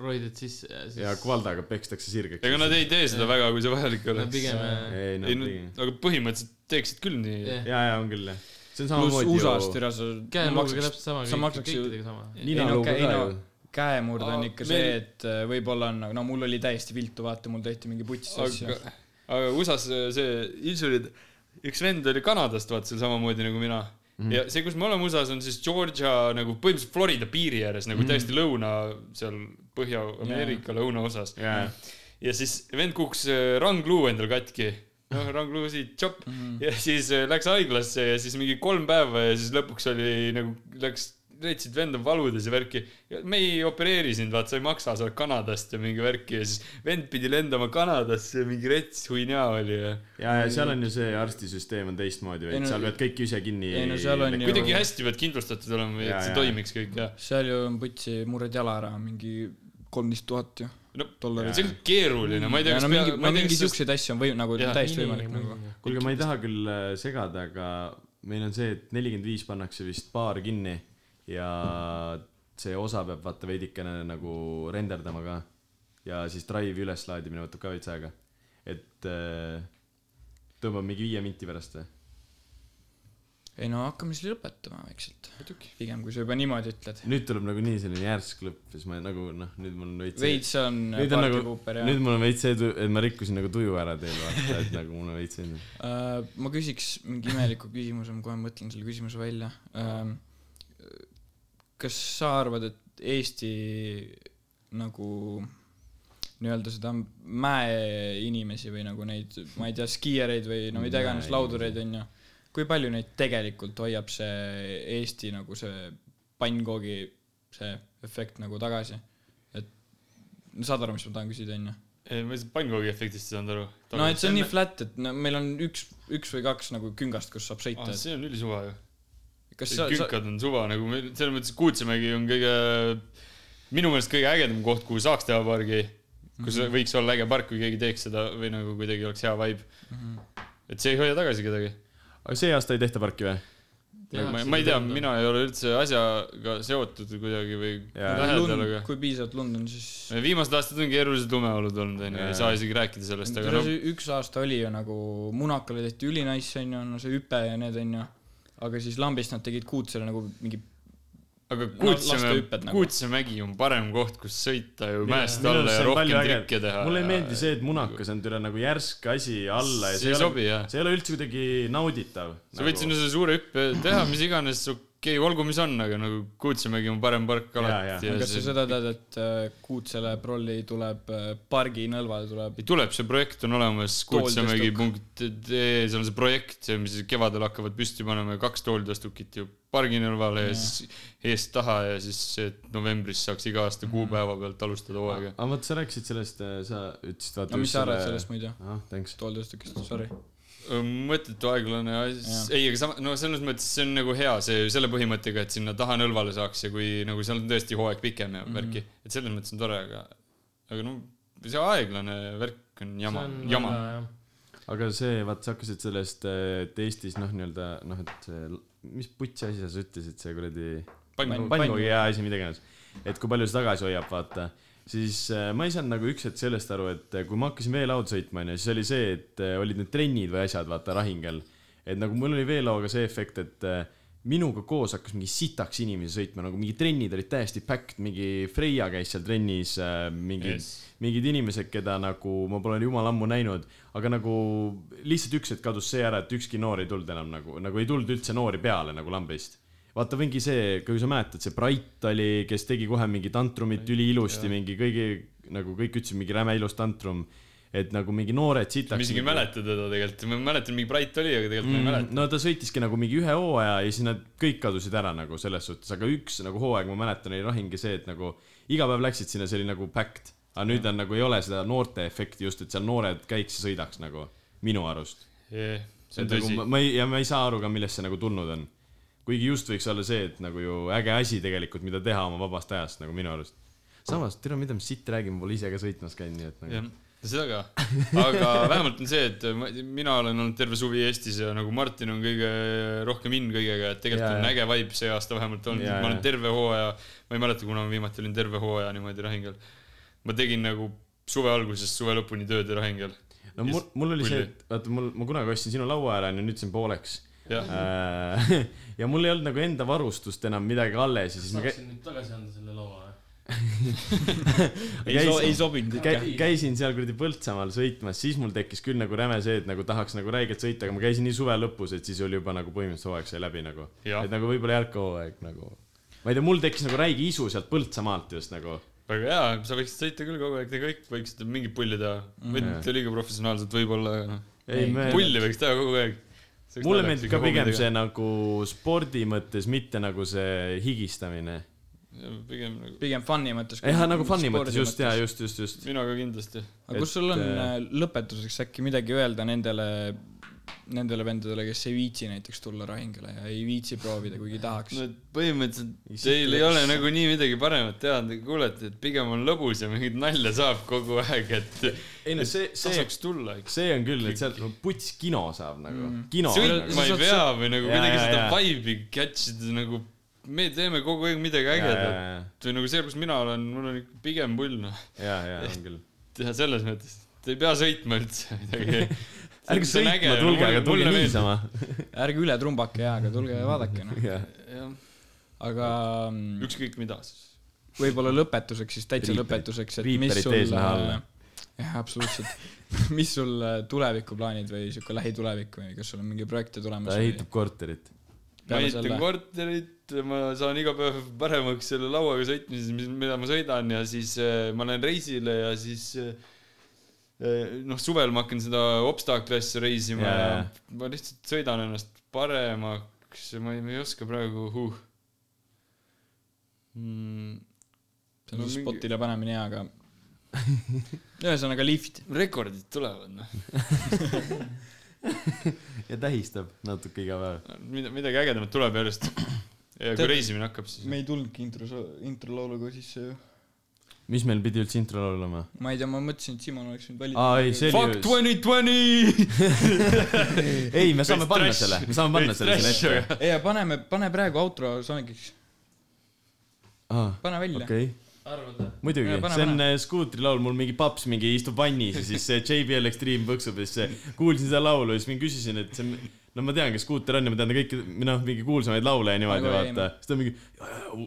roided sisse ja siis ja kvaldaga pekstakse sirgeks ega nad ei tee seda väga , kui see vajalik no oleks . pigem ei ei nad no tegid aga põhimõtteliselt teeksid küll nii Jah. yeah. . ja , ja on küll jah . see on pluss samamoodi USA-s türa sa käeluuga maksaks- täpselt sama sa maksaks ju kõikidega sama Ninalauga ei, ka no, ju. käemurd on Aa, ikka meil- see , et äh, võib-olla on , no mul oli täiesti viltu , vaata , mul tehti mingi putsis asja aga , aga USA-s see insulid , üks vend oli Kanadast , vaata seal samamoodi nagu mina mm . Mhm. -hmm. ja see , kus me oleme USA-s , on siis Georgia nagu põhimõtteliselt Florida piiri ääres nagu mm -hmm. täiesti lõuna seal Põhja-Ameerika yeah. lõunaosas Mhm. Jaa. ja siis vend kukkus äh, rangluu endal katki . noh , rangluu siit tšopp mm Mhm. -hmm. ja siis äh, läks haiglasse ja siis mingi kolm päeva ja siis lõpuks oli nagu läks leidsid vend on valudes ja värki . me ei opereeri sind , vaat sa ei maksa , sa oled Kanadast ja mingi värki ja siis vend pidi lendama Kanadasse , mingi rets huinja oli ja . ja , ja seal on ju see arstisüsteem on teistmoodi Ei veits no- no, , seal pead kõik ise kinni . ei no seal on ju- kuidagi hästi pead kindlustatud olema , Jaa, et see jaa. toimiks kõik ja . seal ju on putsi murred jala ära , mingi kolmteist tuhat ju . no Dollarid. see on keeruline , ma ei tea , ja kas no mingi , no mingi siukse . siukseid asju on või nagu Jaa. täiesti võimalik nagu . kuulge , ma ei taha küll äh, segada , aga meil on see , et nelikümmend viis pannakse vist baar kinni ja see osa peab vaata veidikene nagu renderdama ka . ja siis drive'i üleslaadimine võtab ka veits aega . et äh, tõmbab mingi viie minti pärast või ? ei no hakkame siis lõpetama vaikselt . pigem kui sa juba niimoodi ütled . nüüd tuleb nagu nii selline järsk lõpp , siis ma nagu noh , nüüd mul on veits . veits on nüüd on Party nagu Cooper , ja nüüd . mul on veits see , et ma rikkusin nagu tuju ära teil vaata , et nagu mul on veits selline . Äh, ma küsiks mingi imeliku küsimuse , ma kohe mõtlen selle küsimuse välja . kas sa arvad , et Eesti nagu nii-öelda seda mäeinimesi või nagu neid , ma ei tea , skiiereid või no mida iganes , Mäeinimesi. laudureid onju , kui palju neid tegelikult hoiab see Eesti nagu see pannkoogi see efekt nagu tagasi ? et no saad aru , mis ma tahan küsida onju ? Eh, ma ei saa pannkoogi efektist ei saanud aru . no et see on nii flat , et no meil on üks , üks või kaks nagu küngast , kus saab sõita . Ah, see on ülisuva ju . kas sa , sa , künkad on suva nagu meil , selles mõttes Kuutsemägi on kõige , minu meelest kõige ägedam koht , kuhu saaks teha pargi , kus mm Mhm. -hmm. võiks olla äge park , kui keegi teeks seda või nagu kuidagi oleks hea vibe mm . Mhm. -hmm. et see ei hoia tagasi kedagi . aga see aasta ei tehta parki või ? ma, ma ei tea , mina ei ole üldse asjaga seotud kuidagi või Jaa. lähedal , aga kui piisavalt lund on , siis . viimased aastad on keerulised lumeolud olnud , onju , ei saa isegi rääkida sellest , aga noh , üks aasta oli ju nagu Munakale tehti ülinaiss onju , no see hüpe ja need onju , aga siis lambist nad tegid kuutsele nagu mingi , aga no laste Kuutsemäe hüpped , nagu. Kuutsemägi on parem koht , kus sõita ju mäest Minu alla arust ja see on palju rohkem äge- trikke teha . mulle ei meeldi see , et munakas on tüna nagu järsk asi alla ja See ei ei ole- sobi, jah. see ei ole üldse kuidagi nauditav . nagu- sa võid sinna selle suure hüppe teha , mis iganes su okei , olgu mis on , aga nagu kuutsimegi on parem park Jaa, jaa. alati ja, kas see sa seda tead , et äh, Kuutsele prolli tuleb , pargi nõlval tuleb ei tuleb , see projekt on olemas , kuutsemegi.ee , seal on see projekt , mis kevadel hakkavad püsti panema ja kaks tooltastukit ju pargi nõlvale ja siis eest-taha ja siis , et novembris saaks iga aasta kuupäeva pealt alustada hooaega . aga vaata , sa rääkisid sellest , sa ütlesid , vaata . no mis sa arvad sellest ? muidu ? ah , thanks . tooltööstukist , sorry . mõttetu aeglane asi , ei , aga sama , no selles mõttes see on nagu hea see selle põhimõttega , et sinna taha nõlvale saaks ja kui nagu seal on tõesti hooaeg pikem ja värki , et selles mõttes on tore , aga , aga no see aeglane värk on jama , jama . aga see , vaata , sa hakkasid sellest , et Eestis noh , nii-öelda noh , et see l- mis putsi asi sa ütlesid , see kuradi Pann- pannkoogi hea asi , mida iganes . et kui palju see tagasi hoiab , vaata . siis äh, ma ei saanud nagu üks hetk sellest aru , et äh, kui ma hakkasin veelauda sõitma , onju , siis oli see , et äh, olid need trennid või asjad , vaata , Rahingel . et nagu mul oli veelauaga see efekt , et äh, minuga koos hakkas mingi sitaks inimesi sõitma , nagu mingi trennid olid täiesti packed , mingi Freia käis seal trennis , mingi yes. Yes. , mingid inimesed , keda nagu ma pole jumala ammu näinud , aga nagu lihtsalt üks hetk kadus see ära , et ükski noor ei tulnud enam nagu , nagu ei tulnud üldse noori peale nagu lambist . vaata , mingi see , kui sa mäletad , see Bright oli , kes tegi kohe mingi tantrumit üliilusti , mingi kõigi , nagu kõik ütlesid , mingi räme ilus tantrum . et nagu mingi noored sitaks . nagu ma isegi ei mäleta teda tegelikult , ma mäletan , mingi Bright oli , aga tegelikult mm. ma ei mäleta . no ta sõitiski nagu mingi ühe hooaja ja siis nad kõik kadusid ära nagu selles suhtes , aga üks nagu hooaeg , ma mäletan , oli lahingi see , et nagu iga päev läksid sinna , see oli nagu packed . aga nüüd on nagu ei ole seda noorte efekti just , et seal noored käiks ja sõidaks nagu , minu arust . Yeah, see on Nagu, tõsi ma , ma ei , ja ma ei saa aru ka , millest see nagu tulnud on . kuigi just võiks olla see , et nagu ju äge asi tegelikult , mida teha oma vabast ajast nagu minu arust . samas , tere , mida ma siit räägin , ma pole ise ka sõitmas käinud , nii et nagu . jah , seda ka . aga vähemalt on see , et ma, mina olen olnud terve suvi Eestis ja nagu Martin on kõige rohkem in kõigega , et tegelikult Jaa, on jaa. äge vibe see aasta vähemalt olnud , Jaa, et ma olen jaa. terve hooaja , ma ei mäleta , kuna ma viimati olin terve hooaja niimoodi Rahingel . ma tegin nagu suve algusest suve lõpuni tööd Rahingel . no mul , mul oli see mulje. , et vaata mul , ma kunagi ostsin sinu laua ära onju , nüüd see on pooleks . Jah. ja mul ei olnud nagu enda varustust enam midagi alles ja siis ma käi- saaksin nüüd tagasi anda selle laua . ei so- , ei käisin , sobinud ikka . käisin seal kuradi Põltsamaal sõitmas , siis mul tekkis küll nagu räme see , et nagu tahaks nagu räigelt sõita , aga ma käisin nii suve lõpus , et siis oli juba nagu põhimõtteliselt hooaeg sai läbi nagu . Jah. et nagu võib-olla ei olnud ka hooaeg nagu . ma ei tea , mul tekkis nagu räige isu sealt Põltsamaalt just nagu . väga hea , sa võiksid sõita küll kogu aeg , te kõik võiksite mingit pulli teha . mitte liiga professionaalselt võib-olla , aga noh . ei , Mm. me . pulli võiks teha kogu aeg . mulle meeldib ka pigem see . nagu spordi mõttes , mitte nagu see higistamine pigem nagu , pigem fun'i mõttes . jah , nagu fun'i mõttes just ja . just , just , just . mina ka kindlasti . aga kus sul on äh, lõpetuseks äkki midagi öelda nendele , nendele vendadele , kes ei viitsi näiteks tulla Rahingale ja ei viitsi proovida , kuigi tahaks no ? et põhimõtteliselt teil ei ole nagunii midagi paremat teha , te kuulete , et pigem on lõbus ja mingit nalja saab kogu aeg , et ei no see , see , tasuks tulla , eks . see on küll , et sealt no, puts kino saab nagu mm. , kino nagu. sõitma ei pea või nagu Jaa, kuidagi jaa, seda jaa. vibe'i catch ida nagu , me teeme kogu aeg midagi ja , ägedat . või nagu see , kus mina olen , mul on ikka pigem pull , noh , ja , ja on küll . teha selles mõttes , et ei pea sõitma üldse midagi . ärge sõitma tulge , aga tulge . niisama . ärge üle trumbake jaa , aga tulge ja vaadake noh . aga mm, ükskõik mida siis . võib-olla lõpetuseks siis , täitsa Riiperid- lõpetuseks , et mis riiperid sul äh, ees näha alla. . jah , absoluutselt . mis sul äh, tulevikuplaanid või sihuke lähitulevik või kas sul on mingeid projekte tulemas ta või ehitab korterit . ma peale ehitan selle ? korterit , ma saan iga päev paremaks selle lauaga sõitmises , mis , mida ma sõidan ja siis eh, ma lähen reisile ja siis eh, eh, noh , suvel ma hakkan seda obstacle asja reisima Jaa, ja, jaa. ja ma lihtsalt sõidan ennast paremaks , ma ei , ma ei oska praegu huh. . Mm, see on No no, mingi- spotile panemine jaa , aga ühesõnaga lift . rekordid tulevad noh , ja tähistab natuke iga päev . mida , midagi ägedamat tuleb järjest . ja kui Tead- reisimine hakkab , siis me ei tulnudki intro , intro lauluga sisse ju . mis meil pidi üldse intro laul olema ? ma ei tea , ma mõtlesin , et Simon oleks võinud valida . aa , ei , see Fuck oli ju , twenty twenty . ei , me saame panna selle , me saame panna selle sinna ette . ei , aga paneme , pane praegu outro sooviks , aa , pane välja Ah, okay. . okei . arvad või ? muidugi Pane, , see on pane. äh, skuutri laul , mul mingi paps mingi istub vannis ja siis see JBL Extreme põksub ja siis see- kuulsin seda laulu ja siis ma küsisin , et see on , no ma tean , kes skuuter on ja ma tean ta kõiki , noh , mingi kuulsamaid laule ja niimoodi Nagu vaata Eemil. . siis ta mingi ,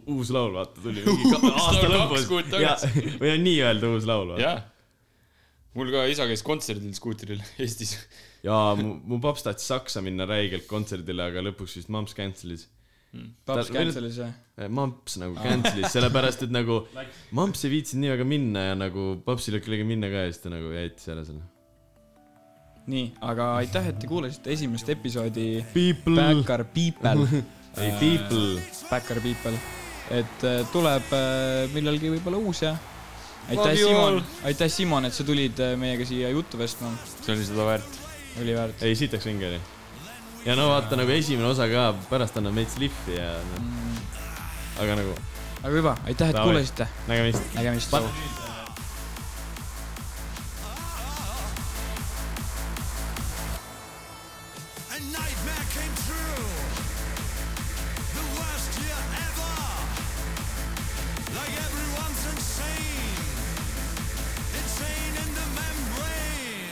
uus laul , vaata , tuli mingi ka- ta aasta on lõpus kaks kuud . või on nii-öelda uus laul , vaata . jah . mul ka isa käis kontserdil skuuteril Eestis . jaa , mu , mu paps tahtis Saksa minna räigelt kontserdile , aga lõpuks vist mamps cancel'is . paps Tal- cancel'is jah ? mamps nagu cancel'is , sellepärast et nagu mamps ei viitsinud nii väga minna ja nagu papsil ei olnud kellegagi minna ka ja siis ta nagu jäeti ära selle . nii , aga aitäh , et te kuulasite esimest episoodi People , Backer People , ei people , Backer People . et äh, tuleb äh, millalgi võib-olla uus ja aitäh , Love you Simon all. , aitäh , Simon , et sa tulid äh, meiega siia juttu vestma , see oli seda väärt . oli väärt . ei sitaks vinge oli . ja no vaata nagu esimene osa ka , pärast annab meid slippi ja noh , aga nagu aga hüva , aitäh , et Davai. kuulasite , nägemist . nägemist . A nightmare came true. The worst year ever. Like everyone's insane. Insane in the membrane.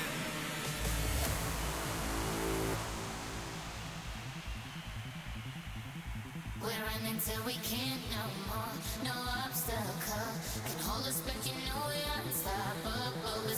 We're running till we can't no more. No obstacle can hold us back. You know we're unstoppable.